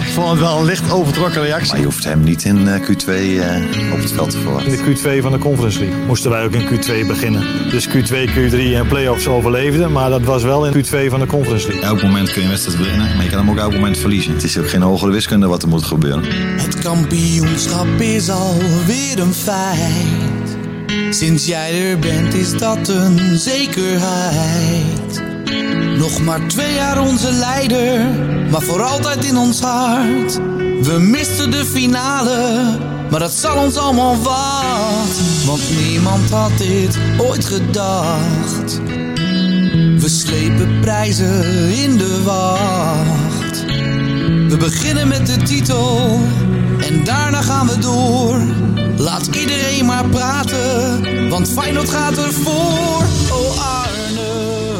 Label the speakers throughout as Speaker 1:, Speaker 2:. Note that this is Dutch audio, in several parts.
Speaker 1: Ik vond het wel een licht overtrokken
Speaker 2: Maar
Speaker 1: reactie.
Speaker 2: je hoeft hem niet in eh, Q2 eh, op het veld te
Speaker 3: In
Speaker 2: verwachten.
Speaker 3: de Q2 van de Conference League moesten wij ook in Q2 beginnen. Dus Q2, Q3 en playoffs overleefden, maar dat was wel in Q2 van de Conference League.
Speaker 4: Elk moment kun je een wedstrijd winnen, maar je kan hem ook elk moment verliezen.
Speaker 2: Het is ook geen hogere wiskunde wat er moet gebeuren.
Speaker 5: Het kampioenschap is alweer een feit. Sinds jij er bent is dat een zekerheid. Nog maar twee jaar onze leider, maar voor altijd in ons hart. We misten de finale, maar dat zal ons allemaal wat. Want niemand had dit ooit gedacht. We slepen prijzen in de wacht. We beginnen met de titel en daarna gaan we door. Laat iedereen maar praten, want Feyenoord gaat ervoor. Oh Arne.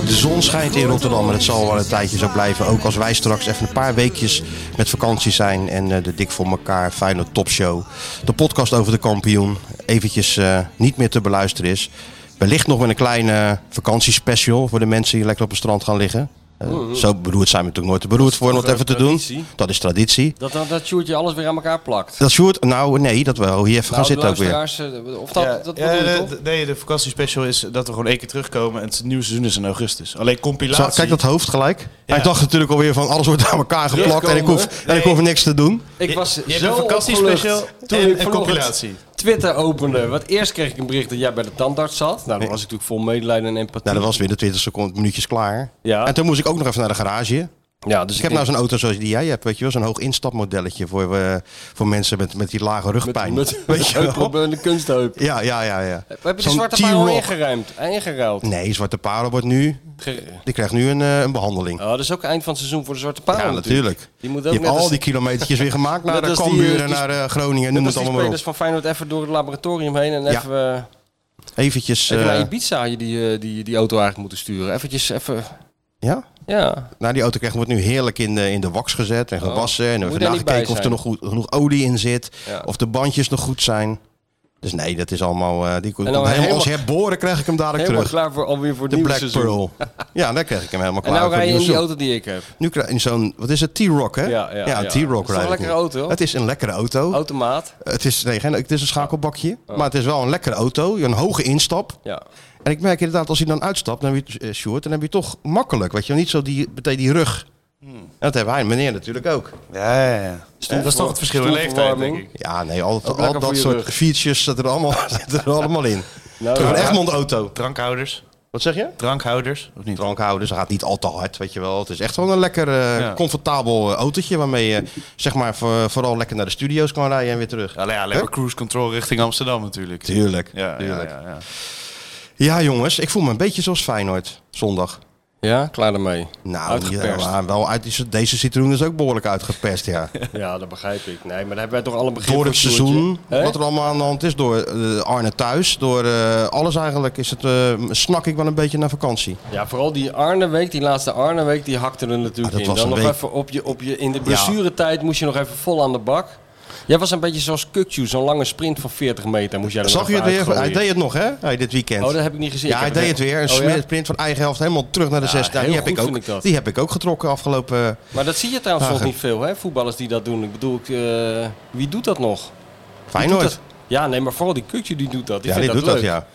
Speaker 6: De zon schijnt in Rotterdam en het zal wel een tijdje zo blijven. Ook als wij straks even een paar weekjes met vakantie zijn. En eh, de Dik voor elkaar Feyenoord Topshow. De podcast over de kampioen. Eventjes eh, niet meer te beluisteren is. Wellicht nog met een kleine vakantiespecial. Voor de mensen die lekker op het strand gaan liggen. Eh, Zo beroerd zijn we natuurlijk nooit te beroerd voor om dat
Speaker 7: Mm-hmm. toch
Speaker 6: even te doen.
Speaker 7: een traditie?
Speaker 6: Dat is traditie.
Speaker 7: Dat, dat, dat Sjoerdje alles weer aan elkaar plakt.
Speaker 6: Dat Sjoerd, nou nee, dat wel. Hier even gaan
Speaker 7: Nou, de
Speaker 6: zitten ook weer.
Speaker 7: luisteraars, eh, Of dat, dat
Speaker 8: Ja,
Speaker 7: bedoel je
Speaker 8: de-
Speaker 7: toch?
Speaker 8: de- nee, de vakantiespecial is dat we gewoon één keer terugkomen en het nieuwe seizoen is in augustus. Alleen compilatie.
Speaker 6: Zo, kijk dat hoofd gelijk.
Speaker 8: Ja.
Speaker 6: Hij dacht natuurlijk alweer van alles wordt aan elkaar geplakt en ik, hoef,
Speaker 8: Terugkomen.
Speaker 6: en ik hoef niks te doen.
Speaker 8: Je-
Speaker 7: Ik was
Speaker 8: je hebt
Speaker 7: zo
Speaker 8: een vakantiespecial
Speaker 7: opgelucht toen
Speaker 8: en
Speaker 7: ik
Speaker 8: een
Speaker 7: vanochtend
Speaker 8: compilatie.
Speaker 7: Twitter opende. Want eerst kreeg ik een bericht dat jij bij de tandarts zat. Nou, dan was ik natuurlijk vol medelijden en empathie.
Speaker 6: Nou, dat was weer de 20 seconden, minuutjes klaar.
Speaker 7: Ja.
Speaker 6: En toen moest ik ook nog even naar de garage.
Speaker 7: Ja, dus
Speaker 6: Ik heb nou zo'n auto zoals die jij hebt, weet je wel. Zo'n hoog instapmodelletje voor, eh, voor mensen met, met die lage rugpijn.
Speaker 7: Met,
Speaker 6: weet je wel?
Speaker 7: een kunstheup.
Speaker 6: Ja, ja, ja, ja.
Speaker 7: Heb je de
Speaker 6: Zo'n
Speaker 7: zwarte paal al
Speaker 6: T-Roc.
Speaker 7: ingeruimd? en Ingeruild?
Speaker 6: Nee, Zwarte Parel wordt nu...
Speaker 7: Ge-
Speaker 6: Die krijgt nu een, eh, een behandeling.
Speaker 7: Oh, dat is ook eind van het seizoen voor de zwarte paal
Speaker 6: ja, natuurlijk.
Speaker 7: Oh, Die moet ook
Speaker 6: je hebt
Speaker 7: net
Speaker 6: al
Speaker 7: als-
Speaker 6: die kilometertjes weer gemaakt naar
Speaker 7: Net
Speaker 6: de
Speaker 7: als die,
Speaker 6: Cambuur
Speaker 7: eh,
Speaker 6: en
Speaker 7: die-
Speaker 6: naar eh, Groningen. Noem
Speaker 7: Net als
Speaker 6: het
Speaker 7: die
Speaker 6: allemaal maar op.
Speaker 7: spelers van Feyenoord even door het laboratorium heen en
Speaker 6: Ja.
Speaker 7: even, eh,
Speaker 6: Eventjes...
Speaker 7: even naar
Speaker 6: eh,
Speaker 7: Ibiza had je die, eh, die, die auto eigenlijk moeten sturen. Eventjes even,
Speaker 6: ja?
Speaker 7: ja.
Speaker 6: Nou, die auto krijgt wordt nu heerlijk in de, in de wax gezet en gewassen. En we
Speaker 7: Oh. Moet
Speaker 6: hebben
Speaker 7: er niet bij
Speaker 6: gekeken of er
Speaker 7: zijn.
Speaker 6: nog goed, genoeg olie in zit.
Speaker 7: Ja.
Speaker 6: Of de bandjes nog goed zijn. Dus nee, dat is allemaal... eh, die komt
Speaker 7: dan weer
Speaker 6: helemaal, als
Speaker 7: helemaal-
Speaker 6: herboren krijg ik hem dadelijk
Speaker 7: Helemaal
Speaker 6: terug.
Speaker 7: klaar voor, alweer voor het
Speaker 6: De
Speaker 7: nieuwe
Speaker 6: Black
Speaker 7: seizoen.
Speaker 6: Pearl. Ja, daar krijg ik hem helemaal
Speaker 7: En
Speaker 6: klaar.
Speaker 7: nou
Speaker 6: voor
Speaker 7: rij je in
Speaker 6: nieuw
Speaker 7: die
Speaker 6: seizoen.
Speaker 7: auto die ik heb.
Speaker 6: Nu krijg je zo'n... Wat is het? T-Rock, hè?
Speaker 7: Ja, ja, ja.
Speaker 6: een T-Rock
Speaker 7: Dat is toch
Speaker 6: rijd
Speaker 7: een
Speaker 6: ik
Speaker 7: lekkere
Speaker 6: nu.
Speaker 7: auto?
Speaker 6: Het is een lekkere auto.
Speaker 7: Automaat.
Speaker 6: Het is, nee, geen, het is een schakelbakje.
Speaker 7: Oh.
Speaker 6: Maar het is wel een lekkere auto. Een hoge instap.
Speaker 7: Ja.
Speaker 6: En ik merk inderdaad, als hij dan uitstapt, dan heb je, eh, Sjoerd, dan heb je toch makkelijk. Weet je, wel, niet zo die, meteen die rug.
Speaker 7: Hmm.
Speaker 6: En dat hebben hij, en meneer natuurlijk ook. Dus
Speaker 8: Ja, ja, ja. dat is toch het verschil in leeftijd, denk
Speaker 7: Stoelverwarming.
Speaker 8: ik.
Speaker 6: Ja, nee, al, al
Speaker 7: lekker voor
Speaker 6: dat
Speaker 7: je
Speaker 6: soort
Speaker 7: rug.
Speaker 6: features zitten er allemaal, zitten er allemaal in.
Speaker 7: Nou,
Speaker 6: Een
Speaker 7: ja.
Speaker 6: Egmond auto.
Speaker 8: Drankhouders.
Speaker 6: Wat zeg je?
Speaker 8: Drankhouders, of niet?
Speaker 6: Drankhouders, hij gaat niet al te hard, weet je wel. Het is echt wel een lekker, eh,
Speaker 8: Ja.
Speaker 6: comfortabel eh, autootje waarmee je zeg maar voor- vooral lekker naar de studio's kan rijden en weer terug.
Speaker 8: Ja, ja, alleen maar cruise control richting Amsterdam natuurlijk.
Speaker 6: Tuurlijk,
Speaker 8: Ja, ja,
Speaker 6: tuurlijk.
Speaker 8: ja, ja.
Speaker 6: Ja, jongens, ik voel me een beetje zoals Feyenoord zondag.
Speaker 7: Ja, klaar daarmee.
Speaker 6: Nou, ja,
Speaker 7: Uitgeperst.
Speaker 6: maar wel uit, deze citroen is ook behoorlijk uitgeperst, ja.
Speaker 7: Ja, dat begrijp ik. Nee, maar daar hebben wij toch alle begrip
Speaker 6: Door het
Speaker 7: voor,
Speaker 6: seizoen,
Speaker 7: Sjoerdje? Hè?
Speaker 6: wat er allemaal aan de hand is, door eh, Arne thuis, door eh, alles eigenlijk, is het, eh, snak ik wel een beetje naar vakantie.
Speaker 7: Ja, vooral die Arne-week, die laatste Arne-week, die hakte er
Speaker 6: Ah,
Speaker 7: natuurlijk
Speaker 6: dat
Speaker 7: in.
Speaker 6: was
Speaker 7: Dan
Speaker 6: een
Speaker 7: nog
Speaker 6: week.
Speaker 7: even op je, op je, in de blessuretijd moest je nog even vol aan de bak. Jij was een beetje zoals Kukju, zo'n lange sprint van 40 meter moest jij er nog
Speaker 6: Zag je het
Speaker 7: even
Speaker 6: weer? Hij
Speaker 7: uitgooien.
Speaker 6: deed het nog, hè? Hij dit weekend.
Speaker 7: Oh, dat heb ik niet gezien.
Speaker 6: ja,
Speaker 7: Ik
Speaker 6: hij
Speaker 7: heb
Speaker 6: deed het weer. Een
Speaker 7: Oh, ja?
Speaker 6: sprint van eigen helft helemaal terug naar de 16. Nou, die,
Speaker 7: heel
Speaker 6: heb
Speaker 7: goed
Speaker 6: ik ook,
Speaker 7: vind ik dat.
Speaker 6: die heb ik ook getrokken afgelopen... eh,
Speaker 7: Maar dat zie je trouwens
Speaker 6: Ah,
Speaker 7: nog
Speaker 6: goed.
Speaker 7: niet veel, hè? Voetballers die dat doen. Ik bedoel, ik, eh, wie doet dat nog? Wie
Speaker 6: Feyenoord.
Speaker 7: doet dat? Ja, nee, maar vooral die Kukju die doet dat. Die
Speaker 6: ja, die
Speaker 7: vindt
Speaker 6: doet
Speaker 7: dat
Speaker 6: dat,
Speaker 7: leuk.
Speaker 6: ja.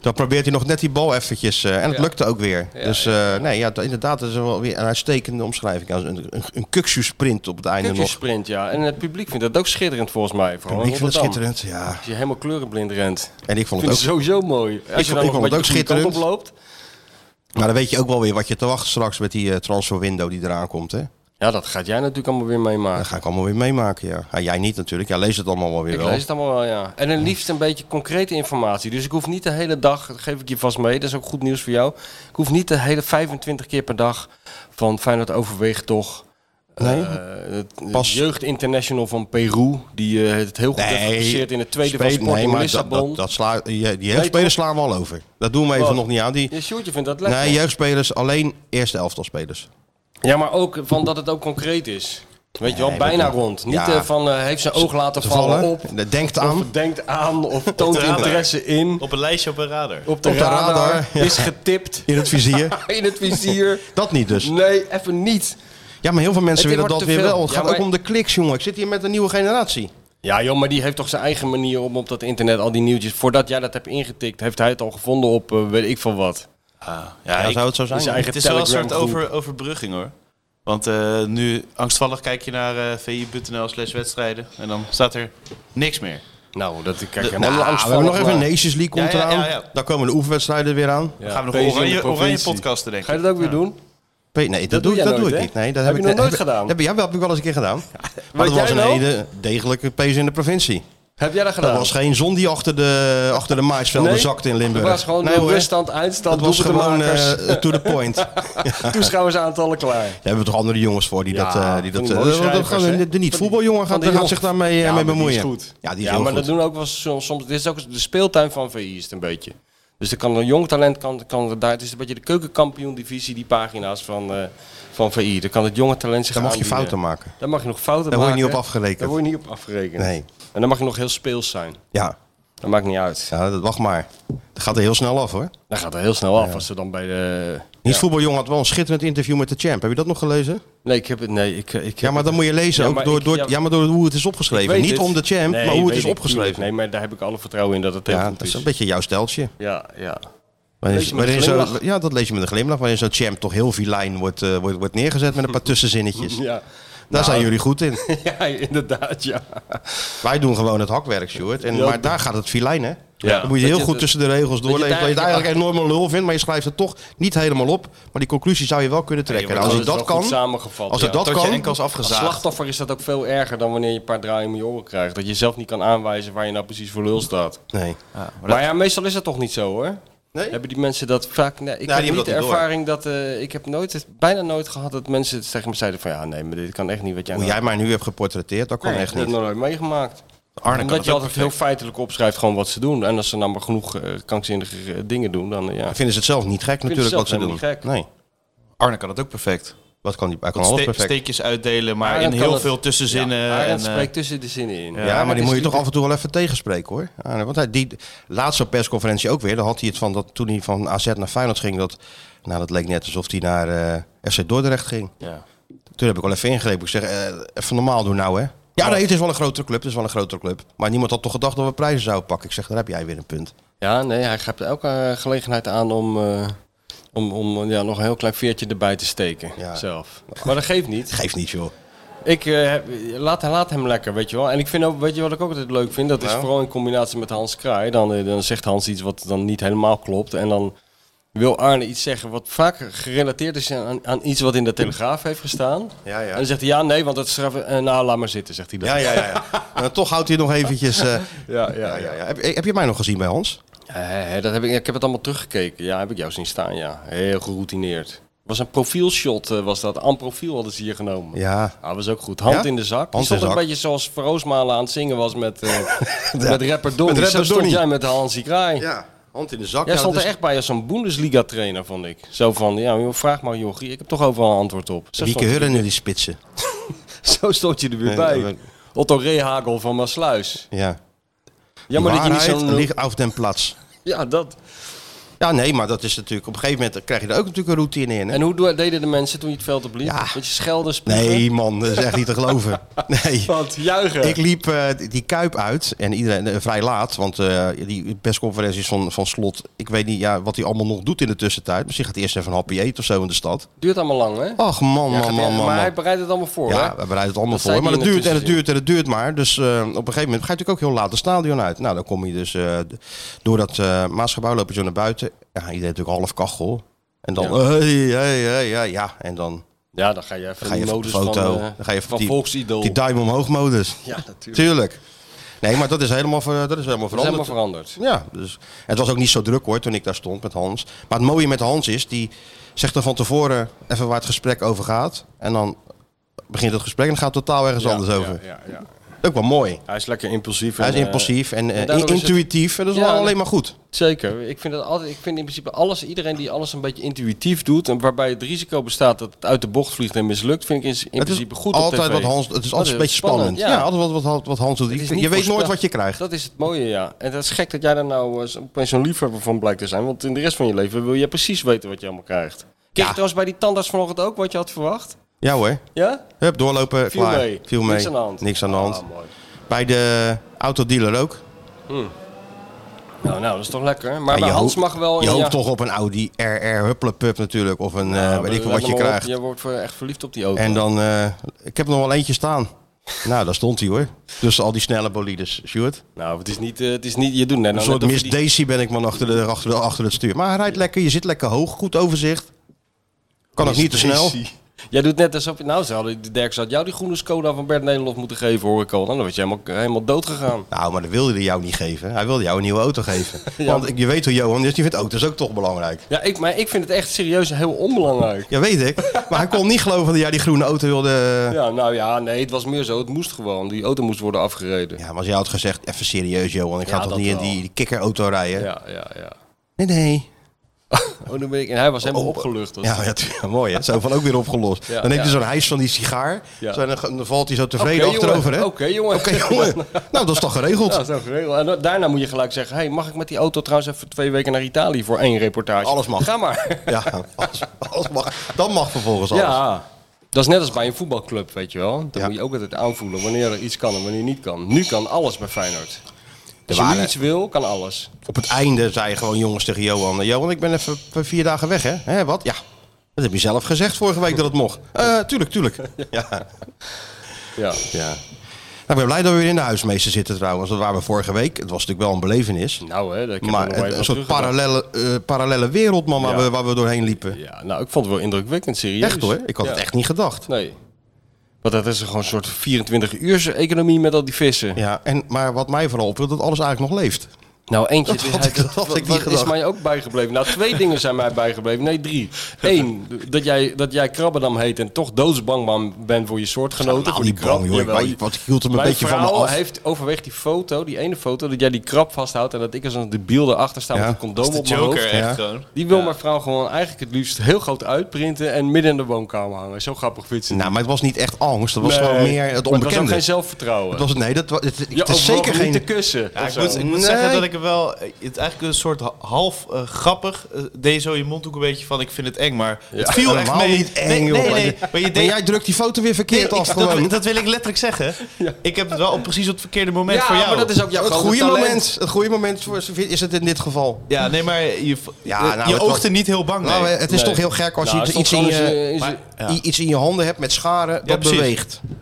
Speaker 6: Dan probeert hij nog net die bal eventjes. eh, en het
Speaker 7: Ja.
Speaker 6: lukte ook weer.
Speaker 7: Ja,
Speaker 6: dus eh, nee, ja, dat- inderdaad, dat is wel weer een uitstekende omschrijving. Ja, Een, een, een kuksjesprint op het einde
Speaker 7: Kukju
Speaker 6: nog.
Speaker 7: sprint, ja. En het publiek vindt dat ook schitterend volgens mij. Vooral
Speaker 6: Ik
Speaker 7: in
Speaker 6: vond het
Speaker 7: Rotterdam.
Speaker 6: schitterend, ja.
Speaker 7: Als je helemaal kleurenblind rent.
Speaker 6: En ik vond
Speaker 7: Ik vind
Speaker 6: het
Speaker 7: het
Speaker 6: ook...
Speaker 7: sowieso mooi. Als
Speaker 6: vond-
Speaker 7: je dan
Speaker 6: ik
Speaker 7: nog
Speaker 6: vond het
Speaker 7: een
Speaker 6: ook
Speaker 7: beetje de goede kant
Speaker 6: schitterend.
Speaker 7: op loopt.
Speaker 6: Maar dan weet je ook wel weer wat je te wachten straks met die eh, transferwindow die eraan komt, hè?
Speaker 7: Ja, dat gaat jij natuurlijk allemaal weer
Speaker 6: Dat
Speaker 7: meemaken.
Speaker 6: ga ik allemaal weer meemaken, ja. Ja, jij niet natuurlijk. Jij leest het allemaal wel weer
Speaker 7: Ik
Speaker 6: wel.
Speaker 7: lees het allemaal wel, ja. En dan liefst een beetje concrete informatie. Dus ik hoef niet de hele dag, dat geef ik je vast mee, dat is ook goed nieuws voor jou. Ik hoef niet de hele 25 keer per dag van Feyenoord overweegt toch
Speaker 6: Nee?
Speaker 7: Eh, het
Speaker 6: Pas-
Speaker 7: Jeugd International van Peru, die eh, het heel goed heeft gepresteerd in de tweede van
Speaker 6: Spelen-
Speaker 7: Sporting
Speaker 6: nee, maar dat-
Speaker 7: Lissabon.
Speaker 6: Dat, dat, sla, je, die
Speaker 7: Nee,
Speaker 6: jeugdspelers slaan we al over. Dat doen we even
Speaker 7: Wat?
Speaker 6: nog niet aan. Die,
Speaker 7: Ja, Sjoerdje vindt dat lekker.
Speaker 6: nee, jeugdspelers, alleen eerste elftal spelers.
Speaker 7: Ja, maar ook van dat het ook concreet is. Weet je wel,
Speaker 6: Nee,
Speaker 7: bijna
Speaker 6: dat-
Speaker 7: rond. Niet
Speaker 6: ja.
Speaker 7: eh, van eh, heeft zijn oog laten vallen, op.
Speaker 6: Denkt
Speaker 7: Of
Speaker 6: aan.
Speaker 7: denkt aan of toont
Speaker 8: radar.
Speaker 7: interesse in.
Speaker 8: Op een lijstje op een radar.
Speaker 7: Op de,
Speaker 6: Op de
Speaker 7: radar,
Speaker 6: radar, ja.
Speaker 7: is getipt
Speaker 6: In het vizier.
Speaker 7: in het vizier.
Speaker 6: dat niet dus.
Speaker 7: Nee, even niet.
Speaker 6: Ja, maar heel veel mensen
Speaker 7: Het
Speaker 6: willen
Speaker 7: wordt
Speaker 6: dat
Speaker 7: te
Speaker 6: weer
Speaker 7: veel.
Speaker 6: wel. Het
Speaker 7: Ja,
Speaker 6: gaat
Speaker 7: maar-
Speaker 6: ook om de kliks, jongen. Ik zit hier met een nieuwe generatie.
Speaker 7: Ja joh, maar die heeft toch zijn eigen manier om op dat internet al die nieuwtjes... Voordat jij dat hebt ingetikt, heeft hij het al gevonden op eh, weet ik van wat.
Speaker 8: Ja,
Speaker 6: Ja,
Speaker 8: ik-
Speaker 6: zou het zo
Speaker 7: In zijn
Speaker 6: zijn?
Speaker 7: eigen
Speaker 8: het is wel een soort
Speaker 7: Telegram-groep.
Speaker 8: over, overbrugging hoor. Want eh, nu, angstvallig kijk je naar eh, vi.nl slash wedstrijden. En dan staat er niks meer.
Speaker 7: Nou, dat kijk
Speaker 6: Nou,
Speaker 7: helemaal
Speaker 6: we
Speaker 7: langs
Speaker 6: hebben nog even een Nations League
Speaker 8: Ja,
Speaker 6: komt
Speaker 8: ja, ja,
Speaker 6: eraan.
Speaker 8: ja.
Speaker 6: Dan komen de oefenwedstrijden weer aan.
Speaker 7: eh,
Speaker 8: gaan we nog oranje, oranje podcasten, denk
Speaker 7: Ga je
Speaker 8: ik.
Speaker 7: dat ook weer doen?
Speaker 6: P- Nee, dat,
Speaker 7: Dat
Speaker 6: doe,
Speaker 7: doe jij
Speaker 6: dat doe
Speaker 7: nooit,
Speaker 6: ik
Speaker 7: hè?
Speaker 6: niet. Nee, dat
Speaker 7: Heb
Speaker 6: heb,
Speaker 7: je
Speaker 6: ik
Speaker 7: nog
Speaker 6: ne-
Speaker 7: nooit
Speaker 6: heb-
Speaker 7: gedaan?
Speaker 6: Heb, ja, wel, heb ik wel eens een keer gedaan. Maar dat
Speaker 7: jij
Speaker 6: was een
Speaker 7: nou?
Speaker 6: hele degelijke pees in de provincie.
Speaker 7: Heb jij dat gedaan?
Speaker 6: Dat was geen zon die achter de, achter de maisvelden
Speaker 7: Nee,
Speaker 6: zakte in Limburg.
Speaker 7: Dat was gewoon
Speaker 6: Nee,
Speaker 7: de
Speaker 6: hoor.
Speaker 7: ruststand, eindstand,
Speaker 6: Dat was gewoon
Speaker 7: doelpuntenmakers,
Speaker 6: eh, to the point. Daar
Speaker 7: toeschouwersaantallen klaar.
Speaker 6: hebben we toch andere jongens voor die
Speaker 7: Ja,
Speaker 6: dat... eh,
Speaker 7: van die
Speaker 6: die dat eh,
Speaker 7: mooie
Speaker 6: dat- dat gaan we-
Speaker 7: schrijvers, hè?
Speaker 6: de de niet-voetbaljongen
Speaker 7: Van
Speaker 6: gaat,
Speaker 7: die
Speaker 6: gaat
Speaker 7: jongen.
Speaker 6: zich daarmee eh,
Speaker 7: Ja,
Speaker 6: mee
Speaker 7: maar die
Speaker 6: bemoeien.
Speaker 7: is goed.
Speaker 6: Ja, die is
Speaker 7: Ja,
Speaker 6: heel
Speaker 7: maar dat
Speaker 6: goed.
Speaker 7: doen ook wel zo- soms. Dit is ook de speeltuin van VI is het een beetje. Dus er kan een jong talent kan, kan er daar. Het is een beetje de keukenkampioen divisie, die pagina's van, eh, van VI. Dan kan het jonge talent zich
Speaker 6: Dan mag je
Speaker 7: aanbieden.
Speaker 6: fouten maken.
Speaker 7: Daar mag je nog fouten
Speaker 6: Daar
Speaker 7: maken.
Speaker 6: word je niet op afgerekend.
Speaker 7: Daar word je niet op afgerekend.
Speaker 6: Nee.
Speaker 7: En dan mag je nog heel speels zijn.
Speaker 6: Ja,
Speaker 7: Dat maakt niet uit.
Speaker 6: ja dat, wacht maar. Dat gaat er heel snel af hoor.
Speaker 7: Dat gaat er heel snel af als ze dan bij de...
Speaker 6: Niet-voetbaljongen had wel een schitterend interview met de champ. Heb je dat nog gelezen?
Speaker 7: Nee, ik heb het... Nee, ik, ik heb
Speaker 6: Ja, maar
Speaker 7: het-
Speaker 6: dan moet je lezen
Speaker 7: Ja,
Speaker 6: ook
Speaker 7: maar
Speaker 6: door,
Speaker 7: ik-
Speaker 6: door,
Speaker 7: ja,
Speaker 6: ja, maar door hoe het is
Speaker 7: Ik
Speaker 6: opgeschreven.
Speaker 7: weet
Speaker 6: Niet
Speaker 7: het.
Speaker 6: om de champ,
Speaker 7: Nee,
Speaker 6: maar hoe het
Speaker 7: weet
Speaker 6: is
Speaker 7: ik,
Speaker 6: opgeschreven.
Speaker 7: tuurlijk. Nee, maar daar heb ik alle vertrouwen in dat het heel
Speaker 6: ja,
Speaker 7: goed
Speaker 6: dat is een beetje jouw steltje.
Speaker 7: Ja, ja.
Speaker 6: Waarin-
Speaker 7: Lees je met een
Speaker 6: waarin zo,
Speaker 7: glimlach.
Speaker 6: ja, dat lees je met een glimlach. Waarin zo'n champ toch heel vilijn wordt, eh, wordt, wordt neergezet met een paar tussenzinnetjes. Daar
Speaker 7: Ja. Nou.
Speaker 6: zijn jullie goed in.
Speaker 7: ja, inderdaad, ja.
Speaker 6: Wij doen gewoon het hakwerk, Stuart. En,
Speaker 7: Ja.
Speaker 6: maar daar gaat het vilijn, hè?
Speaker 7: Ja.
Speaker 6: Dan moet je
Speaker 7: Dat
Speaker 6: heel
Speaker 7: je
Speaker 6: goed
Speaker 7: het-
Speaker 6: tussen de regels doorlezen. Dat je het eigenlijk enorm een lul vindt, maar je schrijft het toch niet helemaal op. Maar die conclusie zou je wel kunnen trekken.
Speaker 7: Dat
Speaker 6: als
Speaker 7: is
Speaker 6: ik
Speaker 7: wel
Speaker 6: dat
Speaker 7: goed
Speaker 6: kan,
Speaker 7: Samengevat,
Speaker 6: als
Speaker 7: ja.
Speaker 6: ik dat
Speaker 8: Tot je
Speaker 6: kan,
Speaker 8: enkels
Speaker 7: Als
Speaker 8: afgezaagd.
Speaker 7: slachtoffer is dat ook veel erger dan wanneer je een paar draaien om je oren krijgt. Dat je zelf niet kan aanwijzen waar je nou precies voor lul staat.
Speaker 6: Nee.
Speaker 8: "Ah,
Speaker 7: maar, ja, meestal is dat toch niet zo hoor?
Speaker 6: Nee?
Speaker 7: Hebben die mensen dat vaak... Nee, ik
Speaker 6: die
Speaker 7: heb
Speaker 6: hebben
Speaker 7: niet
Speaker 6: dat niet
Speaker 7: de
Speaker 6: door.
Speaker 7: ervaring dat... eh, ik heb nooit, het- bijna nooit gehad dat mensen het tegen me zeiden van... Ja, nee, maar dit kan echt niet wat jij...
Speaker 6: Hoe
Speaker 7: nou-
Speaker 6: jij mij nu hebt geportretteerd, dat kan
Speaker 7: Nee,
Speaker 6: echt
Speaker 7: dat
Speaker 6: niet.
Speaker 7: heb ik nog nooit meegemaakt.
Speaker 8: Arne kan
Speaker 7: Omdat
Speaker 8: het
Speaker 7: je
Speaker 8: ook
Speaker 7: altijd heel feitelijk opschrijft gewoon wat ze doen. En als ze nou maar genoeg eh, krankzinnige eh, dingen doen, dan eh, ja.
Speaker 6: Dan vinden ze het zelf niet gek
Speaker 7: Vinden ze
Speaker 6: natuurlijk wat ze
Speaker 7: zelf
Speaker 6: doen.
Speaker 7: helemaal niet gek.
Speaker 6: Nee.
Speaker 8: Arne kan het ook perfect.
Speaker 6: Wat kan die? Hij kan
Speaker 8: Wat
Speaker 6: alles
Speaker 8: ste-
Speaker 6: perfect.
Speaker 8: steekjes uitdelen, maar
Speaker 7: Arend
Speaker 8: in
Speaker 7: kan
Speaker 8: heel
Speaker 7: het.
Speaker 8: veel tussenzinnen.
Speaker 7: Ja,
Speaker 8: en,
Speaker 7: Arend
Speaker 8: eh,
Speaker 7: spreekt tussen de zinnen in.
Speaker 6: Ja, maar die
Speaker 7: is
Speaker 6: moet je
Speaker 7: lief-
Speaker 6: toch af en toe wel even tegenspreken hoor. Ja, want hij, die laatste persconferentie ook weer, daar had hij het van dat toen hij van AZ naar Feyenoord ging, dat, nou, dat leek net alsof hij naar eh, FC Dordrecht ging.
Speaker 7: Ja.
Speaker 6: Toen heb ik wel even ingrepen. Ik zeg, eh, even normaal doen nou hè. Ja, nee, het is wel een grotere club, het is wel een grotere club. Maar niemand had toch gedacht dat we prijzen zouden pakken. Ik zeg, daar heb jij weer een punt.
Speaker 7: Ja, nee, hij grijpt elke eh, gelegenheid aan om, eh, om, om eh, ja, nog een heel klein veertje erbij te steken
Speaker 6: Ja.
Speaker 7: zelf. Maar dat geeft niet.
Speaker 6: Geeft niet joh.
Speaker 7: Ik, eh, heb- laat, laat hem lekker, weet je wel. En ik vind ook, weet je wat ik ook altijd leuk vind? Dat is
Speaker 6: Nou?
Speaker 7: vooral in combinatie met Hans Kraai. Dan, eh, dan zegt Hans iets wat dan niet helemaal klopt. En dan wil Arne iets zeggen wat vaak gerelateerd is aan, aan iets wat in de Telegraaf heeft gestaan.
Speaker 6: Ja,
Speaker 7: En
Speaker 6: ja.
Speaker 7: dan zegt hij ja, nee, want dat schrijven... eh, nou, laat maar zitten, zegt hij dan.
Speaker 6: Ja, ja, ja. ja. En toch houdt hij nog eventjes... eh,
Speaker 7: ja,
Speaker 6: ja, ja, ja. Heb, heb je mij nog gezien bij Hans?
Speaker 7: Eh, dat heb ik, ik heb het allemaal teruggekeken. Ja, heb ik jou zien staan, ja. Heel geroutineerd. was een profielshot, eh, was dat. Aan profiel hadden ze hier genomen.
Speaker 6: Ja.
Speaker 7: Ah, was ook goed. Hand
Speaker 6: Ja?
Speaker 7: in de zak.
Speaker 6: Hand
Speaker 7: stond
Speaker 6: in de
Speaker 7: een
Speaker 6: zak.
Speaker 7: beetje zoals Verroosmalen aan het zingen was met, eh, met rapper Donnie.
Speaker 6: Met rapper
Speaker 7: Zo stond
Speaker 6: Donnie.
Speaker 7: jij met Hansie Kraai.
Speaker 6: Ja, hand in de zak.
Speaker 7: Jij
Speaker 6: Ja, dus
Speaker 7: stond
Speaker 6: dat
Speaker 7: er
Speaker 6: is-
Speaker 7: echt bij als zo'n Bundesliga-trainer, vond ik. Zo van, ja, joh, vraag maar Jochie, ik heb toch overal een antwoord op. Zo
Speaker 6: Wieke
Speaker 7: stond, je,
Speaker 6: Hurren in die spitsen.
Speaker 7: zo stond je er weer
Speaker 6: Nee, dat
Speaker 7: bij.
Speaker 6: ben-
Speaker 7: Otto Rehagel van Maasluis.
Speaker 6: Ja.
Speaker 7: Jammer dat je niet
Speaker 6: Waarheid
Speaker 7: zo'n...
Speaker 6: ligt auf den Platz.
Speaker 7: Ja, dat.
Speaker 6: Ja, nee, maar dat is natuurlijk... Op een gegeven moment krijg je daar ook natuurlijk een routine in. Hè?
Speaker 7: En hoe do- deden de mensen toen je het veld opliep?
Speaker 6: Ja.
Speaker 7: Beetje schelden, spugen?
Speaker 6: Nee, man, dat is echt niet te geloven. Nee.
Speaker 7: Want juichen.
Speaker 6: Ik liep eh, die- die Kuip uit en iedereen eh, vrij laat, want eh, die persconferenties van, van Slot, ik weet niet ja, wat hij allemaal nog doet in de tussentijd. Misschien gaat hij eerst even een happy eten of zo in de stad.
Speaker 7: Duurt allemaal lang, hè?
Speaker 6: Ach man,
Speaker 7: Ja,
Speaker 6: Oh, man,
Speaker 7: gaat-
Speaker 6: man, man.
Speaker 7: maar
Speaker 6: man.
Speaker 7: hij bereidt het allemaal voor, hè?
Speaker 6: Ja, we bereiden het allemaal
Speaker 7: Dat zei
Speaker 6: voor. Maar
Speaker 7: die
Speaker 6: dat duurt en
Speaker 7: in
Speaker 6: het
Speaker 7: de
Speaker 6: duurt en het duurt maar. Dus eh, op een gegeven moment ga je natuurlijk ook heel laat het stadion uit. Nou, dan kom je dus eh, d- door dat eh, Maasgebouw lopen zo naar buiten. Ja, iedereen natuurlijk half kachel. En dan,
Speaker 7: Ja.
Speaker 6: ja. hey, hey, hey, ja, ja. En dan
Speaker 7: Ja, dan ga je even
Speaker 6: ga je
Speaker 7: die
Speaker 6: even op de
Speaker 7: modus
Speaker 6: foto.
Speaker 7: van, eh,
Speaker 6: dan ga je even
Speaker 7: van
Speaker 6: die,
Speaker 7: volksidol.
Speaker 6: die duim omhoog modus.
Speaker 7: ja, natuurlijk.
Speaker 6: Tuurlijk. Nee, maar dat is helemaal, ver- dat is helemaal
Speaker 7: Dat is
Speaker 6: veranderd.
Speaker 7: helemaal veranderd.
Speaker 6: Ja, dus het was ook niet zo druk hoor toen ik daar stond met Hans. Maar het mooie met Hans is, die zegt er van tevoren even waar het gesprek over gaat. En dan begint het gesprek en dan gaat het totaal ergens
Speaker 7: Ja,
Speaker 6: anders
Speaker 7: ja,
Speaker 6: over.
Speaker 7: ja, ja.
Speaker 6: Ook wel mooi.
Speaker 7: Hij is lekker impulsief.
Speaker 6: Hij is
Speaker 7: en, eh,
Speaker 6: impulsief en eh,
Speaker 7: en daardoor is het-
Speaker 6: intuïtief. En dat is
Speaker 7: Ja,
Speaker 6: wel alleen
Speaker 7: dat-
Speaker 6: maar goed.
Speaker 7: Zeker. Ik vind, dat altijd, ik vind in principe alles, iedereen die alles een beetje intuïtief doet en waarbij het risico bestaat dat het uit de bocht vliegt en mislukt, vind ik in, in
Speaker 6: Het is
Speaker 7: principe goed. op
Speaker 6: altijd
Speaker 7: tv.
Speaker 6: wat Hans. Het is
Speaker 7: Dat
Speaker 6: altijd een beetje spannend. Ja, altijd wat, wat, wat Hans doet.
Speaker 7: Het is
Speaker 6: Je
Speaker 7: niet
Speaker 6: weet nooit
Speaker 7: voorspel-
Speaker 6: wat je krijgt.
Speaker 7: Dat is het mooie, ja. En dat is gek dat jij daar nou eh, zo- opeens zo'n liefhebber van blijkt te zijn. Want in de rest van je leven wil je precies weten wat je allemaal krijgt. Kreeg je
Speaker 6: Ja.
Speaker 7: trouwens bij die tandarts vanochtend ook wat je had verwacht?
Speaker 6: Ja hoor.
Speaker 7: Ja?
Speaker 6: Hup, doorlopen,
Speaker 7: Viel
Speaker 6: klaar.
Speaker 7: mee.
Speaker 6: Viel mee.
Speaker 7: Niks aan de hand.
Speaker 6: Niks aan de hand.
Speaker 7: Ah, mooi.
Speaker 6: Bij de autodealer ook.
Speaker 7: Nou, nou, dat is toch lekker. Maar
Speaker 6: En
Speaker 7: bij
Speaker 6: je
Speaker 7: Hans
Speaker 6: hoopt-
Speaker 7: mag wel...
Speaker 6: Je
Speaker 7: een
Speaker 6: hoopt
Speaker 7: ja-
Speaker 6: toch op een Audi RR Hupplepup natuurlijk. Of een, eh,
Speaker 7: Ja,
Speaker 6: weet
Speaker 7: maar
Speaker 6: ik veel wat
Speaker 7: let
Speaker 6: je
Speaker 7: maar op,
Speaker 6: krijgt.
Speaker 7: Je wordt eh, echt verliefd op die auto.
Speaker 6: En dan, eh, ik heb er nog wel eentje staan. nou, daar stond hij hoor. Tussen al die snelle bolides, Stuart.
Speaker 7: Nou, het is niet... eh, het is niet je doet net
Speaker 6: Een
Speaker 7: nou
Speaker 6: soort
Speaker 7: net of
Speaker 6: Miss
Speaker 7: je die-
Speaker 6: Daisy ben ik man achter, de, achter, de, achter het stuur. Maar hij rijdt lekker, je zit lekker hoog, goed overzicht. Kan ook niet te snel.
Speaker 7: Jij doet net alsof je... Nou, ze hadden, de Derks had jou die groene Skoda van Bert Nederlof moeten geven, hoor ik al. Nou, Dan was je helemaal, helemaal dood gegaan.
Speaker 6: Nou, maar dat wilde hij jou niet geven. Hij wilde jou een nieuwe auto geven. Want ik- je weet hoe Johan is, die vindt auto's ook toch belangrijk.
Speaker 7: Ja, ik, maar ik vind het echt serieus heel onbelangrijk.
Speaker 6: Ja, weet ik. Maar hij kon niet geloven dat jij die groene auto wilde. eh, Ja,
Speaker 7: Ja, nou ja, nee, het was meer zo. Het moest gewoon. Die auto moest worden afgereden. Ja,
Speaker 6: maar als jij had gezegd, even serieus Johan, ik ga
Speaker 7: Ja,
Speaker 6: toch
Speaker 7: dat
Speaker 6: niet in
Speaker 7: wel.
Speaker 6: die, die kikkerauto rijden?
Speaker 7: ja, ja.
Speaker 6: Nee, nee.
Speaker 7: Oh, dan ben ik, en hij was helemaal
Speaker 6: Oh,
Speaker 7: opgelucht. was
Speaker 6: Ja,
Speaker 7: hij.
Speaker 6: ja, tu- ja, mooi hè. Zo van ook weer opgelost.
Speaker 7: Ja,
Speaker 6: dan neemt hij
Speaker 7: ja.
Speaker 6: zo'n hijs van die sigaar.
Speaker 7: Ja.
Speaker 6: Zo, en dan, dan valt hij zo
Speaker 7: Oké,
Speaker 6: tevreden
Speaker 7: jongen.
Speaker 6: achterover hè.
Speaker 7: Oké, jongen.
Speaker 6: Oké, jongen. Nou, dat is toch geregeld?
Speaker 7: Ja, dat is nou geregeld. En dan- daarna moet je gelijk zeggen: hey, mag ik met die auto trouwens even twee weken naar Italië voor één reportage?
Speaker 6: Alles mag.
Speaker 7: Ga maar.
Speaker 6: Ja, alles, alles mag. Dan mag vervolgens alles.
Speaker 7: Ja. Dat is net als bij een voetbalclub, weet je wel. Dan
Speaker 6: Ja.
Speaker 7: moet je ook altijd aanvoelen wanneer er iets kan en wanneer niet kan. Nu kan alles bij Feyenoord. Als je nu
Speaker 6: waren-
Speaker 7: iets wil, kan alles.
Speaker 6: Op het einde zei je gewoon jongens tegen Johan. eh, Johan, ik ben even v- vier dagen weg hè. Hè, wat? Ja. Dat heb je zelf gezegd vorige week dat het mocht. Eh, tuurlijk, tuurlijk. Ja.
Speaker 7: Ja.
Speaker 6: Ja. Nou, ik ben blij dat we weer in de huismeester zitten trouwens. Dat waren we vorige week. Het was natuurlijk wel een belevenis.
Speaker 7: Nou, hè, ik heb
Speaker 6: Maar het-
Speaker 7: er nog even
Speaker 6: een
Speaker 7: aan
Speaker 6: soort
Speaker 7: teruggedacht.
Speaker 6: parallele, eh, parallele wereld, man, waar,
Speaker 7: Ja.
Speaker 6: we, waar we doorheen liepen.
Speaker 7: Ja, nou, ik vond het wel indrukwekkend, serieus.
Speaker 6: Echt hoor. Ik had
Speaker 7: Ja.
Speaker 6: het echt niet gedacht.
Speaker 7: Nee. Want dat is gewoon een soort 24-uurse economie met al die vissen.
Speaker 6: Ja, en, maar wat mij vooral opviel, dat alles eigenlijk nog leeft.
Speaker 7: Nou, eentje.
Speaker 6: Dat had ik- dat had ik niet
Speaker 7: dat is
Speaker 6: gedacht.
Speaker 7: mij ook bijgebleven. Nou, twee dingen zijn mij bijgebleven. Nee, drie. Eén, dat jij, dat jij Krabbendam heet en toch doodsbang man- bent voor je soortgenoten.
Speaker 6: Nou,
Speaker 7: voor die
Speaker 6: niet bang,
Speaker 7: krab.
Speaker 6: joh. Ik-
Speaker 7: Jawel,
Speaker 6: ik- wat- ik hield hem een
Speaker 7: mijn
Speaker 6: beetje van me
Speaker 7: vrouw
Speaker 6: af.
Speaker 7: heeft overweegt die foto, die ene foto, dat jij die krab vasthoudt en dat ik als een debiel erachter sta
Speaker 6: Ja,
Speaker 7: met een condoom op
Speaker 8: de
Speaker 7: mijn
Speaker 8: Joker
Speaker 7: hoofd.
Speaker 8: echt
Speaker 6: Ja.
Speaker 8: gewoon.
Speaker 7: Die wil mijn vrouw gewoon eigenlijk het liefst heel groot uitprinten en midden in de woonkamer hangen. Zo grappig vindt ze.
Speaker 6: Nou, maar het was niet echt angst. Het was
Speaker 7: Nee.
Speaker 6: gewoon meer het
Speaker 7: Maar was ook
Speaker 6: onbekende.
Speaker 7: geen zelfvertrouwen.
Speaker 6: Het was, nee, dat, wa- het, het
Speaker 7: Je
Speaker 6: is zeker geen...
Speaker 7: te kussen.
Speaker 8: Ja,
Speaker 7: of
Speaker 8: ik
Speaker 7: zo.
Speaker 8: moet, ik moet
Speaker 6: Nee.
Speaker 8: zeggen dat ik er wel... eh, Het eigenlijk een soort ha- half eh, grappig... eh, deed zo je mondhoek een beetje van ik vind het eng. Maar het viel echt
Speaker 6: Helemaal
Speaker 8: mee.
Speaker 6: niet eng,
Speaker 8: nee, nee,
Speaker 6: joh.
Speaker 8: nee, Maar je
Speaker 6: Maar
Speaker 8: deed...
Speaker 6: jij drukt die foto weer
Speaker 8: Nee,
Speaker 6: verkeerd
Speaker 8: ik-
Speaker 6: af
Speaker 8: dat, wil-
Speaker 6: gewoon.
Speaker 8: dat wil ik letterlijk zeggen. Ik heb het wel op precies op het verkeerde moment
Speaker 7: Ja,
Speaker 8: voor jou.
Speaker 7: maar dat is ook jouw
Speaker 6: het
Speaker 7: grote
Speaker 6: goede
Speaker 7: talent.
Speaker 6: moment, het goede moment voor, is het in dit geval.
Speaker 8: Ja, nee, maar je,
Speaker 6: Ja, nou,
Speaker 8: je
Speaker 6: het
Speaker 8: oogde
Speaker 6: was-
Speaker 8: niet heel bang.
Speaker 6: Nou,
Speaker 8: nee.
Speaker 6: het is
Speaker 7: Nee.
Speaker 6: toch heel gek als
Speaker 7: Nou,
Speaker 6: je
Speaker 7: het
Speaker 6: iets in
Speaker 7: stond
Speaker 6: je,
Speaker 7: gewoon eens, eh,
Speaker 6: maar-
Speaker 8: ja.
Speaker 6: i- iets in je handen hebt met scharen, dat
Speaker 8: precies.
Speaker 6: beweegt. En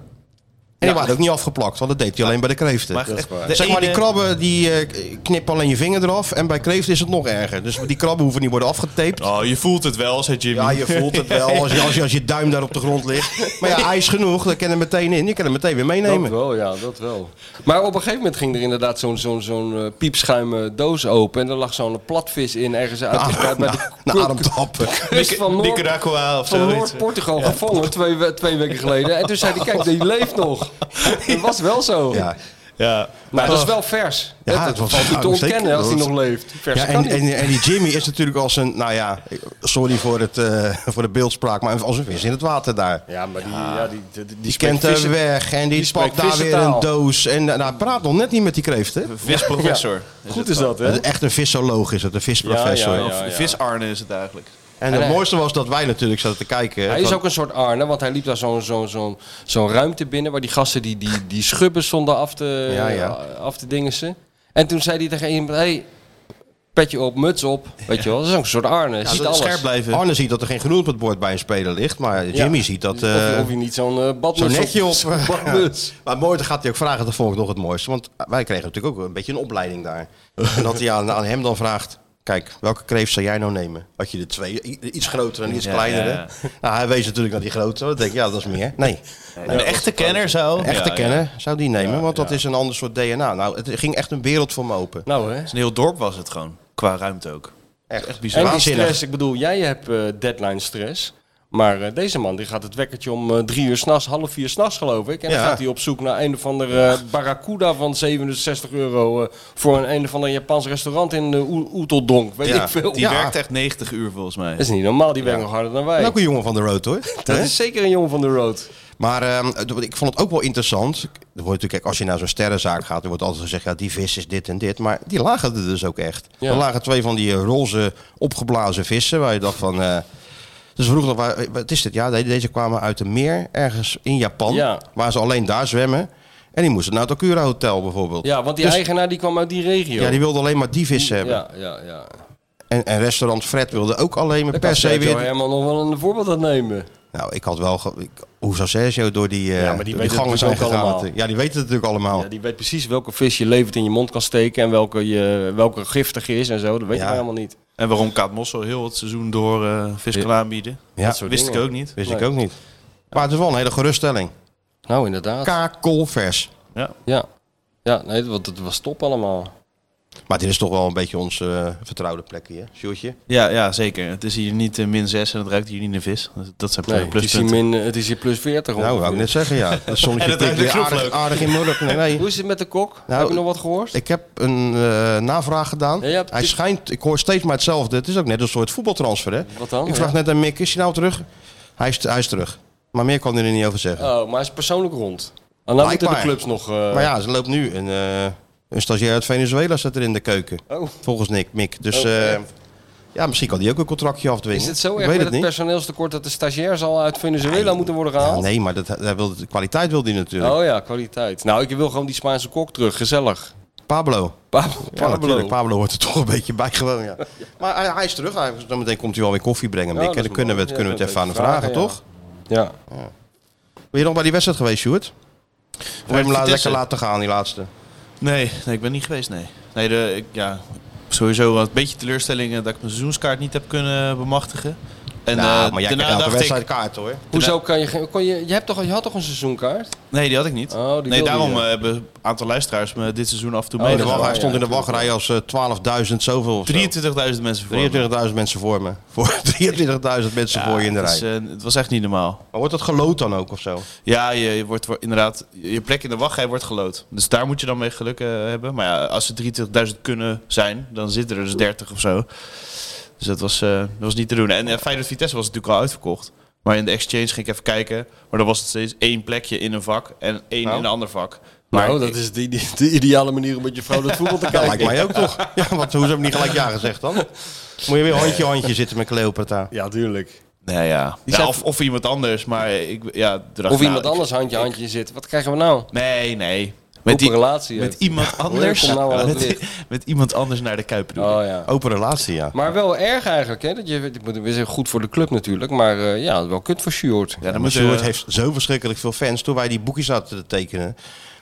Speaker 6: die waren ook niet afgeplakt, want dat deed hij alleen bij de kreeften.
Speaker 8: maar echt, de
Speaker 6: zeg maar, die
Speaker 8: ene-
Speaker 6: krabben die eh, knippen alleen je vinger eraf. En bij kreeften is het nog erger. Dus die krabben hoeven niet worden afgetaped.
Speaker 8: Oh, je voelt het wel, zei Jimmy.
Speaker 6: Ja, je voelt het wel als je, als, je, als je duim daar op de grond ligt. Maar ja, ijs genoeg, dan kan je hem meteen in. Je kan hem meteen weer meenemen.
Speaker 7: Dat wel, ja, dat wel. Maar op een gegeven moment ging er inderdaad zo'n zo'n zo'n eh, piepschuim eh, doos open. En er lag zo'n platvis in ergens
Speaker 6: Ah,
Speaker 7: uit de- bij- bij de
Speaker 6: Na ademtappen.
Speaker 7: kust van Noord-
Speaker 8: Nicaragua of
Speaker 7: van
Speaker 8: zoiets.
Speaker 7: Noord-Portugal gevangen twee, we- twee weken geleden. En toen zei hij, kijk, die leeft nog. Dat was wel zo.
Speaker 6: Ja,
Speaker 8: Ja.
Speaker 7: Maar dat is wel vers.
Speaker 6: Ja,
Speaker 7: dat
Speaker 6: het was-
Speaker 7: valt niet te
Speaker 6: ja, zeker.
Speaker 7: ontkennen als hij
Speaker 6: Dat-
Speaker 7: nog leeft. Vers
Speaker 6: Ja,
Speaker 7: kan
Speaker 6: en,
Speaker 7: niet.
Speaker 6: en, en die Jimmy is natuurlijk als een, nou ja, ik- sorry voor, het, eh, voor de beeldspraak, maar als een vis in het water daar.
Speaker 7: ja, maar die, ja, die, die, die
Speaker 6: Die
Speaker 7: spreekt
Speaker 6: kent de
Speaker 7: vissen-
Speaker 6: weg en die,
Speaker 7: die
Speaker 6: pakt
Speaker 7: spreekt
Speaker 6: daar weer
Speaker 7: vissentaal.
Speaker 6: een doos. En eh, nou, praat nog net niet met die kreeften.
Speaker 8: Visprofessor.
Speaker 7: Goed is dat, hè?
Speaker 6: Het is Echt een vissoloog is het, een visprofessor.
Speaker 7: Ja, ja, ja.
Speaker 8: Of Visarne is het eigenlijk.
Speaker 6: En het
Speaker 7: hij-
Speaker 6: mooiste was dat wij natuurlijk zaten te kijken. eh,
Speaker 7: Hij is
Speaker 6: van-
Speaker 7: ook een soort Arne, want hij liep daar zo'n zo'n zo'n zo'n ruimte binnen waar die gasten die, die, die schubben stonden af te,
Speaker 6: Ja, ja.
Speaker 7: af te dingensen. En toen zei hij tegen iemand, hey, petje op, muts op. Weet je wel, dat is ook een soort Arne, ziet alles.
Speaker 8: Scherp blijven.
Speaker 6: Arne ziet dat er geen groen op het bord bij een speler ligt, maar Jimmy
Speaker 7: Ja.
Speaker 6: ziet dat...
Speaker 7: Of je-
Speaker 6: eh,
Speaker 7: of, je niet zo'n eh
Speaker 6: Zo'n
Speaker 7: badmuts
Speaker 6: netje op.
Speaker 7: zo'n badmuts.
Speaker 6: Maar mooi, dan gaat hij ook vragen, dat vond ik nog het mooiste. Want wij kregen natuurlijk ook een beetje een opleiding daar. En dat hij aan, aan hem dan vraagt... Kijk, welke kreeft zou jij nou nemen? Had je de twee, i- iets grotere en iets
Speaker 8: Ja,
Speaker 6: kleinere?
Speaker 8: ja,
Speaker 6: Nou, hij wees natuurlijk naar die grotere. Dan denk ik, ja, dat is meer. Nee,
Speaker 8: een echte kenner zou.
Speaker 6: een echte
Speaker 8: Ja,
Speaker 6: kenner zou die nemen, want dat is een ander soort DNA. Nou, het ging echt een wereld voor me open.
Speaker 7: Nou hè.
Speaker 8: Een heel dorp was het gewoon. Qua ruimte ook.
Speaker 6: Echt, echt
Speaker 7: En die
Speaker 6: bizar.
Speaker 7: stress, ik bedoel, jij hebt eh, deadline stress. Maar eh, deze man die gaat het wekkertje om eh, drie uur s'nachts, half vier s'nachts geloof ik. En dan
Speaker 6: Ja.
Speaker 7: gaat hij op zoek naar een of andere eh barracuda van 67 euro eh, voor een, een of ander Japans restaurant in uh, Oeteldonk. Weet
Speaker 6: Ja,
Speaker 7: ik veel.
Speaker 8: Die werkt echt 90 uur volgens mij.
Speaker 7: Dat is niet normaal, die werkt nog harder dan wij.
Speaker 6: En ook een jongen van de road hoor.
Speaker 7: Dat
Speaker 6: Nou, Hè?
Speaker 7: is zeker een jongen van de road.
Speaker 6: Maar ehm, ik vond het ook wel interessant. Er wordt natuurlijk, kijk, als je naar zo'n sterrenzaak gaat, er wordt altijd gezegd, ja, die vis is dit en dit. Maar die lagen er dus ook echt.
Speaker 7: Ja.
Speaker 6: Er lagen twee van die eh, roze opgeblazen vissen, waar je dacht van... eh, dus we vroegen nog, waar- wat is dit? Ja, nee, deze kwamen uit een meer, ergens in Japan,
Speaker 7: Ja.
Speaker 6: waar ze alleen daar zwemmen. En die moesten naar het Akura Hotel bijvoorbeeld.
Speaker 7: Ja, want die
Speaker 6: Dus-
Speaker 7: eigenaar die kwam uit die regio.
Speaker 6: Ja, die wilden alleen maar die vissen hebben.
Speaker 7: Ja, ja, ja.
Speaker 6: En, en restaurant Fred wilde ook alleen maar
Speaker 7: Daar
Speaker 6: per
Speaker 7: kan
Speaker 6: se
Speaker 7: Sergio
Speaker 6: weer...
Speaker 7: Herman nog wel een voorbeeld aan nemen.
Speaker 6: Nou, ik had wel... ge- ik- hoe zou Sergio door die, eh
Speaker 7: Ja, maar die
Speaker 6: door die
Speaker 7: weten
Speaker 6: gangen
Speaker 7: het
Speaker 6: zijn
Speaker 7: natuurlijk
Speaker 6: gegaan?
Speaker 7: allemaal.
Speaker 6: Ja, die weten het natuurlijk allemaal.
Speaker 7: Ja, die weet precies welke vis je levend in je mond kan steken en welke, je, welke giftig is en zo. Dat weet
Speaker 6: Ja.
Speaker 7: je helemaal niet.
Speaker 8: En waarom Kaat Mossel heel het seizoen door eh vis kan aanbieden.
Speaker 6: Ja.
Speaker 8: Dat wist
Speaker 7: dingen.
Speaker 8: ik ook niet.
Speaker 6: Wist
Speaker 7: Nee.
Speaker 6: ik ook niet. Maar het is wel een hele geruststelling.
Speaker 7: Nou, inderdaad.
Speaker 6: Kakelvers.
Speaker 7: ja. Ja, nee, want het was top allemaal.
Speaker 6: Maar dit is toch wel een beetje onze eh, vertrouwde plek hier, Sjoerdje?
Speaker 8: Ja, ja, zeker. Het is hier niet eh, min 6 en het ruikt hier niet naar vis. Dat zijn
Speaker 7: Nee, het, is hier
Speaker 8: pluspunten.
Speaker 7: min, het is hier plus 40.
Speaker 6: Nou, wou
Speaker 7: ongeveer.
Speaker 6: ik net zeggen, ja. Het
Speaker 8: En
Speaker 6: zonnetje
Speaker 8: het ruikt
Speaker 6: prikt weer
Speaker 8: ook
Speaker 6: aardig,
Speaker 8: leuk.
Speaker 6: aardig in mijn rug. Nee, nee.
Speaker 7: Hoe is het met de kok?
Speaker 6: Nou,
Speaker 7: Heb je nog wat gehoord?
Speaker 6: Ik heb een eh, navraag gedaan.
Speaker 7: Ja, je hebt-
Speaker 6: Hij schijnt, ik hoor steeds maar hetzelfde. Het is ook net een soort voetbaltransfer, hè?
Speaker 7: Wat dan?
Speaker 6: Ik vraag
Speaker 7: Ja.
Speaker 6: net aan Mick, is hij nou terug? Hij is, hij is terug. Maar meer kan hij er niet over zeggen.
Speaker 7: Oh, maar hij is persoonlijk rond. En dan moeten de
Speaker 6: Blijkbaar.
Speaker 7: clubs nog... eh,
Speaker 6: Maar ja, ze loopt nu een, eh, een stagiair uit Venezuela zit er in de keuken.
Speaker 7: Oh.
Speaker 6: Volgens Nick, Mick. Dus
Speaker 7: Oh,
Speaker 6: eh,
Speaker 7: ja.
Speaker 6: ja, misschien kan hij ook een contractje afdwingen.
Speaker 7: Is het zo
Speaker 6: Ik
Speaker 7: erg
Speaker 6: weet
Speaker 7: met
Speaker 6: het
Speaker 7: het,
Speaker 6: niet.
Speaker 7: personeelstekort dat de stagiairs al uit Venezuela moeten worden
Speaker 6: Ja,
Speaker 7: gehaald?
Speaker 6: nee, maar dat, hij wilde, de kwaliteit wilde hij natuurlijk.
Speaker 7: Oh ja, kwaliteit. Nou, ik wil gewoon die Spaanse kok terug. Gezellig.
Speaker 6: Pablo.
Speaker 7: Pa-
Speaker 6: Ja,
Speaker 7: Pablo.
Speaker 6: natuurlijk. Pablo hoort er toch een beetje bij gewoon, ja. Maar hij, hij is terug. Hij, dan meteen komt hij wel weer koffie brengen, Mick.
Speaker 7: dat
Speaker 6: en
Speaker 7: is
Speaker 6: dan kunnen we het,
Speaker 7: mooi.
Speaker 6: kunnen
Speaker 7: Ja,
Speaker 6: we het even
Speaker 7: dat
Speaker 6: aan hem
Speaker 7: is
Speaker 6: vragen,
Speaker 7: vragen,
Speaker 6: toch?
Speaker 7: ja.
Speaker 6: Ben je nog bij die wedstrijd geweest, Sjoerd? Of heb je hem la-
Speaker 8: Vitesse.
Speaker 6: lekker laten gaan, die laatste?
Speaker 8: Nou, Nee, nee, ik ben niet geweest, nee. Nee, de, ik, ja, sowieso een beetje teleurstelling eh, dat ik mijn seizoenskaart niet heb kunnen bemachtigen. En
Speaker 6: nou,
Speaker 8: eh,
Speaker 6: maar jij krijgt
Speaker 8: daarna
Speaker 6: elke
Speaker 8: dacht
Speaker 6: wedstrijd
Speaker 8: ik...
Speaker 6: kaart, hoor.
Speaker 7: Hoezo kan je, geen- kon je... Je, hebt toch, al- je had toch een seizoenkaart?
Speaker 8: Nee, die had ik niet.
Speaker 7: Oh, die wilde
Speaker 8: nee,
Speaker 7: je.
Speaker 8: daarom eh, hebben een aantal luisteraars me dit seizoen af en toe
Speaker 7: Oh,
Speaker 6: In de
Speaker 7: dat is
Speaker 6: wacht-
Speaker 8: meegenomen.
Speaker 7: waar,
Speaker 6: hij stond
Speaker 7: ja,
Speaker 6: in de wachtrij als eh, 12.000 zoveel of zo.
Speaker 8: 23.000 mensen voor me.
Speaker 6: 23.000 mensen voor me. Voor 23.000 mensen
Speaker 8: Ja,
Speaker 6: voor je in de
Speaker 8: het
Speaker 6: rij.
Speaker 8: is, eh, het was echt niet normaal.
Speaker 6: Maar wordt dat geloot dan ook of zo?
Speaker 8: Ja, je, je wordt wo- inderdaad, je plek in de wachtrij wordt geloot. Dus daar moet je dan mee geluk eh, hebben. Maar ja, als er 23.000 kunnen zijn, dan zitten er dus 30 of zo. Dus dat was, eh, dat was niet te doen. En eh, Feyenoord Vitesse was natuurlijk al uitverkocht. Maar in de exchange ging ik even kijken. Maar dan was het steeds één plekje in een vak en één
Speaker 6: Nou.
Speaker 8: in een ander vak. Maar
Speaker 7: nou, dat
Speaker 8: ik-
Speaker 7: is de, de, de ideale manier om met je vrouw naar het voetbal te
Speaker 6: Ja,
Speaker 7: kijken.
Speaker 6: lijkt mij ook toch. Ja, want hoezo heb ik niet gelijk ja gezegd dan? Moet je weer handje-handje zitten met Cleopatra.
Speaker 7: Ja, tuurlijk.
Speaker 8: Nou ja. Ja,
Speaker 7: zijn-
Speaker 8: of, of iemand anders. Maar ik, ja, toen dacht ik,
Speaker 7: Of
Speaker 8: nou,
Speaker 7: iemand
Speaker 8: ik-
Speaker 7: anders handje-handje zit. Wat krijgen we nou?
Speaker 8: Nee, nee.
Speaker 7: Met
Speaker 8: Met, die,
Speaker 7: relatie.
Speaker 8: met
Speaker 7: uit.
Speaker 8: iemand anders.
Speaker 7: komt nou aan het
Speaker 8: met, met iemand anders naar de Kuip bedoel ik.
Speaker 7: Oh ja.
Speaker 6: Open relatie, ja.
Speaker 7: Maar wel erg eigenlijk, hè? Dat je, ik moet- we zijn goed voor de club natuurlijk, maar eh, ja, wel kut voor Sjoerd.
Speaker 8: Ja, dan
Speaker 6: Maar
Speaker 8: moet je-
Speaker 6: Sjoerd heeft zo verschrikkelijk veel fans. Toen wij die boekjes zaten te tekenen,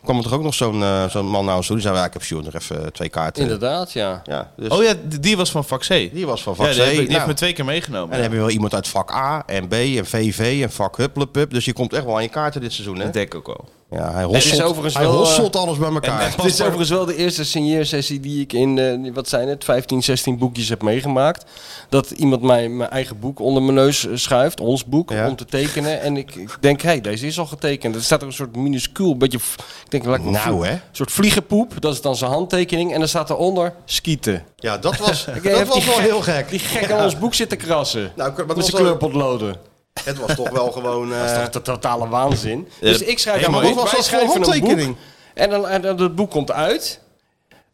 Speaker 6: kwam er toch ook nog zo'n eh, zo'n man naar ons toe. Die zei, ja, ik heb Sjoerd nog even eh, twee kaarten.
Speaker 7: Inderdaad, ja.
Speaker 6: Ja, dus
Speaker 8: Oh ja, die die was van vak C.
Speaker 6: die was van vak
Speaker 8: Ja,
Speaker 6: C.
Speaker 8: die, heb ik- die
Speaker 6: Nou,
Speaker 8: heeft me twee keer meegenomen.
Speaker 6: en dan heb je wel iemand uit vak A en B en VV en vak Hupplepup. Dus je komt echt wel aan je kaarten dit seizoen, hè?
Speaker 8: Dat denk ik ook wel.
Speaker 6: Ja, hij
Speaker 7: Het is
Speaker 6: rosselt,
Speaker 7: overigens
Speaker 6: hij
Speaker 7: wel, eh,
Speaker 6: rosselt alles bij elkaar.
Speaker 8: en-
Speaker 7: Het is overigens wel de eerste signeersessie die ik in, eh, wat zijn het, 15, 16 boekjes heb meegemaakt. Dat iemand mij mijn eigen boek onder mijn neus eh, schuift, ons boek,
Speaker 6: Ja.
Speaker 7: om te tekenen. En ik, ik denk, hé, deze is al getekend. Er staat er een soort minuscuul, beetje, v- ik denk, laat ik
Speaker 6: Nou,
Speaker 7: vlie-
Speaker 6: hè?
Speaker 7: Een soort vliegenpoep, dat is dan zijn handtekening. En dan staat eronder, skieten.
Speaker 6: Ja, dat was,
Speaker 7: Ik
Speaker 6: dat
Speaker 7: heb
Speaker 6: was
Speaker 7: die
Speaker 6: wel
Speaker 7: gek-
Speaker 6: heel gek.
Speaker 7: Die gek aan ons boek zit te krassen.
Speaker 6: Nou, maar dat
Speaker 7: met
Speaker 6: was
Speaker 7: zijn
Speaker 6: wel-
Speaker 7: kleurpotloden.
Speaker 6: Het was toch wel gewoon... eh,
Speaker 7: Dat is toch de totale waanzin. dus ik schrijf
Speaker 8: helemaal
Speaker 7: een boek,
Speaker 6: niet. Was
Speaker 7: wij
Speaker 6: dat voor
Speaker 7: schrijven een
Speaker 6: handtekening?
Speaker 7: boek. En dan, en dan het boek komt uit.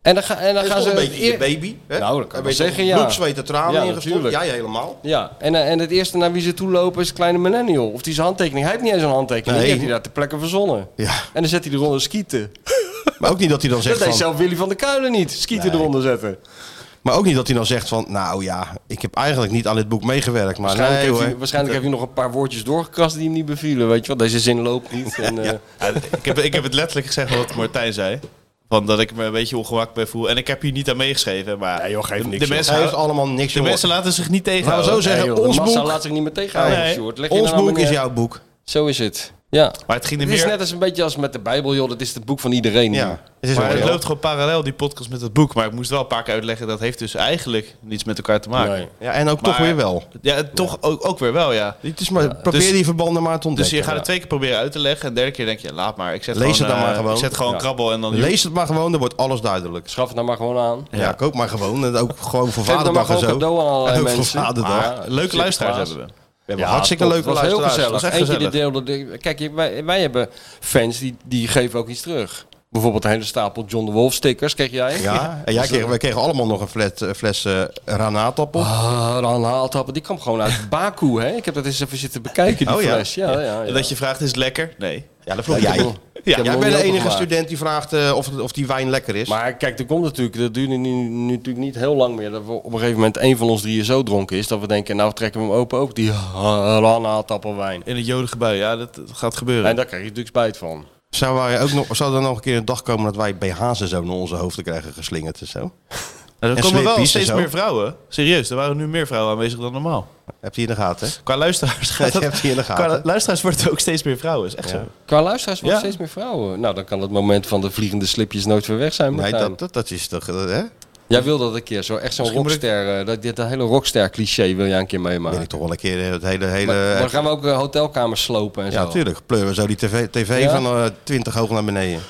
Speaker 7: En dan, ga, en dan
Speaker 6: Dat
Speaker 7: gaan
Speaker 6: is
Speaker 7: ze...
Speaker 6: toch een beetje
Speaker 7: eer-
Speaker 6: je baby. Hè?
Speaker 7: Nou, dat kan
Speaker 6: Een
Speaker 7: ik wel
Speaker 6: beetje
Speaker 7: zeggen, ja.
Speaker 6: Bloed, zweet en tranen
Speaker 7: Ja,
Speaker 6: ingestopt.
Speaker 7: natuurlijk.
Speaker 6: Jij helemaal.
Speaker 7: ja, en, eh, en het eerste naar wie ze toe lopen is Kleine Millennial. Of die zijn handtekening. Hij heeft niet eens een handtekening.
Speaker 6: Nee.
Speaker 7: Die heeft hij daar ter plekke verzonnen.
Speaker 6: Ja.
Speaker 7: En dan zet hij eronder skieten.
Speaker 6: Maar ook niet dat hij dan
Speaker 7: Dat
Speaker 6: zegt
Speaker 7: deed
Speaker 6: van... Ah,
Speaker 7: zelf Willy van der Kuilen niet. Skieten eronder zetten.
Speaker 6: Maar ook niet dat hij dan zegt van... Nou ja, ik heb eigenlijk niet aan dit boek meegewerkt. Maar
Speaker 7: Waarschijnlijk,
Speaker 6: nee
Speaker 7: heeft,
Speaker 6: hoor.
Speaker 7: hij, waarschijnlijk heeft hij nog een paar woordjes doorgekrast die hem niet bevielen. Weet je wel, deze zin loopt niet. En, eh,
Speaker 8: Ja, ik, heb, ik heb het letterlijk gezegd wat Martijn zei. Van dat ik me een beetje ongemakkelijk bij voel. En ik heb hier niet aan meegeschreven. Maar
Speaker 7: Nee, joh, geeft
Speaker 8: de,
Speaker 7: niks,
Speaker 8: de
Speaker 7: joh.
Speaker 8: mensen,
Speaker 6: Hij heeft
Speaker 8: houden-
Speaker 6: allemaal niks
Speaker 8: de
Speaker 6: gehoord.
Speaker 8: mensen laten zich niet
Speaker 7: Nou,
Speaker 6: Laten we
Speaker 8: tegenhouden.
Speaker 6: zo zeggen,
Speaker 7: joh, de
Speaker 6: ons
Speaker 7: massa
Speaker 6: boek-
Speaker 7: laat zich niet meer tegenhouden,
Speaker 8: Nee.
Speaker 7: Sjoerd. Leg je
Speaker 6: Ons
Speaker 7: nou maar
Speaker 6: boek is
Speaker 7: neer.
Speaker 6: jouw boek.
Speaker 7: Zo is het. Ja.
Speaker 8: Maar het ging er
Speaker 7: Het is
Speaker 8: meer...
Speaker 7: net als een beetje als met de Bijbel, joh. Dat is het boek van iedereen.
Speaker 6: Ja, het is
Speaker 8: Maar
Speaker 6: wel
Speaker 8: het
Speaker 6: heel-
Speaker 8: loopt gewoon parallel, die podcast, met het boek. Maar ik moest wel een paar keer uitleggen, dat heeft dus eigenlijk niets met elkaar te maken.
Speaker 7: Nee.
Speaker 6: ja, en ook toch
Speaker 8: Maar-
Speaker 6: weer wel.
Speaker 8: Ja, toch Ook, ook weer wel, ja.
Speaker 6: Het is maar, probeer
Speaker 8: dus-
Speaker 6: die verbanden maar te
Speaker 8: Dus
Speaker 6: ontdekken.
Speaker 8: je gaat het twee keer proberen uit te leggen. En de derde keer denk je, laat maar. Ik zet
Speaker 6: Lees
Speaker 8: gewoon,
Speaker 6: het dan
Speaker 8: eh,
Speaker 6: maar gewoon.
Speaker 8: Ik zet gewoon
Speaker 7: Ja.
Speaker 8: krabbel en dan...
Speaker 6: Lees het maar gewoon, dan wordt alles duidelijk.
Speaker 7: Schaf het nou maar gewoon aan.
Speaker 6: Ja, koop maar gewoon. En ook gewoon voor
Speaker 7: Geef het nou maar
Speaker 6: vaderdag en
Speaker 7: gewoon
Speaker 6: zo.
Speaker 7: cadeau aan allerlei
Speaker 6: En ook voor
Speaker 7: mensen.
Speaker 6: vaderdag.
Speaker 7: Ah,
Speaker 8: Leuke luisteraars
Speaker 7: Sinterklaas.
Speaker 8: hebben we.
Speaker 6: We hebben hartstikke
Speaker 7: top.
Speaker 6: leuke
Speaker 7: Het was heel
Speaker 6: luisteraars.
Speaker 7: gezellig.
Speaker 6: Dat is echt
Speaker 7: Eentje
Speaker 6: gezellig.
Speaker 7: die deelde... de- Kijk, wij, wij hebben fans die, die geven ook iets terug. Bijvoorbeeld een hele stapel John de Wolf stickers kreeg jij.
Speaker 6: Ja, en jij kreeg, wij kregen allemaal nog een flat, eh, fles eh, granaatappel.
Speaker 7: Ah, dan haalt die kwam gewoon uit Baku, hè? Ik heb dat eens even zitten bekijken, die
Speaker 6: Oh, ja.
Speaker 7: fles. Ja, ja, ja,
Speaker 8: En dat je vraagt, is het lekker? Nee.
Speaker 6: Ja, dat vroeg jij.
Speaker 7: Ik heb
Speaker 6: Jij
Speaker 7: hem
Speaker 6: bent
Speaker 7: nog
Speaker 6: de
Speaker 7: niet
Speaker 6: enige
Speaker 7: opengemaakt.
Speaker 6: student die vraagt eh, of, het- of die wijn lekker is.
Speaker 7: Maar kijk, er komt natuurlijk, dat duurde nu, nu natuurlijk niet heel lang meer. Dat we op een gegeven moment één van ons drieën zo dronken is dat we denken, nou trekken we hem open ook, die ah, ranaatappelwijn.
Speaker 8: In een jodengebui, ja, dat dat gaat gebeuren.
Speaker 7: En daar krijg je natuurlijk spijt van.
Speaker 6: Zou, wij ook nog, zou er nog een keer een dag komen dat wij BH's en zo naar onze hoofden krijgen geslingerd en zo?
Speaker 8: Nou, er
Speaker 6: en
Speaker 8: komen wel
Speaker 6: slippies en
Speaker 8: steeds
Speaker 6: zo.
Speaker 8: meer vrouwen. Serieus, er waren nu meer vrouwen aanwezig dan normaal.
Speaker 6: Heb je in de gaten? hè?
Speaker 8: Qua luisteraars gaat
Speaker 6: Dat heb
Speaker 8: het,
Speaker 6: je in de
Speaker 8: Qua
Speaker 6: gaten.
Speaker 8: luisteraars wordt het ook steeds meer vrouwen, is echt zo.
Speaker 7: Qua luisteraars wordt
Speaker 8: Ja.
Speaker 7: steeds meer vrouwen. Nou, dan kan het moment van de vliegende slipjes nooit weer weg zijn.
Speaker 6: Nee,
Speaker 7: Martijn.
Speaker 6: dat, dat, dat is toch... dat, Hè?
Speaker 7: Jij wil dat een keer, zo echt zo'n
Speaker 8: moet ik-
Speaker 7: rockster, eh, dat, dit hele rockster cliché wil jij een keer
Speaker 6: Ben
Speaker 7: meemaken.
Speaker 6: ik toch wel een keer eh, het hele... hele
Speaker 7: Maar, maar dan gaan we ook eh, hotelkamers slopen en zo.
Speaker 6: ja, natuurlijk. Pleuren we zo die tv, TV
Speaker 7: Ja?
Speaker 6: van eh 20 hoog naar beneden.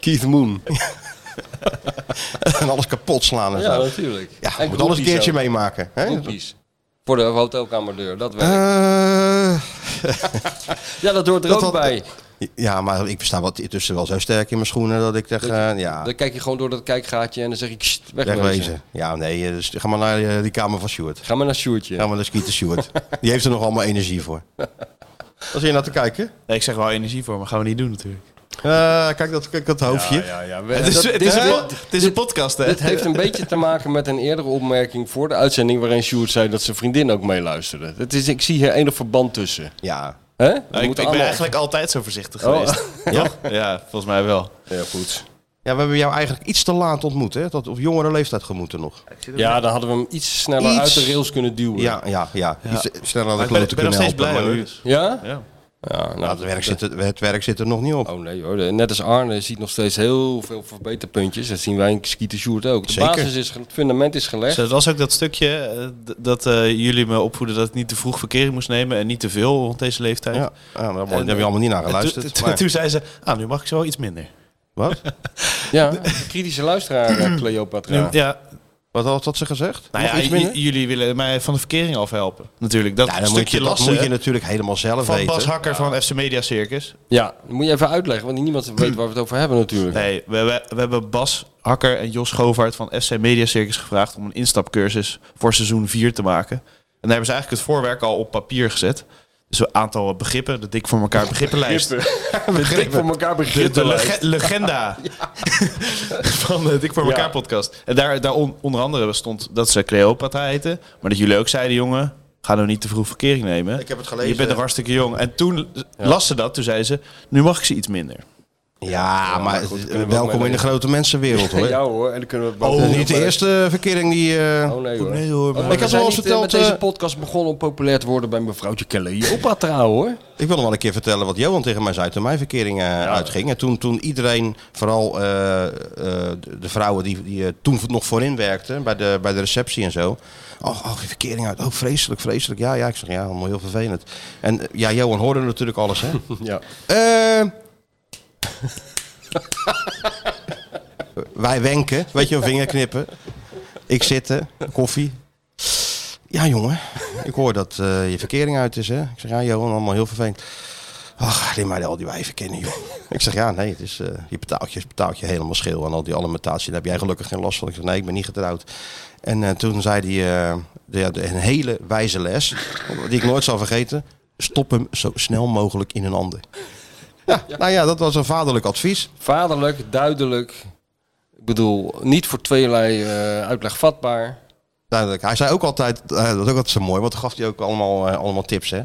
Speaker 7: Keith Moon.
Speaker 6: en alles kapot slaan en
Speaker 7: Ja,
Speaker 6: zo.
Speaker 7: natuurlijk.
Speaker 6: Ja, we moeten alles
Speaker 7: alles
Speaker 6: een keertje meemaken. Hè?
Speaker 7: Voor de hotelkamerdeur, dat werkt.
Speaker 6: Eh,
Speaker 7: ja, dat hoort er
Speaker 6: dat had-
Speaker 7: ook bij.
Speaker 6: ja, maar ik sta wat tussen wel zo sterk in mijn schoenen dat ik zeg, eh, ja,
Speaker 7: Dan kijk je gewoon door dat kijkgaatje en dan zeg ik, "Sst, wegwezen.
Speaker 6: wegwezen. Ja, nee, eh, dus ga maar naar eh, die kamer van Stuart.
Speaker 7: Ga maar naar Sjoertje.
Speaker 6: Ga maar naar Skeeter Stuart. die heeft er nog allemaal energie voor. Als je naar te kijken.
Speaker 8: Nee, ik zeg wel energie voor, maar gaan we niet doen natuurlijk.
Speaker 6: Eh, kijk, dat, kijk dat hoofdje. Eh?
Speaker 7: Ja, ja,
Speaker 8: Het is,
Speaker 7: dat-
Speaker 8: het
Speaker 7: dit-
Speaker 8: is, een, po-
Speaker 7: dit-
Speaker 8: het is een podcast, hè?
Speaker 7: Dit heeft een beetje te maken met een eerdere opmerking voor de uitzending waarin Sjoerd zei dat zijn vriendin ook meeluisterde. Het is, ik zie hier enig verband tussen.
Speaker 6: Ja.
Speaker 7: Hè?
Speaker 8: Nou, ik, ik ben eigenlijk altijd zo voorzichtig
Speaker 6: Oh.
Speaker 8: geweest. Toch? Ja, volgens mij wel.
Speaker 7: Ja, goed.
Speaker 6: Ja, we hebben jou eigenlijk iets te laat ontmoet, hè? Tot op jongere leeftijd gemoeten nog.
Speaker 7: Ja, dan hadden we hem iets sneller
Speaker 6: Iets.
Speaker 7: uit de rails kunnen duwen.
Speaker 6: Ja, ja, ja. Iets eh, sneller aan de
Speaker 8: Maar ik ben,
Speaker 6: klote
Speaker 8: ik ben nog
Speaker 6: kunnen
Speaker 8: steeds
Speaker 6: helpen.
Speaker 8: blij
Speaker 6: maar-
Speaker 8: hoor.
Speaker 7: Ja?
Speaker 8: Ja.
Speaker 7: Ja, nou,
Speaker 6: Ja, het, werk zit, er- het werk zit er nog niet op.
Speaker 7: Oh nee hoor, De- net als Arne ziet nog steeds heel veel verbeterpuntjes. Dat zien wij in Skieten Sjoerd ook. De
Speaker 6: Zeker.
Speaker 7: basis is, ge- het fundament is gelegd.
Speaker 8: Dus dat was ook dat stukje eh, d- dat eh, jullie me opvoeden dat ik niet te vroeg verkering moest nemen en niet te veel rond deze leeftijd.
Speaker 6: Ja, ja, daar heb je allemaal niet naar
Speaker 8: En toen-
Speaker 6: geluisterd.
Speaker 8: toen-
Speaker 6: maar-
Speaker 8: Toen zei ze, ah, nu mag ik zo wel iets minder.
Speaker 6: Wat?
Speaker 7: Ja, kritische luisteraar eh, Cleopatra.
Speaker 8: Nu- ja,
Speaker 6: Wat had dat ze gezegd?
Speaker 8: Nou
Speaker 6: Nog
Speaker 8: ja,
Speaker 6: iets minder?
Speaker 8: j- jullie willen mij van de verkering afhelpen. Natuurlijk, dat
Speaker 6: Ja, dan moet
Speaker 8: stukje
Speaker 6: je, dat
Speaker 8: lassen
Speaker 6: moet je natuurlijk helemaal zelf
Speaker 8: van
Speaker 6: weten.
Speaker 8: Bas Hakker van FC Media Circus.
Speaker 7: Ja, dat moet je even uitleggen, want niemand weet waar we het over hebben natuurlijk.
Speaker 8: Nee, we, we, we hebben Bas Hakker en Jos Govaert van FC Media Circus gevraagd om een instapcursus voor seizoen 4 te maken. En daar hebben ze eigenlijk het voorwerk al op papier gezet. Dus een aantal begrippen, de dik voor elkaar begrippenlijst.
Speaker 7: Begrip voor elkaar
Speaker 8: De,
Speaker 7: begrip.
Speaker 8: de lege- legenda van de Dik voor elkaar
Speaker 7: Ja.
Speaker 8: podcast. En daar, daar on- onder andere stond dat ze Cleopatra heten. Maar dat jullie ook zeiden, jongen, ga nou niet te vroeg verkering nemen.
Speaker 6: Ik heb het gelezen.
Speaker 8: Je bent nog hartstikke jong. En toen las ze dat, toen zei ze, nu mag ik ze iets minder.
Speaker 6: Ja, maar eh,
Speaker 7: goed, daar kunnen we ook mee
Speaker 6: welkom in de
Speaker 7: leven.
Speaker 6: grote mensenwereld hoor.
Speaker 7: Ja hoor, en dan kunnen we...
Speaker 6: Dat is Oh, niet de eerste verkering die... eh,
Speaker 7: Oh nee hoor.
Speaker 8: hoor.
Speaker 7: Oh,
Speaker 6: Ik had
Speaker 7: we
Speaker 6: wel eens
Speaker 7: zijn niet, eh,
Speaker 6: verteld,
Speaker 7: met deze
Speaker 6: eh,
Speaker 7: podcast begonnen om populair te worden bij mevrouwtje Cleopatra hoor.
Speaker 6: Ik wil nog wel een keer vertellen wat Johan tegen mij zei toen mijn verkering eh, uitging. En toen, toen iedereen, vooral eh, eh, de, de vrouwen die, die eh, toen nog voorin werkten bij de, bij de receptie en zo. Oh, oh, die verkering uit. Oh, vreselijk, vreselijk. Ja, ja. Ik zeg, ja, allemaal heel vervelend. En eh, ja, Johan hoorde natuurlijk alles, hè.
Speaker 7: Ja.
Speaker 6: Eh. Wij wenken, weet je, een vinger knippen. Ik zitten, koffie. Ja, jongen, ik hoor dat eh, je verkering uit is, hè? Ik zeg, ja, Johan, allemaal heel vervelend. Ach, leer mij al die wijven kennen, joh. Ik zeg, ja, nee, het is, eh, je betaalt je, betaalt je helemaal schil aan al die alimentatie. Daar heb jij gelukkig geen last van. Ik zeg, nee, ik ben niet getrouwd. En eh, toen zei hij, eh, de, ja, de- een hele wijze les, die ik nooit zal vergeten. Stop hem zo snel mogelijk in een ander. Ja, nou ja, dat was een vaderlijk advies.
Speaker 7: Vaderlijk, duidelijk. Ik bedoel, niet voor tweelei eh, uitleg vatbaar.
Speaker 6: Duidelijk. Hij zei ook altijd, eh, dat was ook altijd zo mooi, want dan gaf hij ook allemaal, eh, allemaal tips. Hè?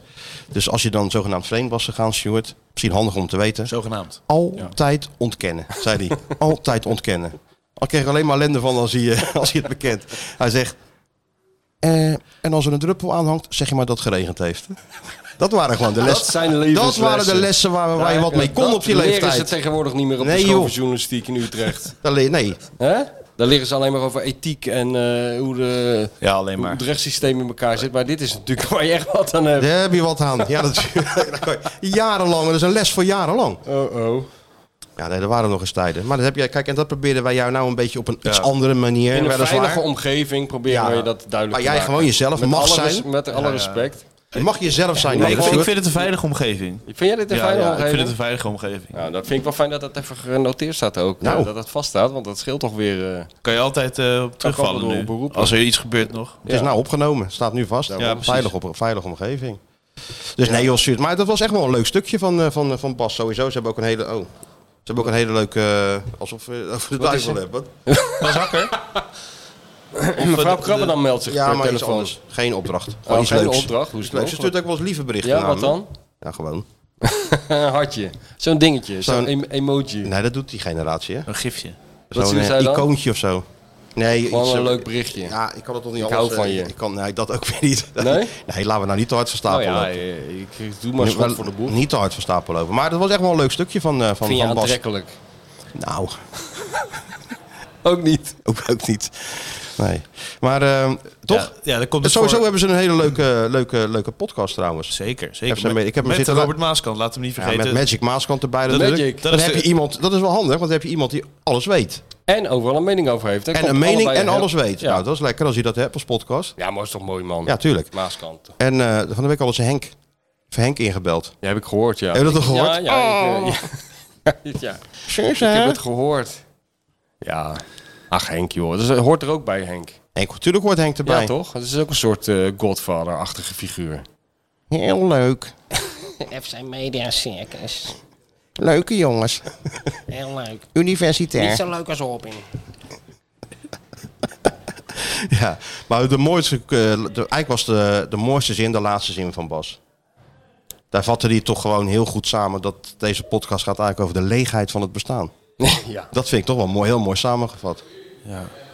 Speaker 6: Dus als je dan zogenaamd vreemd was gegaan, Stuart, misschien handig om te weten.
Speaker 8: Zogenaamd.
Speaker 6: Altijd ontkennen, zei hij. altijd ontkennen. Al kreeg ik alleen maar ellende van als hij, eh, als hij het bekent. Hij zegt, eh, en als er een druppel aanhangt, zeg je maar dat het geregend heeft. Dat waren gewoon de lessen.
Speaker 7: Dat zijn
Speaker 6: Dat
Speaker 7: levenslessen.
Speaker 6: waren de lessen waar waar je wat mee kon
Speaker 7: Dat
Speaker 6: op je
Speaker 7: leren ze
Speaker 6: leeftijd.
Speaker 7: tegenwoordig niet meer op
Speaker 6: Nee,
Speaker 7: de school
Speaker 6: joh.
Speaker 7: van journalistiek in Utrecht.
Speaker 6: Daar leer- Nee,
Speaker 7: Hè? Daar leren ze alleen maar over ethiek en eh, hoe, de,
Speaker 8: Ja, alleen
Speaker 7: hoe
Speaker 8: maar.
Speaker 7: het rechtssysteem in elkaar zit. Maar dit is natuurlijk waar je echt wat aan hebt.
Speaker 6: daar heb je wat aan. Ja, dat, daar kan je- jarenlang, dat is een les voor jarenlang.
Speaker 7: Oh, oh.
Speaker 6: Ja, nee, er waren nog eens tijden. Maar dat heb jij, kijk, en dat probeerden wij jou nou een beetje op een iets
Speaker 8: Ja.
Speaker 6: andere manier.
Speaker 7: In een
Speaker 6: weliswaar.
Speaker 7: veilige omgeving proberen
Speaker 6: Ja.
Speaker 7: we je dat duidelijk
Speaker 6: Maar
Speaker 7: te
Speaker 6: jij
Speaker 7: maken.
Speaker 6: gewoon jezelf
Speaker 7: met
Speaker 6: mag
Speaker 7: alle
Speaker 6: zijn.
Speaker 7: res- met alle respect.
Speaker 6: Je mag jezelf zijn.
Speaker 8: Nee, ik,
Speaker 6: Johan.
Speaker 8: vind, ik vind het een veilige omgeving.
Speaker 7: Vind jij dit een
Speaker 8: Ja,
Speaker 7: veilige
Speaker 8: ja, ik
Speaker 7: omgeving?
Speaker 8: vind het een veilige omgeving.
Speaker 7: Nou, dat vind ik wel fijn dat dat even genoteerd staat ook.
Speaker 6: Nou.
Speaker 7: eh, Dat dat vaststaat, want dat scheelt toch weer... eh,
Speaker 8: Kan je altijd eh, op terugvallen
Speaker 7: altijd
Speaker 8: nu.
Speaker 7: op beroepen.
Speaker 8: Als er iets gebeurt nog.
Speaker 6: Het is nou opgenomen, staat nu vast.
Speaker 8: precies.
Speaker 6: veilig op, veilige omgeving. Dus nee, joh, stuurt. Maar dat was echt wel een leuk stukje van, eh, van, eh, van Bas sowieso. Ze hebben ook een hele. Oh, ze hebben ook een hele leuke. eh, alsof we over de duivel hebben.
Speaker 8: Bas Hakker?
Speaker 7: Mevrouw
Speaker 8: de-
Speaker 7: Krabbe eh, dan meldt zich
Speaker 6: Ja,
Speaker 7: per
Speaker 6: maar iets
Speaker 7: telefoon.
Speaker 6: anders. Geen opdracht.
Speaker 7: Oh,
Speaker 6: Gewoon iets
Speaker 7: geen
Speaker 6: leuks.
Speaker 7: opdracht, hoe is
Speaker 6: Iets
Speaker 7: het
Speaker 6: leuks. Ze stuurt
Speaker 7: mogelijk?
Speaker 6: ook wel eens lieve berichten.
Speaker 7: Ja, wat
Speaker 6: namelijk.
Speaker 7: dan?
Speaker 6: Ja, gewoon.
Speaker 7: Een hartje. Zo'n dingetje, zo'n
Speaker 6: Zo'n-
Speaker 7: em- emoji.
Speaker 6: Nee, dat doet die generatie, hè?
Speaker 8: Een gifje.
Speaker 7: Wat
Speaker 6: Zo'n
Speaker 7: zien
Speaker 6: eh,
Speaker 7: zij dan?
Speaker 6: icoontje of zo. Nee,
Speaker 7: Gewoon
Speaker 6: iets,
Speaker 7: een
Speaker 6: eh,
Speaker 7: leuk berichtje.
Speaker 6: Ja, ik kan het toch niet
Speaker 7: Ik
Speaker 6: alles,
Speaker 7: hou van
Speaker 6: eh,
Speaker 7: je.
Speaker 6: Ik kan, nee, dat ook weer niet.
Speaker 7: Nee?
Speaker 6: nee, laten we nou niet te hard
Speaker 7: Nou
Speaker 6: verstapelen.
Speaker 7: ja, eh, ik, ik doe maar
Speaker 6: Niet-
Speaker 7: schot voor de boel.
Speaker 6: Niet te hard van stapel over. Maar dat was echt wel een leuk stukje van, eh, van,
Speaker 7: Vind je
Speaker 6: van Bas.
Speaker 7: aantrekkelijk?
Speaker 6: Nou,
Speaker 7: Ook niet.
Speaker 6: ook, ook niet. Nee. Maar eh, toch?
Speaker 8: Ja, ja dat komt
Speaker 6: Dus
Speaker 8: het
Speaker 6: sowieso
Speaker 8: voor-
Speaker 6: hebben ze een hele leuke, eh, leuke, leuke podcast trouwens.
Speaker 8: Zeker, zeker.
Speaker 6: Even zijn
Speaker 8: Met-
Speaker 6: mee- ik heb hem
Speaker 8: met
Speaker 6: zitten
Speaker 8: Robert Maaskant, laat hem niet
Speaker 6: Ja,
Speaker 8: vergeten.
Speaker 6: met Magic Maaskant erbij.
Speaker 8: Dat-
Speaker 6: natuurlijk.
Speaker 7: Magic.
Speaker 8: Dat
Speaker 6: Dan
Speaker 8: is
Speaker 6: heb
Speaker 8: de-
Speaker 6: je iemand, dat is wel handig, want dan heb je iemand die alles weet.
Speaker 7: En overal een mening over heeft. Dan
Speaker 6: En
Speaker 7: komt
Speaker 6: een mening
Speaker 7: allebei
Speaker 6: en
Speaker 7: heel-
Speaker 6: alles weet.
Speaker 7: Ja,
Speaker 6: Nou, dat is lekker als je dat hebt als podcast.
Speaker 7: ja maar is toch mooi, man.
Speaker 6: Ja, tuurlijk.
Speaker 7: Maaskant.
Speaker 6: En eh, van de week al eens Henk, even Henk ingebeld.
Speaker 7: Die heb ik gehoord, ja.
Speaker 6: Heb je dat al gehoord? Oh.
Speaker 7: Ja, ja. ik, eh, ja. ja. Ik heb het gehoord. Ja. Ach, Henk, joh. Dus, dat hoort er ook bij, Henk.
Speaker 6: Henk, natuurlijk hoort Henk erbij.
Speaker 7: Ja, toch? Dat is ook een soort eh, Godfather-achtige figuur.
Speaker 6: Heel leuk.
Speaker 9: FC Media Circus.
Speaker 6: Leuke jongens.
Speaker 9: Heel leuk. Niet
Speaker 6: Universitair.
Speaker 9: zo leuk als Robin.
Speaker 6: Ja, maar de mooiste, eh, de, eigenlijk was de, de mooiste zin de laatste zin van Bas. Daar vatte hij toch gewoon heel goed samen dat deze podcast gaat eigenlijk over de leegheid van het bestaan.
Speaker 7: ja.
Speaker 6: Dat vind ik toch wel mooi, heel mooi samengevat.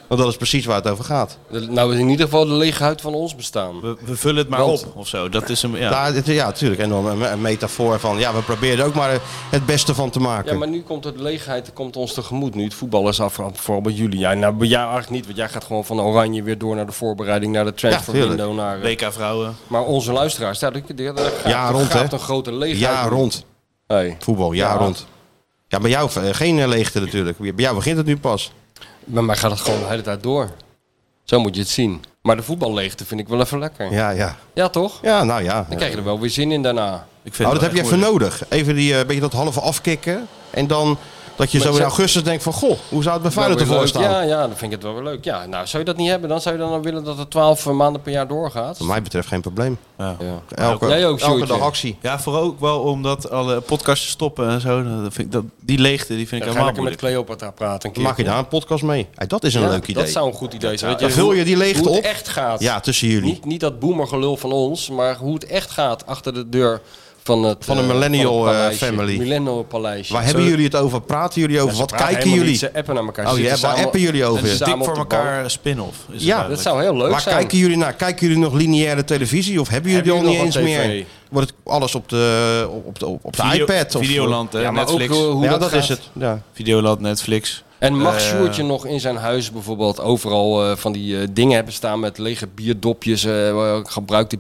Speaker 6: Want dat is precies waar het over gaat.
Speaker 7: De- Nou, in ieder geval de lege huid van ons bestaan.
Speaker 8: We, we vullen het maar
Speaker 7: Want-
Speaker 8: op of zo. Dat is hem. Ja.
Speaker 6: Ja, ja natuurlijk. En dan een, een metafoor van, ja, we proberen er ook maar het beste van te maken.
Speaker 7: Ja, maar nu komt de leegheid komt ons tegemoet. Nu het voetbal is af, vooral bij jullie. Ja, nou, bij jou eigenlijk niet, want jij gaat gewoon van Oranje weer door naar de voorbereiding, naar de transfer
Speaker 6: Ja, tuurlijk.
Speaker 7: window. Naar, eh,
Speaker 8: WK vrouwen.
Speaker 7: maar onze luisteraars, daar, daar, daar, daar
Speaker 6: Ja,
Speaker 7: gaat-
Speaker 6: rond,
Speaker 7: gaat
Speaker 6: hè?
Speaker 7: een grote leegheid.
Speaker 6: Ja, rond.
Speaker 7: Hey.
Speaker 6: Voetbal, ja,
Speaker 7: Ja.
Speaker 6: rond. Ja, bij jou eh, geen eh, leegte natuurlijk. Bij jou begint het nu pas.
Speaker 7: Bij mij gaat het gewoon de hele tijd door. Zo moet je het zien. Maar de voetballeegte vind ik wel even lekker. Ja,
Speaker 6: Ja, ja.
Speaker 7: toch?
Speaker 6: Ja, nou ja.
Speaker 7: Dan krijg je er wel weer zin in daarna.
Speaker 8: Ik vind
Speaker 6: Nou, dat
Speaker 8: het
Speaker 6: heb je
Speaker 8: wel echt
Speaker 6: even
Speaker 8: moeilijk.
Speaker 6: nodig. Even die eh, beetje dat halve afkicken. En dan dat je
Speaker 7: Maar
Speaker 6: zo in
Speaker 7: zo-
Speaker 6: augustus denkt van... Goh, hoe zou het bij Feyenoord
Speaker 7: Wel weer
Speaker 6: ervoor
Speaker 7: leuk.
Speaker 6: staan?
Speaker 7: Ja, ja, dan vind ik het wel weer leuk. Ja, nou, zou je dat niet hebben, dan zou je dan wel willen dat het 12 maanden per jaar doorgaat.
Speaker 6: Wat mij betreft geen probleem.
Speaker 7: Ja.
Speaker 6: eh, Elke,
Speaker 7: Jij ook,
Speaker 6: elke
Speaker 7: Sjoerdje.
Speaker 6: dag actie.
Speaker 8: Ja, vooral ook wel omdat alle podcasts stoppen en zo. Dat vind ik, dat, die leegte die vind ik
Speaker 7: Dan ga je
Speaker 8: helemaal
Speaker 7: lekker met
Speaker 8: moeilijk.
Speaker 7: Cleopatra praten. Een
Speaker 6: Dan maak je
Speaker 7: keertje.
Speaker 6: daar een podcast mee. Hey, dat is een
Speaker 7: Ja,
Speaker 6: leuk idee.
Speaker 7: Dat zou een goed idee zijn. Weet
Speaker 6: Dan vul je
Speaker 7: hoe-
Speaker 6: die leegte
Speaker 7: hoe het
Speaker 6: op.
Speaker 7: echt gaat.
Speaker 6: Ja, tussen jullie.
Speaker 7: niet, niet dat boemergelul van ons, maar hoe het echt gaat achter de deur van het...
Speaker 6: Van een
Speaker 7: eh,
Speaker 6: millennial,
Speaker 7: het
Speaker 6: eh,
Speaker 7: paleisje.
Speaker 6: family.
Speaker 7: Millennial paleisje.
Speaker 6: Waar hebben jullie het over? Praten jullie over? Wat kijken jullie?
Speaker 7: Ze appen naar elkaar. Ze
Speaker 6: Oh, ja,
Speaker 7: zitten
Speaker 6: waar
Speaker 7: samen-
Speaker 6: appen jullie
Speaker 7: ze
Speaker 6: over?
Speaker 7: zitten
Speaker 8: Dik
Speaker 7: samen
Speaker 8: voor
Speaker 7: op de bank.
Speaker 8: elkaar spin-off. Is het
Speaker 6: Ja,
Speaker 8: eigenlijk.
Speaker 7: Dat zou heel leuk
Speaker 6: Waar
Speaker 7: zijn.
Speaker 6: kijken jullie naar? Kijken jullie nog lineaire televisie? Of hebben jullie
Speaker 7: Hebben
Speaker 6: het al niet
Speaker 7: jullie
Speaker 6: eens
Speaker 7: nog wat
Speaker 6: meer?
Speaker 7: TV?
Speaker 6: Wordt het alles op de, op- op de, op de
Speaker 8: Video-
Speaker 6: iPad? Of,
Speaker 8: Videoland, hè,
Speaker 7: Ja, maar
Speaker 8: Netflix.
Speaker 7: ook eh, hoe
Speaker 6: ja,
Speaker 7: dat,
Speaker 6: dat, is
Speaker 7: gaat.
Speaker 6: het. Ja.
Speaker 8: Videoland, Netflix.
Speaker 7: En mag
Speaker 8: Eh,
Speaker 7: Sjoerdje nog in zijn huis bijvoorbeeld overal eh, van die eh, dingen hebben staan met lege bierdopjes, eh, gebruikte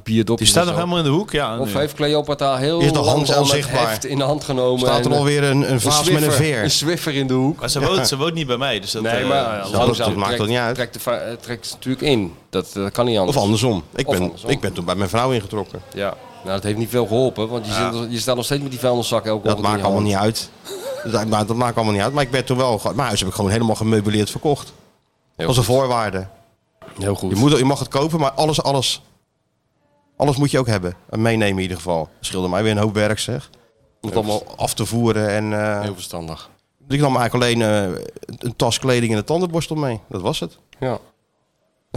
Speaker 8: Die
Speaker 7: bierdopjes.
Speaker 8: staat
Speaker 7: en
Speaker 8: nog
Speaker 7: zo?
Speaker 8: helemaal in de hoek. Ja,
Speaker 7: Of
Speaker 8: nu.
Speaker 7: heeft Cleopatra heel
Speaker 6: Is de hand
Speaker 7: langzaam het
Speaker 6: onzichtbaar?
Speaker 7: heft in de hand genomen.
Speaker 6: Staat er
Speaker 7: en,
Speaker 6: alweer een, een vaas met een
Speaker 7: Swiffer.
Speaker 6: veer?
Speaker 7: Een Swiffer in de hoek.
Speaker 8: Maar ze woont, ze woont niet bij mij. Dus dat,
Speaker 7: Nee,
Speaker 8: eh,
Speaker 7: maar
Speaker 8: zal-
Speaker 6: dat
Speaker 7: langzaam
Speaker 6: maakt
Speaker 7: trekt-
Speaker 6: toch niet uit?
Speaker 7: Trekt, de va- eh, trekt ze natuurlijk in. Dat eh, kan niet anders.
Speaker 6: Of andersom. Ik
Speaker 7: Of
Speaker 6: ben,
Speaker 7: andersom.
Speaker 6: ik ben toen bij mijn vrouw ingetrokken.
Speaker 7: Ja. Nou, dat heeft niet veel geholpen, want je, zit- je staat nog steeds met die vuilniszak elke
Speaker 6: Dat
Speaker 7: ochtend in
Speaker 6: maakt
Speaker 7: je
Speaker 6: allemaal
Speaker 7: hand.
Speaker 6: niet uit. Dat, maar, dat maakt allemaal niet uit. Maar ik ben toen wel... ge- Mijn huis heb ik gewoon helemaal gemeubileerd verkocht. Dat was een voorwaarde.
Speaker 7: Heel goed.
Speaker 6: Je, moet, je mag het kopen, maar alles, alles... Alles moet je ook hebben. En meenemen in ieder geval. Schilder mij weer een hoop werk, zeg. Om het allemaal af te voeren. En, eh,
Speaker 7: Heel verstandig.
Speaker 6: dus ik nam eigenlijk alleen eh, een tas kleding en een tandenborstel mee. Dat was het.
Speaker 7: Ja. Nou,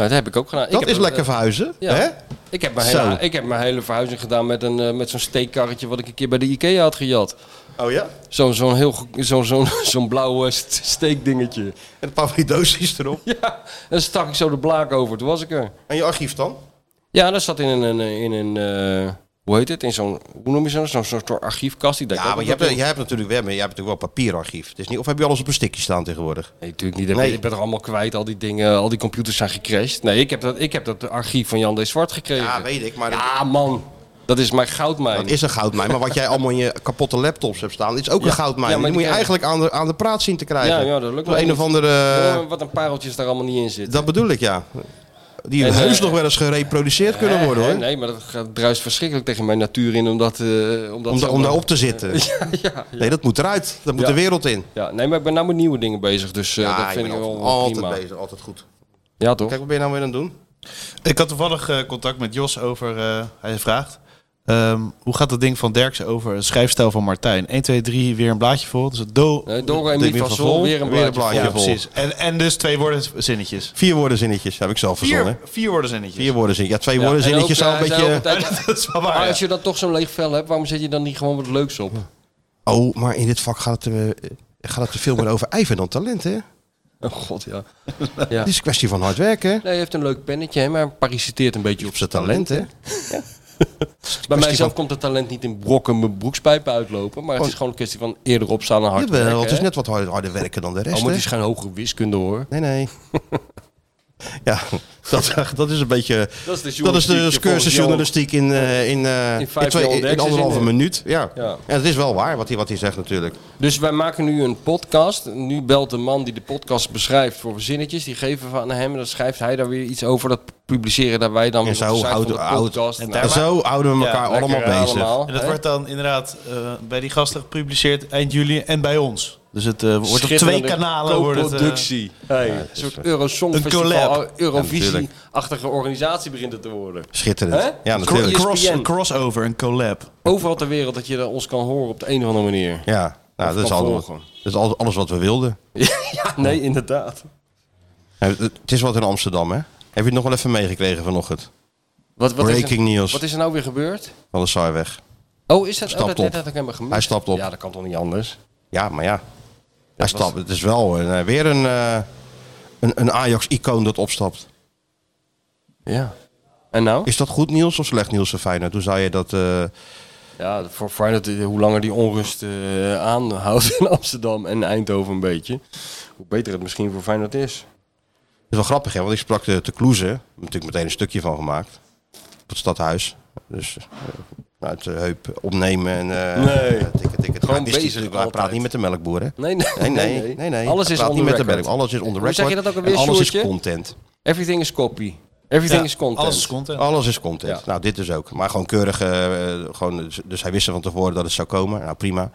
Speaker 7: dat heb ik ook gedaan. Ik
Speaker 6: dat
Speaker 7: heb
Speaker 6: is
Speaker 7: een- eh,
Speaker 6: lekker verhuizen.
Speaker 7: Ja.
Speaker 6: Hè?
Speaker 7: Ik heb, mijn
Speaker 6: Zo.
Speaker 7: hele, ik heb mijn hele verhuizing gedaan met, een, eh, met zo'n steekkarretje wat ik een keer bij de Ikea had gejat.
Speaker 6: Oh ja?
Speaker 7: Zo'n zo'n heel ge- zo'n zo'n zo'n blauw eh, st- steekdingetje.
Speaker 6: En een paar van die doosjes erop.
Speaker 7: Ja, dan stak ik zo de blaak over. Toen was ik er.
Speaker 6: En je archief dan?
Speaker 7: Ja, dat zat in een, in een eh, hoe heet het, in zo'n, hoe noem je zo'n, zo'n soort archiefkast. Die
Speaker 6: Ja, maar je hebt,
Speaker 7: dat
Speaker 6: je hebt natuurlijk, we hebben, je hebt natuurlijk wel een papierarchief. Het is niet, of heb je alles op een stikje staan tegenwoordig?
Speaker 7: Nee, natuurlijk niet.
Speaker 6: Nee.
Speaker 7: Ik ben er allemaal kwijt, al die dingen, al die computers zijn gecrashed. Nee, ik heb dat, ik heb dat archief van Jan D. Zwart gekregen.
Speaker 6: Ja, weet ik, maar
Speaker 7: Ja, man, dat is mijn goudmijn.
Speaker 6: dat is een goudmijn. Maar wat jij allemaal in je kapotte laptops hebt staan, is ook een goudmijn.
Speaker 7: Ja, maar
Speaker 6: die moet je
Speaker 7: die-
Speaker 6: eigenlijk aan de, aan de praat zien te krijgen.
Speaker 7: Ja, ja, dat lukt
Speaker 6: Door
Speaker 7: wel
Speaker 6: Een
Speaker 7: niet.
Speaker 6: of andere...
Speaker 7: Oh, wat een pareltjes daar allemaal niet in zitten.
Speaker 6: Dat bedoel ik, ja. Die
Speaker 7: En,
Speaker 6: heus
Speaker 7: eh,
Speaker 6: nog wel eens gereproduceerd kunnen
Speaker 7: Hè,
Speaker 6: worden,
Speaker 7: hè?
Speaker 6: hoor.
Speaker 7: Nee, maar dat gaat- druist verschrikkelijk tegen mijn natuur in om dat... eh, om dat
Speaker 6: om, da-
Speaker 7: zo-
Speaker 6: om daarop te zitten.
Speaker 7: Ja, ja.
Speaker 6: Nee, dat moet eruit. Dat moet
Speaker 7: Ja.
Speaker 6: de wereld in.
Speaker 7: ja, nee, maar ik ben nou met nieuwe dingen bezig, dus eh, dat vind ik
Speaker 6: ben
Speaker 7: wel
Speaker 6: altijd,
Speaker 7: wel
Speaker 6: altijd
Speaker 7: prima.
Speaker 6: bezig, altijd goed.
Speaker 7: Ja, toch?
Speaker 6: Kijk, wat ben je nou weer aan het doen?
Speaker 8: Ik had toevallig eh, contact met Jos over. eh, hij vraagt. ehm, hoe gaat dat ding van Derks over het schrijfstijl van Martijn? 1, 2, 3, weer een blaadje vol. Dus het do.
Speaker 7: Nee, Dora en
Speaker 6: Demi
Speaker 7: Mief van
Speaker 6: van
Speaker 7: Sol,
Speaker 6: Vol,
Speaker 7: weer een
Speaker 6: weer een blaadje.
Speaker 7: blaadje.
Speaker 8: ja,
Speaker 7: Ja.
Speaker 6: vol.
Speaker 8: precies. En, en dus twee woorden zinnetjes.
Speaker 6: Vier woorden zinnetjes heb ik zelf verzonnen.
Speaker 8: Vier,
Speaker 6: Vier,
Speaker 8: vier woorden zinnetjes.
Speaker 6: woorden zinnetjes. Ja, twee
Speaker 7: Ja,
Speaker 6: woorden
Speaker 7: en
Speaker 6: zinnetjes
Speaker 7: ook,
Speaker 6: zou een
Speaker 7: eh, hij zei ook
Speaker 6: beetje...
Speaker 7: altijd,
Speaker 8: dat is wel
Speaker 7: Maar
Speaker 8: waar.
Speaker 7: als je dan toch zo'n leeg vel hebt, waarom zet je dan niet gewoon wat leuks op?
Speaker 6: Oh, maar in dit vak gaat het, eh, gaat het veel meer over ijver dan talent, hè?
Speaker 7: Oh god, ja.
Speaker 6: Het is een kwestie van hard werken, hè?
Speaker 7: Nee, hij heeft een leuk pennetje, hè, maar parasiteert een beetje op zijn talent.
Speaker 6: hè?
Speaker 7: Bij
Speaker 6: kwestie
Speaker 7: mijzelf
Speaker 6: van-
Speaker 7: komt het talent niet in brokken mijn broekspijpen uitlopen, maar het is
Speaker 6: Oh.
Speaker 7: gewoon een kwestie van eerder opstaan en hard werken.
Speaker 6: Jawel, het is
Speaker 7: hè.
Speaker 6: net wat hard- harder werken dan de rest,
Speaker 7: Oh, maar
Speaker 6: hè?
Speaker 7: het is geen hogere wiskunde hoor.
Speaker 6: Nee, nee. ja, dat, dat is een beetje...
Speaker 7: Dat is de,
Speaker 6: Dat is de cursus journalistiek in, eh, in, eh,
Speaker 7: In vijf
Speaker 6: in twee-
Speaker 7: jaar
Speaker 6: in
Speaker 7: ontdekt,
Speaker 6: anderhalve
Speaker 7: is in-
Speaker 6: minuut. Ja.
Speaker 7: Ja.
Speaker 6: En het is wel waar wat hij, wat hij zegt natuurlijk.
Speaker 7: Dus wij maken nu een podcast. Nu belt de man die de podcast beschrijft voor zinnetjes. Die geven we aan hem en dan schrijft hij daar weer iets over. Dat publiceren daar wij dan
Speaker 6: En
Speaker 7: weer
Speaker 6: zo
Speaker 7: op de site
Speaker 6: houden,
Speaker 7: van de
Speaker 6: houden,
Speaker 7: podcast.
Speaker 8: en
Speaker 7: Nou,
Speaker 8: daar-
Speaker 6: en zo houden we elkaar
Speaker 8: Ja,
Speaker 7: lekker
Speaker 6: allemaal bezig.
Speaker 7: allemaal,
Speaker 8: En dat
Speaker 7: hè.
Speaker 8: wordt dan inderdaad eh, bij die gasten gepubliceerd eind juli en bij ons. Dus het eh, wordt op twee
Speaker 7: Schitterende
Speaker 8: kanalen wordt het, eh,
Speaker 7: co-productie. Hey, een soort Eurosongfestival,
Speaker 8: collab.
Speaker 7: Eurovisie-achtige organisatie begint het te worden.
Speaker 6: Schitterend.
Speaker 7: Hè? E
Speaker 6: Ja,
Speaker 8: cro-
Speaker 6: natuurlijk.
Speaker 7: Kro-
Speaker 8: cross,
Speaker 7: ESPN.
Speaker 8: een crossover, een collab.
Speaker 7: Overal ter wereld dat je dan ons kan horen op de een of andere manier.
Speaker 6: Ja, nou, dat, is
Speaker 7: kan
Speaker 6: allemaal,
Speaker 7: volgen.
Speaker 6: dat is al- alles wat we wilden.
Speaker 7: Ja, nee, inderdaad.
Speaker 6: Nou, Het is wat in Amsterdam, hè? Heb je het nog wel even meegekregen vanochtend?
Speaker 7: Wat, wat is
Speaker 6: Breaking
Speaker 7: er,
Speaker 6: news.
Speaker 7: Wat is er nou weer gebeurd?
Speaker 6: Van de Saarweg.
Speaker 7: Oh, is dat, oh,
Speaker 6: Stapt
Speaker 7: dat, dat
Speaker 6: op.
Speaker 7: had ik helemaal gemist.
Speaker 6: Hij stapt op.
Speaker 7: Ja, dat kan toch niet anders?
Speaker 6: Ja, maar ja. Hij stapt, het is wel een, eh, weer een, eh, een, een Ajax-icoon dat opstapt.
Speaker 7: Ja. En nou?
Speaker 6: Is dat goed nieuws of slecht nieuws voor Feyenoord? Hoe zou je dat... eh,
Speaker 7: Ja, voor Feyenoord, eh, hoe langer die onrust eh, aanhoudt in Amsterdam en Eindhoven een beetje, hoe beter het misschien voor Feyenoord is.
Speaker 6: Het is wel grappig, hè? want ik sprak de te Kloeze. Daar heb ik natuurlijk meteen een stukje van gemaakt. Op het stadhuis. Dus eh, uit de heup opnemen en... eh,
Speaker 7: Nee.
Speaker 6: eh, tikken, tikken.
Speaker 7: Gewoon
Speaker 6: Ja, het is die-
Speaker 7: bezig
Speaker 6: Hij
Speaker 7: altijd.
Speaker 6: praat niet met de melkboer, hè?
Speaker 7: Nee, nee,
Speaker 6: Nee, nee, nee. nee,
Speaker 7: Alles
Speaker 6: Hij
Speaker 7: is
Speaker 6: praat
Speaker 7: on
Speaker 6: niet
Speaker 7: the
Speaker 6: met de
Speaker 7: record.
Speaker 6: melk. Alles is on the
Speaker 7: Hoe
Speaker 6: record.
Speaker 7: zeg je dat ook
Speaker 6: en
Speaker 7: alweer,
Speaker 6: Alles
Speaker 7: Sjoerdje?
Speaker 6: is content.
Speaker 7: Everything is copy. Everything
Speaker 8: Ja,
Speaker 7: is content.
Speaker 8: Alles is content.
Speaker 6: Alles is content.
Speaker 7: Ja.
Speaker 6: Nou, dit dus ook. Maar gewoon keurig. eh, eh, gewoon, dus- dus hij wist er van tevoren dat het zou komen. Nou, prima.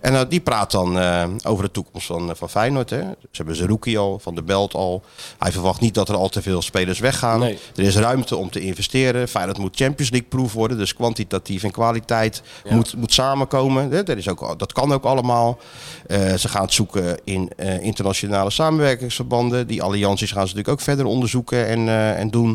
Speaker 6: En eh, die praat dan eh, over de toekomst van, eh, van Feyenoord. Hè. Ze hebben Zerouki al, Van der Belt al. Hij verwacht niet dat er al te veel spelers weggaan.
Speaker 7: Nee.
Speaker 6: Er is ruimte om te investeren. Feyenoord moet Champions League proef worden. Dus kwantitatief en kwaliteit moet, moet samenkomen. Hè, Dat, is ook, al- dat kan ook allemaal. Eh, ze gaan het zoeken in eh, internationale samenwerkingsverbanden. Die allianties gaan ze natuurlijk ook verder onderzoeken en, eh, en doen.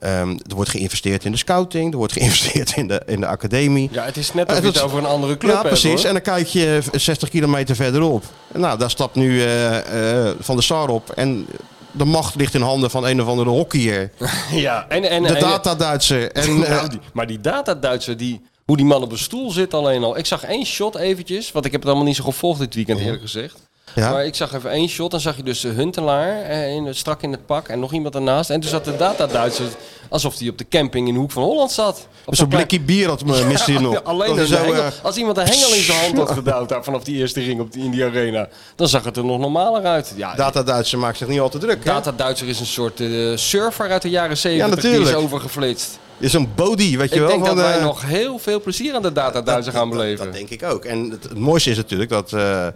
Speaker 6: Ehm, er wordt geïnvesteerd in de scouting. Er wordt geïnvesteerd in de, in de academie.
Speaker 7: Ja, het is net of
Speaker 6: Eh,
Speaker 7: je het
Speaker 6: dat-
Speaker 7: over een andere club
Speaker 6: ja,
Speaker 7: hebt,
Speaker 6: precies.
Speaker 7: hoor.
Speaker 6: En dan kijk je eh, 60 kilometer verderop. Nou, daar stapt nu eh, eh, Van der Sar op. En de macht ligt in handen van een of andere hockeyer.
Speaker 7: Ja, en, en,
Speaker 6: De
Speaker 7: en-
Speaker 6: data-Duitser. En,
Speaker 7: en-
Speaker 6: eh,
Speaker 7: nou, die- maar die data-Duitser, die, hoe die man op een stoel zit alleen al. Ik zag één shot eventjes, want ik heb het allemaal niet zo gevolgd dit weekend
Speaker 6: Oh.
Speaker 7: eerlijk gezegd. Maar
Speaker 6: ja.
Speaker 7: ik zag even één shot, dan zag je dus de Huntelaar eh, in, strak in het pak en nog iemand ernaast. En toen zat de data-Duitser alsof hij op de camping in de hoek van Holland zat. Op
Speaker 6: Zo'n
Speaker 7: dat klein-
Speaker 6: blikje bier had me mist hij nog.
Speaker 7: Ja, alleen
Speaker 6: Dat
Speaker 7: een
Speaker 6: hij zo,
Speaker 7: hengel.
Speaker 6: eh,
Speaker 7: als iemand een hengel in zijn hand had gedouwd daar vanaf die eerste ring op die, in die arena, dan zag het er nog normaler uit. Ja,
Speaker 6: Data-Duitser maakt zich niet al te druk. hè?
Speaker 7: Data Duitser is een soort eh, surfer uit de jaren 70 die is
Speaker 6: natuurlijk.
Speaker 7: overgeflitst.
Speaker 6: Is zo'n body, weet je
Speaker 7: Ik
Speaker 6: wel.
Speaker 7: denk
Speaker 6: van,
Speaker 7: dat wij
Speaker 6: eh,
Speaker 7: nog heel veel plezier aan de Data
Speaker 6: dat-
Speaker 7: Duitser gaan
Speaker 6: dat-
Speaker 7: beleven.
Speaker 6: Dat denk ik ook. En het, het mooiste is natuurlijk dat eh,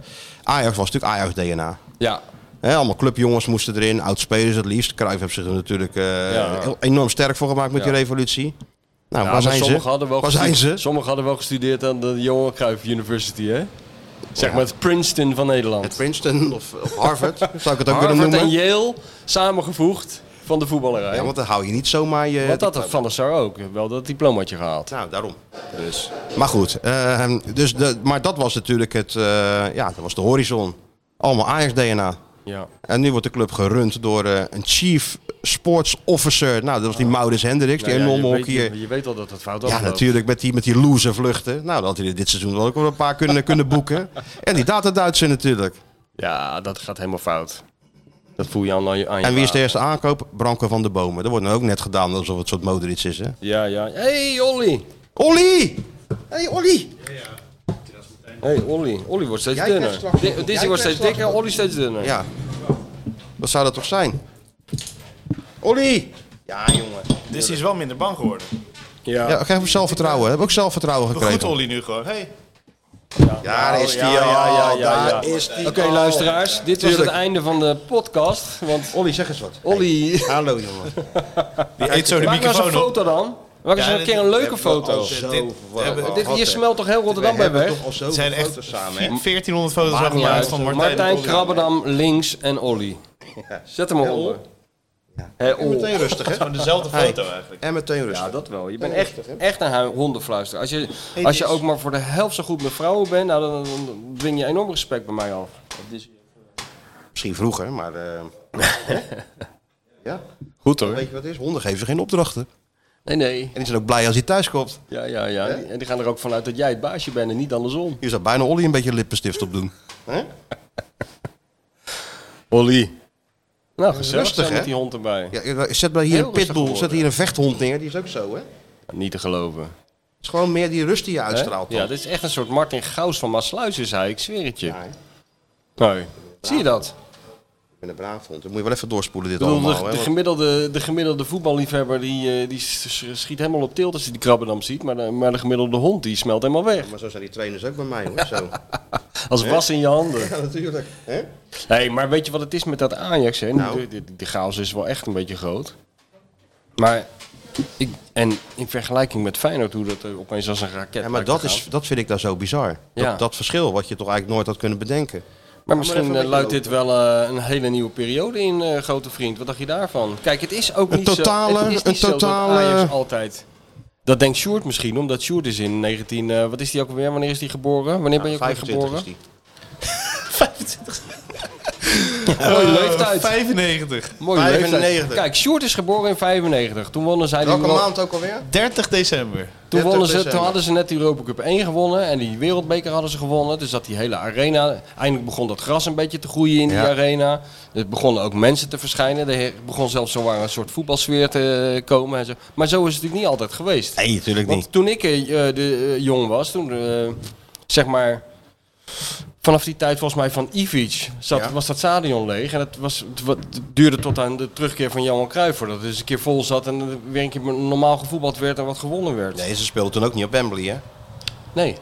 Speaker 6: Ajax was natuurlijk Ajax-DNA.
Speaker 7: ja,
Speaker 6: Hè, allemaal clubjongens moesten erin, oud-spelers het liefst. Cruijff heeft zich er natuurlijk eh,
Speaker 7: Ja.
Speaker 6: heel- enorm sterk voor gemaakt met
Speaker 7: Ja.
Speaker 6: die revolutie. Nou,
Speaker 7: Ja,
Speaker 6: waar
Speaker 7: maar
Speaker 6: zijn ze?
Speaker 7: sommigen Hadden wel
Speaker 6: waar zijn
Speaker 7: gestudeerd-
Speaker 6: ze?
Speaker 7: Sommigen hadden wel gestudeerd aan de Johan Cruijff University, hè? Zeg maar het Princeton van Nederland.
Speaker 6: Het Princeton of, of Harvard, zou ik het ook willen
Speaker 7: Harvard
Speaker 6: noemen.
Speaker 7: en Yale samengevoegd van de voetballerij.
Speaker 6: Ja,
Speaker 7: want,
Speaker 6: want dan hou je niet zomaar je...
Speaker 7: dat had Van der Sar ook. Wel dat diplomaatje gehaald.
Speaker 6: Nou, daarom. Dus. Maar goed, ehm, eh, dus de, maar dat was natuurlijk het, eh, ja, dat was de horizon. Allemaal Ajax-DNA.
Speaker 7: Ja.
Speaker 6: En nu wordt de club gerund door eh, een chief sports officer. Nou, dat was die Maurits Hendricks, die
Speaker 7: Nou Ah. ja,
Speaker 6: enorme
Speaker 7: je, weet,
Speaker 6: hockeyer.
Speaker 7: je, je weet al dat het fout
Speaker 6: Ja,
Speaker 7: afloopt.
Speaker 6: natuurlijk, met die, met die loose vluchten. Nou, dat had hij dit seizoen wel ook wel een paar kunnen, kunnen boeken. En die data-Duitser natuurlijk.
Speaker 7: Ja, dat gaat helemaal fout. Dat voel je al aan je aan je
Speaker 6: En wie is de
Speaker 7: water.
Speaker 6: eerste aankoop? Branko van de Bomen. Dat wordt nou ook net gedaan alsof het een soort Modric is, hè?
Speaker 7: Ja, ja. hey, Olly!
Speaker 6: Olly! Hey, Olly!
Speaker 7: hey, Olly. Olly wordt steeds
Speaker 6: Jij
Speaker 7: dunner.
Speaker 6: krijgt straks-
Speaker 7: Di-
Speaker 6: jij
Speaker 7: Dizzy
Speaker 6: krijgt
Speaker 7: wordt steeds
Speaker 6: straks-
Speaker 7: dikker, Olly steeds dunner.
Speaker 6: Ja. Wat zou dat toch zijn? Olly!
Speaker 7: Ja, jongen.
Speaker 8: Disney is wel minder bang geworden.
Speaker 7: Ja,
Speaker 6: Ja, geef hem zelfvertrouwen. We hebben ook zelfvertrouwen
Speaker 8: Goed,
Speaker 6: gekregen.
Speaker 8: Olly, nu gewoon. Hey.
Speaker 6: Daar is die
Speaker 7: Ja, ja, ja,
Speaker 6: al.
Speaker 7: ja, ja.
Speaker 6: Daar is die
Speaker 7: Oké,
Speaker 6: al.
Speaker 7: luisteraars. Dit was het
Speaker 6: Tuurlijk.
Speaker 7: einde van de podcast. Want
Speaker 6: Olly, zeg eens wat.
Speaker 7: Olly...
Speaker 6: Hallo, jongen.
Speaker 8: Die eet zo de
Speaker 7: Maak nou eens een
Speaker 8: microfoon op.
Speaker 7: foto dan. Maak eens
Speaker 8: Ja,
Speaker 7: een
Speaker 8: dit- oh,
Speaker 7: keer een leuke
Speaker 6: Al
Speaker 7: foto.
Speaker 6: zo
Speaker 8: Dit-
Speaker 6: wat.
Speaker 8: hebben-
Speaker 6: Wat,
Speaker 7: Dit,
Speaker 6: hè?
Speaker 7: hier smelt toch heel
Speaker 6: We
Speaker 7: Rotterdam bij
Speaker 6: hebben
Speaker 7: weg?
Speaker 6: toch al
Speaker 8: Het
Speaker 6: zoveel
Speaker 8: zijn echt
Speaker 6: foto's samen, hè?
Speaker 8: 1400 foto's
Speaker 7: Maakt niet
Speaker 8: afgemaakt
Speaker 7: uit.
Speaker 8: van
Speaker 7: Martijn,
Speaker 8: Martijn. en Olly.
Speaker 7: Krabbedam links en Olly. Zet hem onder. Hé,
Speaker 6: En
Speaker 7: Ol.
Speaker 6: meteen rustig, hè?
Speaker 8: Gewoon dezelfde foto eigenlijk.
Speaker 6: oh. En meteen rustig. Oh.
Speaker 7: Ja, dat wel. Je bent echt, echt een hui- hondenfluister. Als je, als je ook maar voor de helft zo goed met vrouwen bent, nou, dan, dan- dan dwing je enorm respect bij mij af.
Speaker 6: Misschien vroeger, maar... eh, ja,
Speaker 7: Goed hoor.
Speaker 6: weet je wat het is? Honden geven ze geen opdrachten.
Speaker 7: Nee, nee.
Speaker 6: En die zijn ook blij als hij thuis komt.
Speaker 7: Ja, ja, ja. En die gaan er ook vanuit dat jij het baasje bent en niet andersom.
Speaker 6: Je zou bijna Olly een beetje lippenstift op doen.
Speaker 7: Olly. Nou, gezellig
Speaker 6: Rustig,
Speaker 7: zijn
Speaker 6: hè?
Speaker 7: met die hond erbij.
Speaker 6: Ja, ja, zet maar hier
Speaker 7: Heel
Speaker 6: een
Speaker 7: rustig
Speaker 6: pitbull,
Speaker 7: geworden.
Speaker 6: zet hier een vechthond neer. Die is ook zo, hè? Het
Speaker 7: Niet te geloven.
Speaker 6: is gewoon meer die rust die je
Speaker 7: Hè?
Speaker 6: uitstraalt.
Speaker 7: Ja,
Speaker 6: dan.
Speaker 7: dit is echt een soort Martin Gauws van Maasluis is hij, ik zweer het je. Nee. Zie je dat?
Speaker 6: Ik ben een braaf hond. Dan moet je wel even doorspoelen dit
Speaker 7: Ik bedoel,
Speaker 6: allemaal,
Speaker 7: de,
Speaker 6: hè?
Speaker 7: de,
Speaker 6: want-
Speaker 7: gemiddelde, de gemiddelde voetballiefhebber die, eh, die s- schiet helemaal op tilt als hij die krabbendam ziet. Maar de, maar de gemiddelde hond die smelt helemaal weg.
Speaker 6: Maar zo zijn die trainers ook bij mij, hoor. Zo.
Speaker 7: Als was in je handen.
Speaker 6: ja, natuurlijk. Hè?
Speaker 7: Hey, maar weet je wat het is met dat Ajax? Hè?
Speaker 6: Nou.
Speaker 7: De, de- de chaos is wel echt een beetje groot. Maar, ik, en in vergelijking met Feyenoord, hoe dat eh, opeens als een raket...
Speaker 6: Ja, maar dat, is, dat vind ik daar zo bizar.
Speaker 7: Ja.
Speaker 6: Dat, dat verschil, wat je toch eigenlijk nooit had kunnen bedenken.
Speaker 7: Maar
Speaker 6: Maar
Speaker 7: misschien
Speaker 6: even een beetje
Speaker 7: eh, luidt dit wel eh, een hele nieuwe periode in, eh, grote vriend. Wat dacht je daarvan? Kijk, het is ook
Speaker 6: Een
Speaker 7: niet
Speaker 6: totale-
Speaker 7: zo... Het is niet
Speaker 6: een
Speaker 7: zo dat
Speaker 6: totale-
Speaker 7: Ajax altijd... Dat denkt Sjoerd misschien, omdat Sjoerd is in 19... eh, wat is die ook alweer? Wanneer is die geboren? Wanneer ben je ook weer
Speaker 6: 25
Speaker 7: geboren?
Speaker 6: is die.
Speaker 7: Mooie leeftijd.
Speaker 8: 95.
Speaker 7: Mooie
Speaker 6: 95.
Speaker 7: leeftijd. Kijk, Sjoerd is geboren in 95. Toen wonnen zij die
Speaker 6: Welke
Speaker 7: Euro-
Speaker 6: maand ook alweer?
Speaker 8: 30 december.
Speaker 7: Toen,
Speaker 6: 30
Speaker 7: wonnen ze, toen
Speaker 6: december.
Speaker 7: hadden ze net de Europa Cup 1 gewonnen en die wereldbeker hadden ze gewonnen. Dus dat die hele arena, eindelijk begon dat gras een beetje te groeien in die arena. Er begonnen ook mensen te verschijnen. Er begon zelfs zowaar een soort voetbalsfeer te komen. En zo. Maar zo is het natuurlijk niet altijd geweest.
Speaker 6: Nee, natuurlijk niet.
Speaker 7: Want toen ik eh, de, eh, jong was, toen eh, zeg maar... Vanaf die tijd volgens mij van Ivic zat,
Speaker 6: Ja.
Speaker 7: was dat stadion leeg. En dat was, het wa- het duurde tot aan de terugkeer van Johan Cruijff. Voordat het eens een keer vol zat en er weer een keer normaal gevoetbald werd en wat gewonnen werd.
Speaker 6: Nee, ze speelden toen ook niet op Wembley, hè?
Speaker 7: Nee,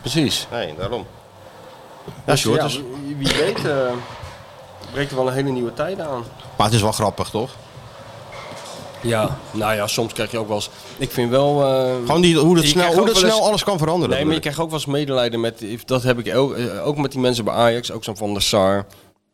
Speaker 7: precies.
Speaker 6: Nee, daarom. Ja,
Speaker 7: Dus
Speaker 6: Sjoerd,
Speaker 7: ja,
Speaker 6: dus-
Speaker 7: wie, wie weet eh, breekt er wel een hele nieuwe tijd aan.
Speaker 6: Maar het is wel grappig, toch?
Speaker 7: Ja, nou ja, soms krijg je ook wel eens... Ik vind wel... eh,
Speaker 6: Gewoon die, hoe dat,
Speaker 7: Je
Speaker 6: snel,
Speaker 7: krijgt
Speaker 6: hoe
Speaker 7: ook
Speaker 6: dat
Speaker 7: wel eens-
Speaker 6: snel alles kan veranderen.
Speaker 7: nee, maar
Speaker 6: bedoel
Speaker 7: je krijgt ook wel eens medelijden met... Dat heb ik ook, eh, ook met die mensen bij Ajax. Ook zo'n Van der Sar.
Speaker 6: ik.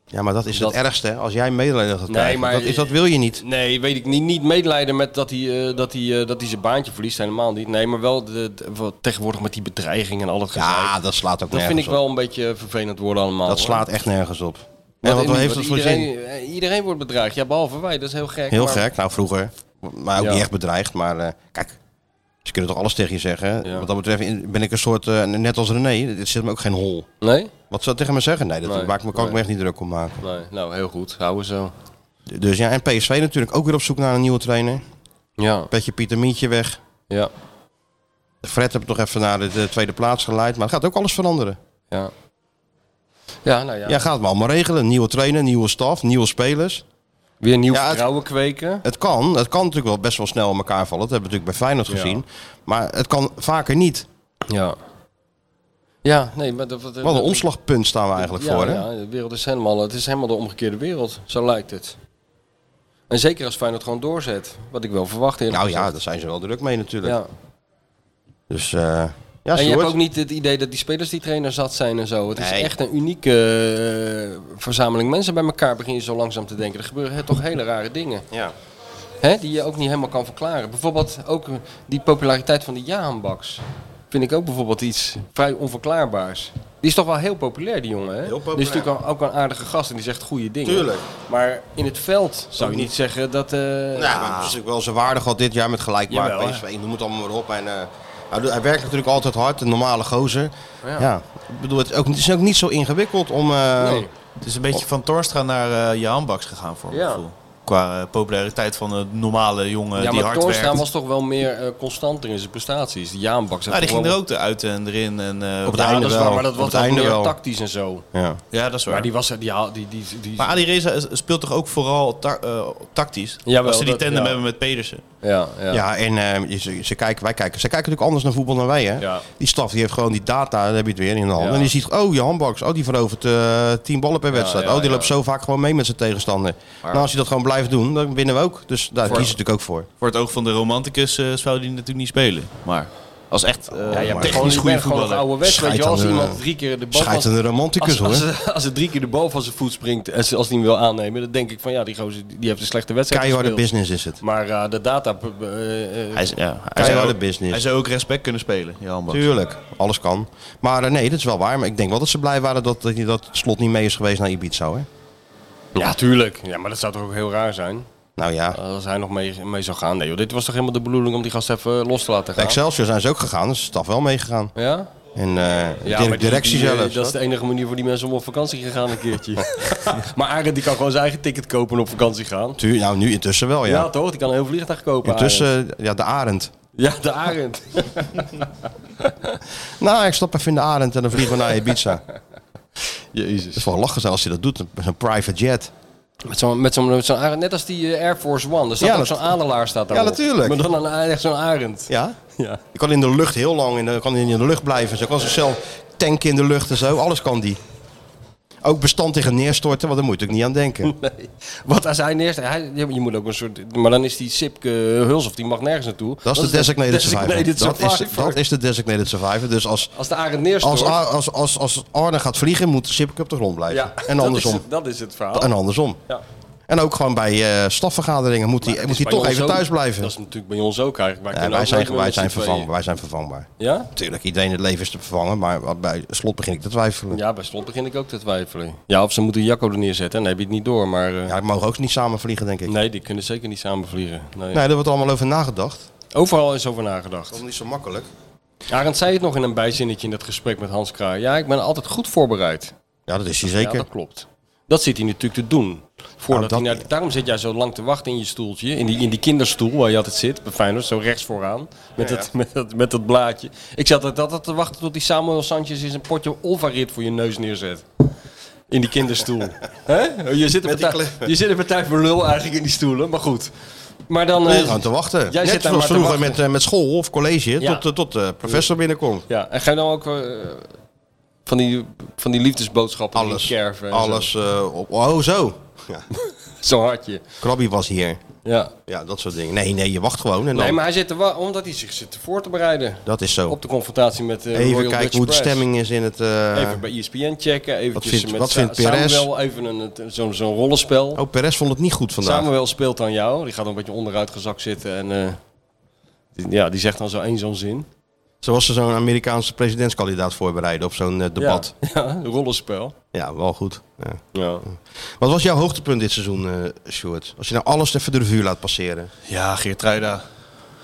Speaker 6: Ja, maar dat eh, is
Speaker 7: dat-
Speaker 6: het ergste, hè? Als jij medelijden gaat
Speaker 7: Nee,
Speaker 6: krijgen.
Speaker 7: maar-
Speaker 6: dat, is, dat wil je niet.
Speaker 7: Nee, weet ik niet. Niet medelijden met dat hij, eh, dat hij, eh, dat hij zijn baantje verliest. Helemaal niet. Nee, maar wel de, de- wat tegenwoordig met die bedreiging en al dat gezeik.
Speaker 6: Ja, dat slaat ook
Speaker 7: dat
Speaker 6: nergens
Speaker 7: vind ik
Speaker 6: op.
Speaker 7: wel een beetje eh, vervelend worden allemaal.
Speaker 6: Dat
Speaker 7: hoor.
Speaker 6: slaat echt nergens op.
Speaker 7: Want
Speaker 6: En wat
Speaker 7: in-
Speaker 6: heeft dat
Speaker 7: want
Speaker 6: voor
Speaker 7: iedereen,
Speaker 6: zin?
Speaker 7: eh, Iedereen wordt bedreigd. Ja, behalve wij. Dat is heel gek.
Speaker 6: Heel
Speaker 7: maar-
Speaker 6: gek, nou vroeger. Maar ook
Speaker 7: Ja.
Speaker 6: niet echt bedreigd. Maar eh, kijk, ze kunnen toch alles tegen je zeggen. hè?
Speaker 7: Ja.
Speaker 6: Wat dat betreft in- ben ik een soort, eh, net als René, dit zit me ook geen hol.
Speaker 7: Nee?
Speaker 6: Wat zou het tegen me zeggen? Nee, dat
Speaker 7: Nee,
Speaker 6: maakt me, kan
Speaker 7: nee.
Speaker 6: ik me echt niet druk om maken.
Speaker 7: Nee, nou heel goed. Houden zo.
Speaker 6: Dus ja, en PSV natuurlijk ook weer op zoek naar een nieuwe trainer.
Speaker 7: Ja,
Speaker 6: Petje Pieter Mientje weg.
Speaker 7: ja,
Speaker 6: Fred heb toch even naar de, de tweede plaats geleid. Maar het gaat ook alles veranderen.
Speaker 7: ja. Ja, nou ja.
Speaker 6: Ja, gaat het maar allemaal regelen. Nieuwe trainer, nieuwe staf, nieuwe spelers.
Speaker 7: Weer nieuw
Speaker 6: Ja, het-
Speaker 7: vertrouwen kweken.
Speaker 6: Het kan. Het kan natuurlijk wel best wel snel in elkaar vallen. Dat hebben we natuurlijk bij Feyenoord
Speaker 7: Ja.
Speaker 6: gezien. Maar het kan vaker niet.
Speaker 7: Ja. Ja, nee, maar dat... dat-
Speaker 6: Wat een omslagpunt staan we eigenlijk
Speaker 7: ja,
Speaker 6: voor. Hè?
Speaker 7: Ja, de wereld is helemaal... Het is helemaal de omgekeerde wereld. Zo lijkt het. En zeker als Feyenoord gewoon doorzet. Wat ik wel verwacht eerlijk
Speaker 6: Nou ja,
Speaker 7: gezegd.
Speaker 6: daar zijn ze wel druk mee natuurlijk.
Speaker 7: ja.
Speaker 6: Dus eh, ja,
Speaker 7: En je
Speaker 6: Sjoerd.
Speaker 7: hebt ook niet het idee dat die spelers die trainer zat zijn en zo. Het is
Speaker 6: Nee.
Speaker 7: echt een unieke eh, verzameling mensen bij elkaar. Begin je zo langzaam te denken. Er gebeuren hè, toch hele rare dingen.
Speaker 6: Ja.
Speaker 7: Hè, die je ook niet helemaal kan verklaren. Bijvoorbeeld ook eh, die populariteit van de Jahanbaks. vind ik ook bijvoorbeeld iets vrij onverklaarbaars. Die is toch wel heel populair, die jongen. Hè?
Speaker 6: Heel populair.
Speaker 7: Die is natuurlijk al- ook een aardige gast en die zegt goede dingen.
Speaker 6: Tuurlijk.
Speaker 7: Maar in het veld zou je niet zeggen dat... eh,
Speaker 6: Nou, het is natuurlijk wel zijn waarde gehad dit jaar met gelijk waar
Speaker 7: Jawel, hè.
Speaker 6: PSV. Noem het allemaal maar op. En, eh, hij, doet- hij werkt natuurlijk altijd hard, een normale gozer. Ja. Ik bedoel, het is, ook, het is ook niet zo ingewikkeld om... eh,
Speaker 7: nee.
Speaker 8: Het is een beetje van Torstra naar eh Jaan Baks gegaan voor mijn
Speaker 7: Oh. Ja.
Speaker 8: gevoel. Qua eh, populariteit van een normale jongen
Speaker 7: ja,
Speaker 8: die
Speaker 7: maar
Speaker 8: hard
Speaker 7: Torstra
Speaker 8: werkt.
Speaker 7: was toch wel meer eh, constanter in zijn prestaties. Die Jaanbak
Speaker 8: Ah, die ging er ook uit en erin. En, eh,
Speaker 6: Op het
Speaker 7: Ja,
Speaker 6: einde
Speaker 7: dat is waar,
Speaker 6: wel.
Speaker 7: maar dat
Speaker 6: Op
Speaker 7: was
Speaker 6: het
Speaker 7: ook
Speaker 6: einde
Speaker 7: meer
Speaker 6: wel.
Speaker 7: tactisch en zo.
Speaker 6: Ja.
Speaker 8: ja, dat is waar.
Speaker 7: Maar die was die, haal- die, die, die,
Speaker 8: Maar Ali Reza is- speelt toch ook vooral ta- eh, tactisch?
Speaker 7: Jawel,
Speaker 8: als ze die
Speaker 7: dat-
Speaker 8: tandem
Speaker 7: ja.
Speaker 8: hebben met Pedersen.
Speaker 7: ja, ja.
Speaker 6: Ja, en eh, je- ze, ze kijken, wij kijken. Ze kijken natuurlijk anders naar voetbal dan wij. Hè?
Speaker 7: Ja.
Speaker 6: Die staf die heeft gewoon die data, dan heb je het weer in de hand.
Speaker 7: Ja.
Speaker 6: En je ziet, oh, je handbaks, oh, die verovert eh 10 ballen per wedstrijd.
Speaker 7: ja,
Speaker 6: oh, die
Speaker 7: ja.
Speaker 6: loopt zo vaak gewoon mee met zijn tegenstander. Nou, als je dat gewoon blijft doen, dan winnen we ook. Dus daar kiezen ze natuurlijk ook voor.
Speaker 8: Voor het oog van de romanticus eh, zou die natuurlijk niet spelen. Maar als echt eh,
Speaker 7: Ja, je bent gewoon,
Speaker 8: technisch
Speaker 7: je
Speaker 8: goede
Speaker 7: bent gewoon
Speaker 8: voetballer.
Speaker 7: oude wedstrijd. Weet je, als
Speaker 6: Schijt aan de-
Speaker 7: iemand drie keer de bal
Speaker 6: Schijt
Speaker 7: van-
Speaker 6: aan de romanticus,
Speaker 7: als,
Speaker 6: hoor.
Speaker 7: als, als, het drie keer de bal van zijn voet springt en ze- als die hem wil aannemen, dan denk ik van ja, die gozer die die heeft een slechte wedstrijd
Speaker 6: Keiharde
Speaker 7: gespeeld.
Speaker 6: business is het.
Speaker 7: Maar eh, de data... eh, eh,
Speaker 8: Hij, is- ja, hij, zou,
Speaker 6: Keiharde
Speaker 8: ook- hij
Speaker 6: business.
Speaker 8: zou ook respect kunnen spelen, Jan Baks.
Speaker 6: Tuurlijk, alles kan. Maar eh, nee, dat is wel waar. Maar ik denk wel dat ze blij waren dat, dat, dat het slot niet mee is geweest naar Ibiza. Hè?
Speaker 7: ja, tuurlijk. Ja, maar dat zou toch ook heel raar zijn
Speaker 6: Nou ja,
Speaker 7: eh, als hij nog mee, mee zou gaan. Nee joh, dit was toch helemaal de bedoeling om die gast even los te laten
Speaker 6: bij
Speaker 7: gaan?
Speaker 6: Excelsior zijn ze ook gegaan. Dus de staf wel meegegaan.
Speaker 7: Ja?
Speaker 6: En eh,
Speaker 7: Ja,
Speaker 6: direct-
Speaker 7: maar die-
Speaker 6: directie
Speaker 7: die, eh,
Speaker 6: zelfs.
Speaker 7: Dat is de enige manier voor die mensen om op vakantie te gaan een keertje. maar Arend die kan gewoon zijn eigen ticket kopen en op vakantie gaan.
Speaker 6: Tuur- nou, nu intussen wel,
Speaker 7: Ja,
Speaker 6: ja.
Speaker 7: toch? Die kan een heel vliegtuig kopen. Arend.
Speaker 6: Intussen, ja, de Arend.
Speaker 7: Ja, de Arend.
Speaker 6: Nou, ik stap even in de Arend en dan vliegen we naar Ibiza. Het
Speaker 7: Jezus.
Speaker 6: is wel lachen zijn als hij dat doet, met zo'n private jet.
Speaker 7: Met zo'n met zo'n met zo'n arend, net als die eh, Air Force One. Er staat
Speaker 6: Ja,
Speaker 7: ook
Speaker 6: dat-
Speaker 7: zo'n adelaar staat daarop.
Speaker 6: natuurlijk.
Speaker 7: Maar dan een, a- echt zo'n arend.
Speaker 6: Ja?
Speaker 7: Ja.
Speaker 6: Je kan in de lucht heel lang, in de, kan in de lucht blijven. Zo kan zichzelf tanken in de lucht en zo, alles kan die. Ook bestand tegen neerstorten, want daar moet ik niet aan denken.
Speaker 7: Nee. Wat als hij neerst... Hij, je je moet ook een soort... Maar dan is die Sipke Hulshoff, die mag nergens naartoe.
Speaker 6: Dat is de designated survivor.
Speaker 7: designated
Speaker 6: Dat is,
Speaker 7: survivor.
Speaker 6: dat is de designated survivor. Dus als,
Speaker 7: Als de arend neerstort...
Speaker 6: als, Ar- als, als, als Arne gaat vliegen, moet Sipke op de grond blijven.
Speaker 7: ja,
Speaker 6: en andersom.
Speaker 7: Dat is, het- dat is het verhaal.
Speaker 6: En andersom.
Speaker 7: Ja.
Speaker 6: En ook gewoon bij eh, stafvergaderingen moet hij
Speaker 7: Het
Speaker 6: moet
Speaker 7: is
Speaker 6: hij
Speaker 7: bij
Speaker 6: toch
Speaker 7: ons
Speaker 6: even
Speaker 7: ook-
Speaker 6: thuis blijven.
Speaker 7: Dat is natuurlijk bij ons ook eigenlijk.
Speaker 6: Ja,
Speaker 7: kunnen
Speaker 6: wij,
Speaker 7: ook
Speaker 6: zijn,
Speaker 7: meedoen
Speaker 6: wij,
Speaker 7: met
Speaker 6: zijn
Speaker 7: z'n tweeën.
Speaker 6: vervang, wij zijn vervangbaar.
Speaker 7: Ja?
Speaker 6: Natuurlijk, iedereen in het leven is te vervangen, maar bij slot begin ik te twijfelen. Ja,
Speaker 7: Ja, bij slot begin ik ook te twijfelen. Ja, of ze moeten Jacco er neerzetten. Dan heb je het niet door, maar... eh,
Speaker 6: die mogen ook niet samen vliegen, denk ik. Nee,
Speaker 7: Nee, die kunnen zeker niet samen vliegen. Nee.
Speaker 6: daar wordt allemaal over nagedacht. Dat
Speaker 7: Overal is over nagedacht.
Speaker 6: is niet zo makkelijk.
Speaker 7: Arend zei het nog in een bijzinnetje in dat gesprek met Hans Kraai. Ja, ik ben altijd goed voorbereid.
Speaker 6: Ja, dat is hij
Speaker 7: Ja,
Speaker 6: zeker.
Speaker 7: dat klopt. Dat zit hij natuurlijk te doen. Voordat
Speaker 6: Nou, dat-
Speaker 7: hij naar, daarom zit jij zo lang te wachten in je stoeltje. In die, in die kinderstoel waar je altijd zit. Bij Feyenoord, zo rechts vooraan. Met, Dat, met, dat, met dat blaadje. Ik zat altijd- altijd te wachten tot die Samuel Sanchez eens een potje Olvarit voor je neus neerzet. In die kinderstoel. Hè? je, zit een partij, je zit een partij voor lul eigenlijk in die stoelen. Maar goed. Maar dan... eh,
Speaker 6: Nee, gewoon te wachten.
Speaker 7: Jij
Speaker 6: Net
Speaker 7: zit daar
Speaker 6: zoals
Speaker 7: maar te
Speaker 6: vroeger
Speaker 7: wachten.
Speaker 6: met, eh, met school of college,
Speaker 7: Ja.
Speaker 6: tot, eh, tot de professor binnenkomt.
Speaker 7: Ja, en ga je dan ook eh, van, die, van die liefdesboodschappen in
Speaker 6: Alles.
Speaker 7: kerven? en zo?
Speaker 6: Alles eh, op... Oh, zo. Ja.
Speaker 7: Zo'n hartje.
Speaker 6: Krabby was hier.
Speaker 7: Ja.
Speaker 6: Ja, dat soort dingen. Nee, nee, je wacht gewoon. En dan,
Speaker 7: Nee, maar hij zit er wa- omdat hij zich zit te voor te bereiden.
Speaker 6: Dat is zo.
Speaker 7: Op de confrontatie met eh
Speaker 6: Even
Speaker 7: Royal
Speaker 6: kijken
Speaker 7: Dutch
Speaker 6: hoe de
Speaker 7: Press.
Speaker 6: stemming is in het... eh,
Speaker 7: Even bij E ESPN checken. Eventjes
Speaker 6: vindt-
Speaker 7: met
Speaker 6: wat
Speaker 7: Sa-
Speaker 6: vindt Perez?
Speaker 7: Samuel even een- een- zo'n zo'n rollenspel.
Speaker 6: Oh, Perez vond het niet goed vandaag.
Speaker 7: Samuel speelt aan jou. Die gaat een beetje onderuitgezakt zitten. En eh, die- ja, die zegt dan zo één zo'n zin.
Speaker 6: Zoals ze zo'n Amerikaanse presidentskandidaat voorbereiden op zo'n eh, debat.
Speaker 7: Ja, ja een rollenspel. Ah,
Speaker 6: Ja, wel goed. Ja.
Speaker 7: Ja.
Speaker 6: Wat was jouw hoogtepunt dit seizoen, eh Stuart? Als je nou alles even de revue laat passeren.
Speaker 8: Ja, Geertruida.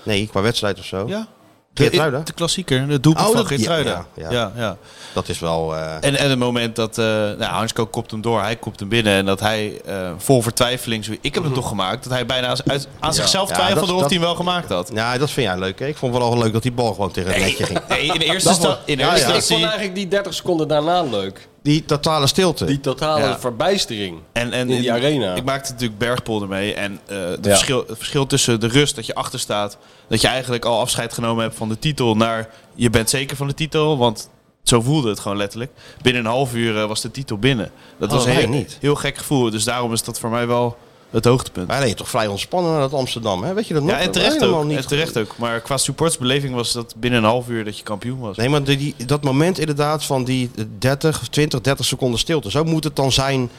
Speaker 6: Nee, qua wedstrijd of zo.
Speaker 8: Ja.
Speaker 6: Geertruida?
Speaker 8: De, de klassieker, de doelpunt
Speaker 6: Oh,
Speaker 8: van
Speaker 6: dat- ja,
Speaker 8: Geertruida.
Speaker 6: ja, ja.
Speaker 8: ja, ja.
Speaker 6: Dat is wel... eh,
Speaker 8: En, en het moment dat eh nou, Hansko kopt hem door, hij kopt hem binnen. En dat hij eh, vol vertwijfeling, zo, ik heb het toch gemaakt. Dat hij bijna aan- uit, aan zichzelf
Speaker 6: Mhm. Ja,
Speaker 8: twijfelde
Speaker 6: dat-
Speaker 8: of
Speaker 6: dat-
Speaker 8: hij hem wel gemaakt had.
Speaker 6: nou, dat vind jij leuk, hè? Ik vond vooral leuk dat die bal gewoon tegen het netje ging.
Speaker 8: Nee, in de eerste
Speaker 6: wel.
Speaker 8: instantie. In de
Speaker 6: Ja,
Speaker 8: eerste
Speaker 6: ja.
Speaker 7: Ik vond
Speaker 8: instantie-
Speaker 7: eigenlijk die 30 seconden daarna leuk.
Speaker 6: Die totale stilte.
Speaker 7: Die totale
Speaker 8: Ja.
Speaker 7: verbijstering.
Speaker 8: En, en
Speaker 7: in die arena.
Speaker 8: Ik maakte natuurlijk Bergpolder mee. En eh, het,
Speaker 7: Ja.
Speaker 8: verschil, het verschil tussen de rust dat je achter staat. Dat je eigenlijk al afscheid genomen hebt van de titel. Naar je bent zeker van de titel. Want zo voelde het gewoon letterlijk. Binnen een half uur eh, was de titel binnen. Dat was een
Speaker 6: wij
Speaker 8: heel,
Speaker 6: Oh, niet.
Speaker 8: heel gek gevoel. Dus daarom is dat voor mij wel het hoogtepunt.
Speaker 6: Maar hij reed toch vrij ontspannen naar dat Amsterdam, hè? Weet je dat nog?
Speaker 8: Ja, en terecht,
Speaker 6: Helemaal
Speaker 8: ook,
Speaker 6: niet
Speaker 8: en terecht ook. Maar qua supportsbeleving was dat binnen een half uur dat je kampioen was.
Speaker 6: Nee, maar die- die, dat moment inderdaad van die 30, 20, 30 seconden stilte. Zo moet het dan zijn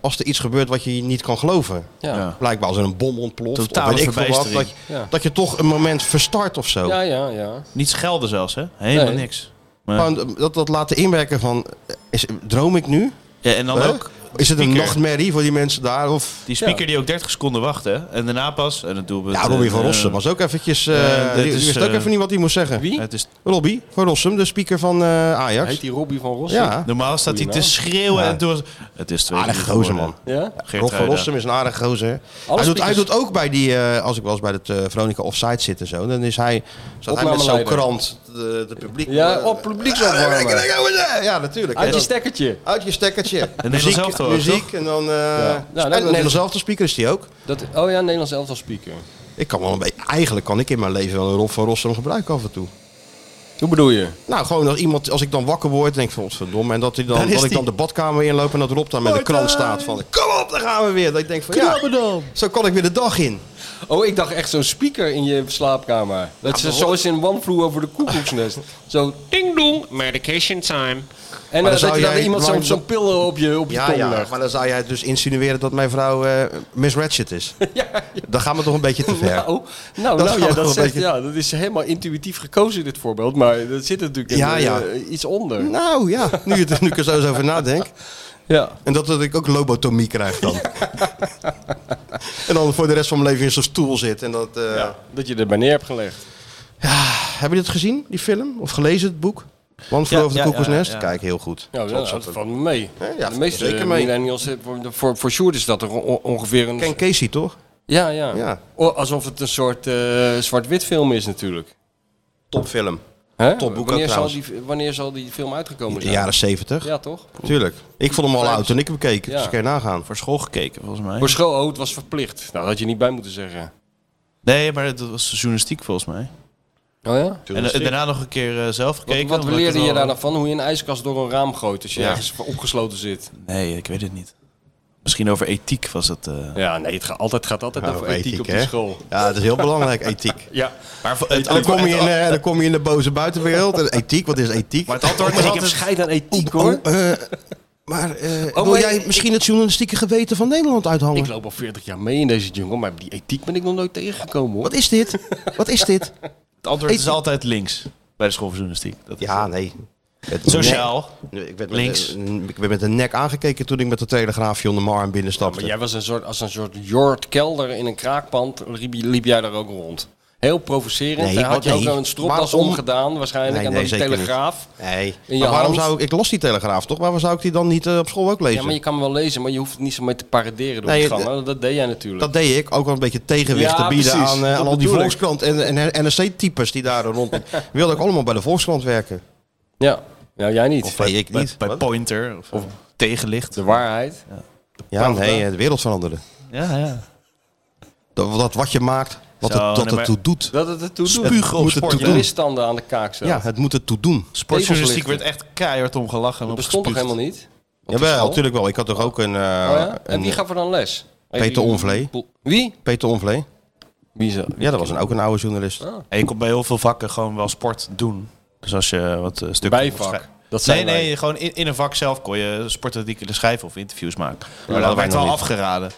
Speaker 6: als er iets gebeurt wat je niet kan geloven.
Speaker 7: Ja. Ja.
Speaker 6: Blijkbaar als er een bom ontploft
Speaker 8: Totale
Speaker 6: of weet ik veel wat.
Speaker 8: verbijstering.
Speaker 6: Dat, je-
Speaker 7: Ja.
Speaker 6: dat je toch een moment verstart of zo.
Speaker 7: Ja, ja, ja.
Speaker 8: Niet schelden zelfs, hè? Helemaal
Speaker 7: Nee.
Speaker 8: niks.
Speaker 6: Gewoon dat, dat laten inwerken van, eh, is, droom ik nu?
Speaker 8: Ja, en dan
Speaker 6: Hè?
Speaker 8: ook
Speaker 6: Is het een
Speaker 8: speaker.
Speaker 6: nachtmerrie voor die mensen daar? Of...
Speaker 8: die speaker die ook 30 seconden wachtte. hè? En daarna pas, en dat doen we.
Speaker 6: Ja, Robbie van Rossum was ook eventjes... eh,
Speaker 8: eh,
Speaker 6: die,
Speaker 8: dit
Speaker 6: die
Speaker 8: is,
Speaker 6: wist ook
Speaker 8: eh,
Speaker 6: even niet wat hij moest zeggen.
Speaker 7: Wie?
Speaker 8: Het is,
Speaker 6: Robbie van Rossum, de speaker van eh, Ajax.
Speaker 7: Heet die Robbie van Rossum?
Speaker 6: ja,
Speaker 8: normaal staat hij te
Speaker 7: Goeie
Speaker 8: schreeuwen
Speaker 6: Ja.
Speaker 8: en door. Het is twee.
Speaker 6: aardige
Speaker 8: minuten
Speaker 6: gozer man.
Speaker 8: geworden.
Speaker 7: Ja?
Speaker 8: Geert
Speaker 6: Rob van
Speaker 8: Ruida.
Speaker 6: Rossum is een aardige gozer. Hij doet, hij
Speaker 7: speakers.
Speaker 6: doet ook bij die, eh, als ik wel eens bij het eh, Veronica Offside zit en zo, dan is hij, staat hij met zo'n
Speaker 7: Opnameleider.
Speaker 6: krant, de, de publiek.
Speaker 7: Ja,
Speaker 6: eh,
Speaker 7: op publieksopwarmen.
Speaker 6: Ja, natuurlijk. En
Speaker 7: Uit je
Speaker 6: dan-
Speaker 7: stekkertje.
Speaker 6: Uit je stekkertje.
Speaker 8: Nederlands elftal ook,
Speaker 6: muziek en dan... eh ja.
Speaker 7: dat-
Speaker 6: en Nederlands elftal speaker is die ook.
Speaker 7: Dat, oh ja, Nederlands elftal speaker.
Speaker 6: Ik kan wel een beetje, eigenlijk kan ik in mijn leven wel een Rob van Rossum gebruiken af en toe.
Speaker 7: Hoe bedoel je?
Speaker 6: Nou, gewoon als iemand, als ik dan wakker word, denk ik van, verdomme. En dat, hij dan, dat ik dan de badkamer inloop en dat Rob dan met de krant staat van, kom op, daar gaan we weer. Dat ik denk van, ja, zo kan ik weer de dag in.
Speaker 7: Oh, ik dacht echt zo'n speaker in je slaapkamer. Dat ze zo is in One Flew over de koekoeksnest. zo
Speaker 9: Ding dong, medication time.
Speaker 6: dan
Speaker 7: En eh, dat
Speaker 6: zou
Speaker 7: je dan
Speaker 6: jij-
Speaker 7: iemand zo'n
Speaker 6: maar-
Speaker 7: zo'n pillen op je, op je
Speaker 6: Ja,
Speaker 7: tong
Speaker 6: ja,
Speaker 7: legt.
Speaker 6: maar dan zou jij dus insinueren dat mijn vrouw eh, Miss Ratchet is.
Speaker 7: Ja,
Speaker 6: Dan gaan we toch een beetje te ver.
Speaker 7: Nou, nou,
Speaker 6: Dat
Speaker 7: nou ja,
Speaker 6: gaat wel
Speaker 7: dat,
Speaker 6: een
Speaker 7: zegt,
Speaker 6: beetje-
Speaker 7: ja, dat is helemaal intuïtief gekozen, dit voorbeeld. Maar er zit natuurlijk een,
Speaker 6: Ja, ja.
Speaker 7: eh, iets onder.
Speaker 6: Nou ja, nu, je- nu ik er zo eens over nadenk.
Speaker 7: Ja.
Speaker 6: En dat, dat ik ook lobotomie krijg dan. en dan voor de rest van mijn leven in zo'n stoel zit. En dat, eh,
Speaker 7: Dat je erbij neer hebt gelegd.
Speaker 6: Heb je dit gezien, die film? Of gelezen, het boek? One Flew
Speaker 8: Ja,
Speaker 6: Over
Speaker 8: ja,
Speaker 6: the Koekoeksnest?
Speaker 8: ja, ja.
Speaker 6: Kijk, heel goed.
Speaker 7: Ja,
Speaker 6: Zat-
Speaker 7: dat
Speaker 6: zat-
Speaker 7: valt van mee.
Speaker 6: ja,
Speaker 7: de meeste
Speaker 6: zeker mee.
Speaker 7: millennials, eh, voor, voor, voor Sjoerd is dat er on- ongeveer een...
Speaker 6: Ken Casey, toch?
Speaker 7: Ja, ja.
Speaker 6: Ja.
Speaker 7: O, alsof het een soort eh, zwart-wit film is natuurlijk.
Speaker 6: Topfilm.
Speaker 7: Hè?
Speaker 6: Topboek ook
Speaker 7: wanneer, zal
Speaker 6: trouwens.
Speaker 7: die, wanneer zal die film uitgekomen
Speaker 6: De
Speaker 7: zijn?
Speaker 6: jaren zeventig.
Speaker 7: Ja, toch?
Speaker 6: Tuurlijk. Ik vond hem al oud toen ik hem keek.
Speaker 7: Ja.
Speaker 6: Dus kan je nagaan.
Speaker 8: Voor school gekeken, volgens mij.
Speaker 7: Voor school, oh, het was verplicht. Nou, dat had je niet bij moeten zeggen.
Speaker 8: Nee, maar dat was journalistiek volgens mij.
Speaker 7: Oh ja?
Speaker 8: En, eh, daarna nog een keer eh, zelf gekeken.
Speaker 7: wat
Speaker 8: omdat ik
Speaker 7: leerde
Speaker 8: het
Speaker 7: je
Speaker 8: wel-
Speaker 7: daar dan van? Hoe je een ijskast door een raam gooit als je ergens opgesloten zit.
Speaker 8: Nee, ik weet het niet. Misschien over ethiek was het. eh.
Speaker 7: Ja, nee, het gaat altijd, gaat altijd
Speaker 6: Nou,
Speaker 7: over ethiek op die
Speaker 6: hè?
Speaker 7: school.
Speaker 6: Ja, dat is heel belangrijk, ethiek.
Speaker 7: Ja,
Speaker 8: Maar vo-
Speaker 6: En
Speaker 8: het
Speaker 6: dan
Speaker 8: antwoord,
Speaker 6: kom, je in, eh, dan kom je in de boze buitenwereld. En ethiek, wat is ethiek?
Speaker 8: maar het antwoord is
Speaker 7: ik heb
Speaker 8: altijd.
Speaker 7: scheid aan ethiek hoor.
Speaker 6: Oh, eh, maar eh,
Speaker 7: Oh,
Speaker 6: wil
Speaker 7: maar-
Speaker 6: jij misschien het journalistieke geweten van Nederland
Speaker 7: Ik
Speaker 6: uithangen?
Speaker 7: loop al 40 jaar mee in deze jungle, maar die ethiek ben ik nog nooit tegengekomen hoor.
Speaker 6: Wat is dit? Wat is dit?
Speaker 8: Het antwoord is
Speaker 6: Ethiek.
Speaker 8: altijd links bij de school voor journalistiek. Dat is
Speaker 6: Ja, nee. Het-
Speaker 8: Sociaal.
Speaker 6: Nee, ik, werd
Speaker 8: Links.
Speaker 6: Met, de- ik werd met de nek aangekeken toen ik met de telegraafje onder mijn arm binnenstapte.
Speaker 7: Maar jij was een soort, als een soort Jord kelder in een kraakpand, liep, je- liep jij daar ook rond. Heel provocerend.
Speaker 6: Nee,
Speaker 7: Daar had je
Speaker 6: nee.
Speaker 7: ook een stropdas
Speaker 6: Waarom?
Speaker 7: omgedaan waarschijnlijk.
Speaker 6: Nee,
Speaker 7: en
Speaker 6: nee,
Speaker 7: dan die
Speaker 6: zeker
Speaker 7: telegraaf.
Speaker 6: Nee.
Speaker 7: In je
Speaker 6: Maar waarom
Speaker 7: hand?
Speaker 6: zou ik, ik las die telegraaf toch? Waarom zou ik die dan niet eh, op school ook lezen?
Speaker 7: Ja, maar je kan hem wel lezen, maar je hoeft het niet zo mee te paraderen door
Speaker 6: Nee, eh,
Speaker 7: de gangen. Dat deed jij natuurlijk.
Speaker 6: Dat deed ik, ook wel een beetje tegenwicht
Speaker 7: Ja,
Speaker 6: te bieden
Speaker 7: precies.
Speaker 6: aan, eh,
Speaker 7: Dat
Speaker 6: aan al die
Speaker 7: bedoel ik.
Speaker 6: Volkskrant en, en NRC-types die daar rond. wilde ik allemaal bij de Volkskrant werken.
Speaker 7: Ja. ja, jij niet.
Speaker 6: Of eh, nee, ik
Speaker 8: bij,
Speaker 6: niet.
Speaker 8: bij
Speaker 6: Wat?
Speaker 8: Pointer of, of tegenlicht.
Speaker 7: De waarheid.
Speaker 6: Ja, nee, eh, de wereld veranderen.
Speaker 8: Ja, ja.
Speaker 6: Dat, dat wat je maakt, wat
Speaker 8: Zo,
Speaker 6: het, dat
Speaker 8: nee,
Speaker 6: het
Speaker 8: maar-
Speaker 6: toe doet.
Speaker 7: Dat het ertoe doet.
Speaker 8: Spugen op
Speaker 6: moet het
Speaker 8: sport.
Speaker 6: toe
Speaker 7: De
Speaker 8: ja.
Speaker 6: doen.
Speaker 7: misstanden aan de kaak zelf.
Speaker 6: Ja, het moet het toe doen.
Speaker 8: Sportjournalistiek werd echt keihard om gelachen. en
Speaker 7: Dat
Speaker 8: op
Speaker 7: bestond toch
Speaker 8: gespuugd.
Speaker 7: helemaal niet? Op de
Speaker 6: Jawel,
Speaker 7: school?
Speaker 6: natuurlijk wel. Ik had toch ook een... eh,
Speaker 7: Oh ja? En
Speaker 6: een-
Speaker 7: wie gaf er dan les?
Speaker 6: Peter Onvlee.
Speaker 7: Wie?
Speaker 6: Peter Onvlee.
Speaker 7: Wie is dat?
Speaker 6: Ja, dat was een, ook een oude journalist.
Speaker 7: Oh.
Speaker 8: En je kon bij heel veel vakken gewoon wel sport doen. Dus als je wat eh, stukken... kon
Speaker 7: bijvak.
Speaker 8: schrijven.
Speaker 7: Dat zijn
Speaker 8: Nee,
Speaker 7: wij.
Speaker 8: nee, gewoon in, in een vak zelf kon je sportartikelen schrijven of interviews maken. Maar
Speaker 6: wij
Speaker 8: dat werd
Speaker 6: nog
Speaker 8: wel
Speaker 6: niet.
Speaker 8: afgeraden.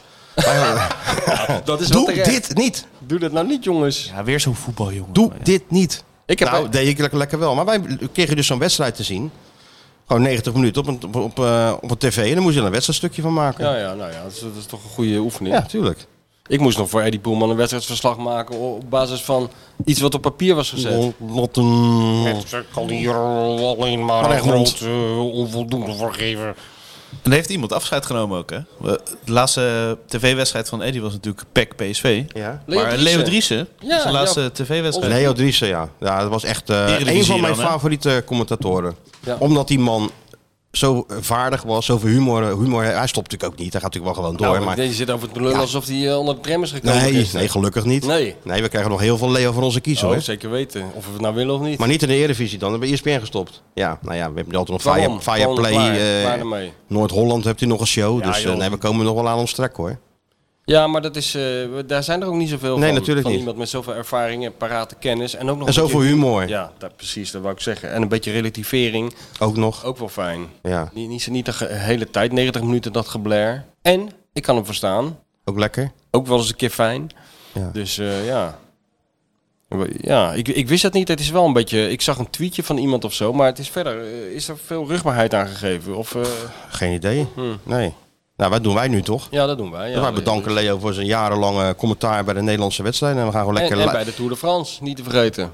Speaker 7: Dat is wel
Speaker 6: Doe
Speaker 7: terecht.
Speaker 6: dit niet.
Speaker 7: Doe dat nou niet, jongens.
Speaker 8: Ja, weer zo'n voetbaljongen.
Speaker 6: Doe dit niet.
Speaker 7: Ik heb
Speaker 6: nou,
Speaker 7: ook-
Speaker 6: deed ik lekker, lekker wel. Maar wij kregen dus zo'n wedstrijd te zien. Gewoon 90 minuten op een, op, op, eh, op een tv. En dan moest je er een wedstrijdstukje van maken.
Speaker 7: Ja, ja, nou ja, dat is, dat is toch een goede oefening.
Speaker 6: Ja, tuurlijk.
Speaker 7: Ik moest nog voor Eddie Poelman een wedstrijdsverslag maken o- op basis van iets wat op papier was gezet.
Speaker 6: Lotten.
Speaker 9: Het kan hier alleen maar een
Speaker 6: Alleen grond.
Speaker 9: grote onvoldoende voor geven.
Speaker 8: En heeft iemand afscheid genomen ook, hè? We- De laatste tv-wedstrijd van Eddie was natuurlijk PEC PSV.
Speaker 6: Ja.
Speaker 7: Leo
Speaker 8: maar
Speaker 7: Driessen.
Speaker 8: Leo Driessen,
Speaker 7: Ja, Nou,
Speaker 8: zijn laatste
Speaker 7: ja.
Speaker 8: tv-wedstrijd.
Speaker 6: Leo Driessen, ja. ja. Dat was echt eh,
Speaker 8: Eredivisie
Speaker 6: een van mijn
Speaker 8: dan, hè?
Speaker 6: favoriete commentatoren.
Speaker 7: Ja.
Speaker 6: Omdat die man zo eh, vaardig was, zoveel humor, eh, humor. Hij stopt natuurlijk ook niet. Hij gaat natuurlijk wel gewoon door.
Speaker 7: Nou,
Speaker 6: maar...
Speaker 7: Deze zit over het lullen
Speaker 6: Ja.
Speaker 7: alsof hij eh, onder de tram is gekomen.
Speaker 6: Nee,
Speaker 7: gisteren.
Speaker 6: nee, gelukkig niet.
Speaker 7: Nee.
Speaker 6: we krijgen nog heel veel Leo van onze kiezer.
Speaker 7: Oh,
Speaker 6: hoor.
Speaker 7: zeker weten. Of we het nou willen of niet.
Speaker 6: Maar niet in de Eredivisie dan. Dan ben je E ESPN gestopt. Ja, nou ja, we hebben altijd nog
Speaker 7: Waarom?
Speaker 6: Fire,
Speaker 7: Gewoon
Speaker 6: Fireplay.
Speaker 7: klaar, klaar
Speaker 6: eh
Speaker 7: ermee.
Speaker 6: Noord-Holland hebt u nog een show.
Speaker 7: Ja,
Speaker 6: dus eh,
Speaker 7: joh.
Speaker 6: nee, we komen nog wel aan ons trek hoor.
Speaker 7: Ja, maar dat is, eh, we- daar zijn er ook niet zoveel
Speaker 6: Nee,
Speaker 7: van.
Speaker 6: natuurlijk
Speaker 7: van
Speaker 6: niet.
Speaker 7: iemand met zoveel ervaring en parate kennis. En ook nog
Speaker 6: En
Speaker 7: een
Speaker 6: zoveel
Speaker 7: beetje-
Speaker 6: humor
Speaker 7: Ja, dat, precies, dat wou ik zeggen. En een beetje relativering,
Speaker 6: ook nog.
Speaker 7: ook wel fijn.
Speaker 6: Ja,
Speaker 7: Niet, niet, niet de ge- hele tijd, 90 minuten dat geblair. En ik kan hem verstaan.
Speaker 6: ook lekker.
Speaker 7: Ook wel eens een keer fijn.
Speaker 6: Ja.
Speaker 7: Dus eh, ja. Ja, ik, ik wist dat niet. Het is wel een beetje. Ik zag een tweetje van iemand of zo, maar het is verder. eh, Is er veel rugbaarheid aangegeven? Of, eh,
Speaker 6: Geen idee. Nee. Nou, wat doen wij nu toch?
Speaker 7: Hm. ja, dat doen wij. Ja,
Speaker 6: wij bedanken Leo voor zijn jarenlange commentaar bij de Nederlandse wedstrijden. En we gaan gewoon
Speaker 7: En,
Speaker 6: lekker
Speaker 7: en
Speaker 6: li-
Speaker 7: bij de Tour de France, niet te vergeten.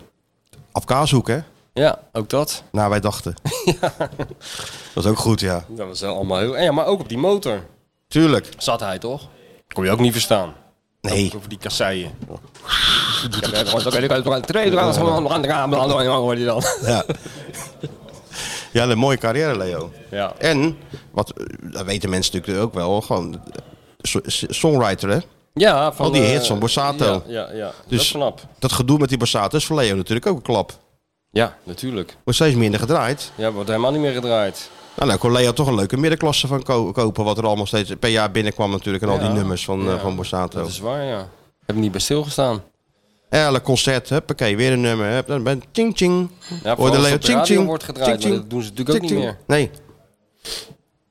Speaker 6: op kaas hoeken, hè?
Speaker 7: Ja, ook dat.
Speaker 6: Nou, wij dachten. Dat is ook goed, ja.
Speaker 7: Dat was wel allemaal heel. en Ja, maar ook op die motor
Speaker 6: Tuurlijk.
Speaker 7: zat hij toch? Kon je ook niet verstaan.
Speaker 6: Nee.
Speaker 7: Over die kasseien. Ja, hoor je dan.
Speaker 6: Ja. Ja, een mooie carrière, Leo.
Speaker 7: Ja.
Speaker 6: En, wat, eh, dat weten mensen natuurlijk ook wel, gewoon eh, so- s- songwriter, hè?
Speaker 7: ja, van
Speaker 6: Al die
Speaker 7: eh,
Speaker 6: hits van Borsato.
Speaker 7: Ja, ja, ja. dat
Speaker 6: Dus-
Speaker 7: is knap.
Speaker 6: Dat gedoe met die Bassato is voor Leo natuurlijk ook een klap.
Speaker 7: Ja, natuurlijk.
Speaker 6: Wordt steeds minder gedraaid.
Speaker 7: Ja, wordt helemaal niet meer gedraaid.
Speaker 6: Nou, nou kon Leo toch een leuke middenklasse van ko- kopen, wat er allemaal steeds per jaar binnenkwam natuurlijk. En al die
Speaker 7: Ja.
Speaker 6: nummers van, eh,
Speaker 7: Ja,
Speaker 6: van Borsato.
Speaker 7: Dat is waar, ja. Heb ik niet bij stilgestaan.
Speaker 6: Elk concert, huppakee, weer een nummer. Hup, dan ben ting ting.
Speaker 7: Ja,
Speaker 6: Hoorde
Speaker 7: vooral als
Speaker 6: Leo
Speaker 7: het op de radio
Speaker 6: tjing,
Speaker 7: wordt
Speaker 6: tjing,
Speaker 7: gedraaid, maar
Speaker 6: tjing,
Speaker 7: dat doen ze natuurlijk ook
Speaker 6: Ting,
Speaker 7: niet
Speaker 6: ting.
Speaker 7: meer.
Speaker 6: Nee,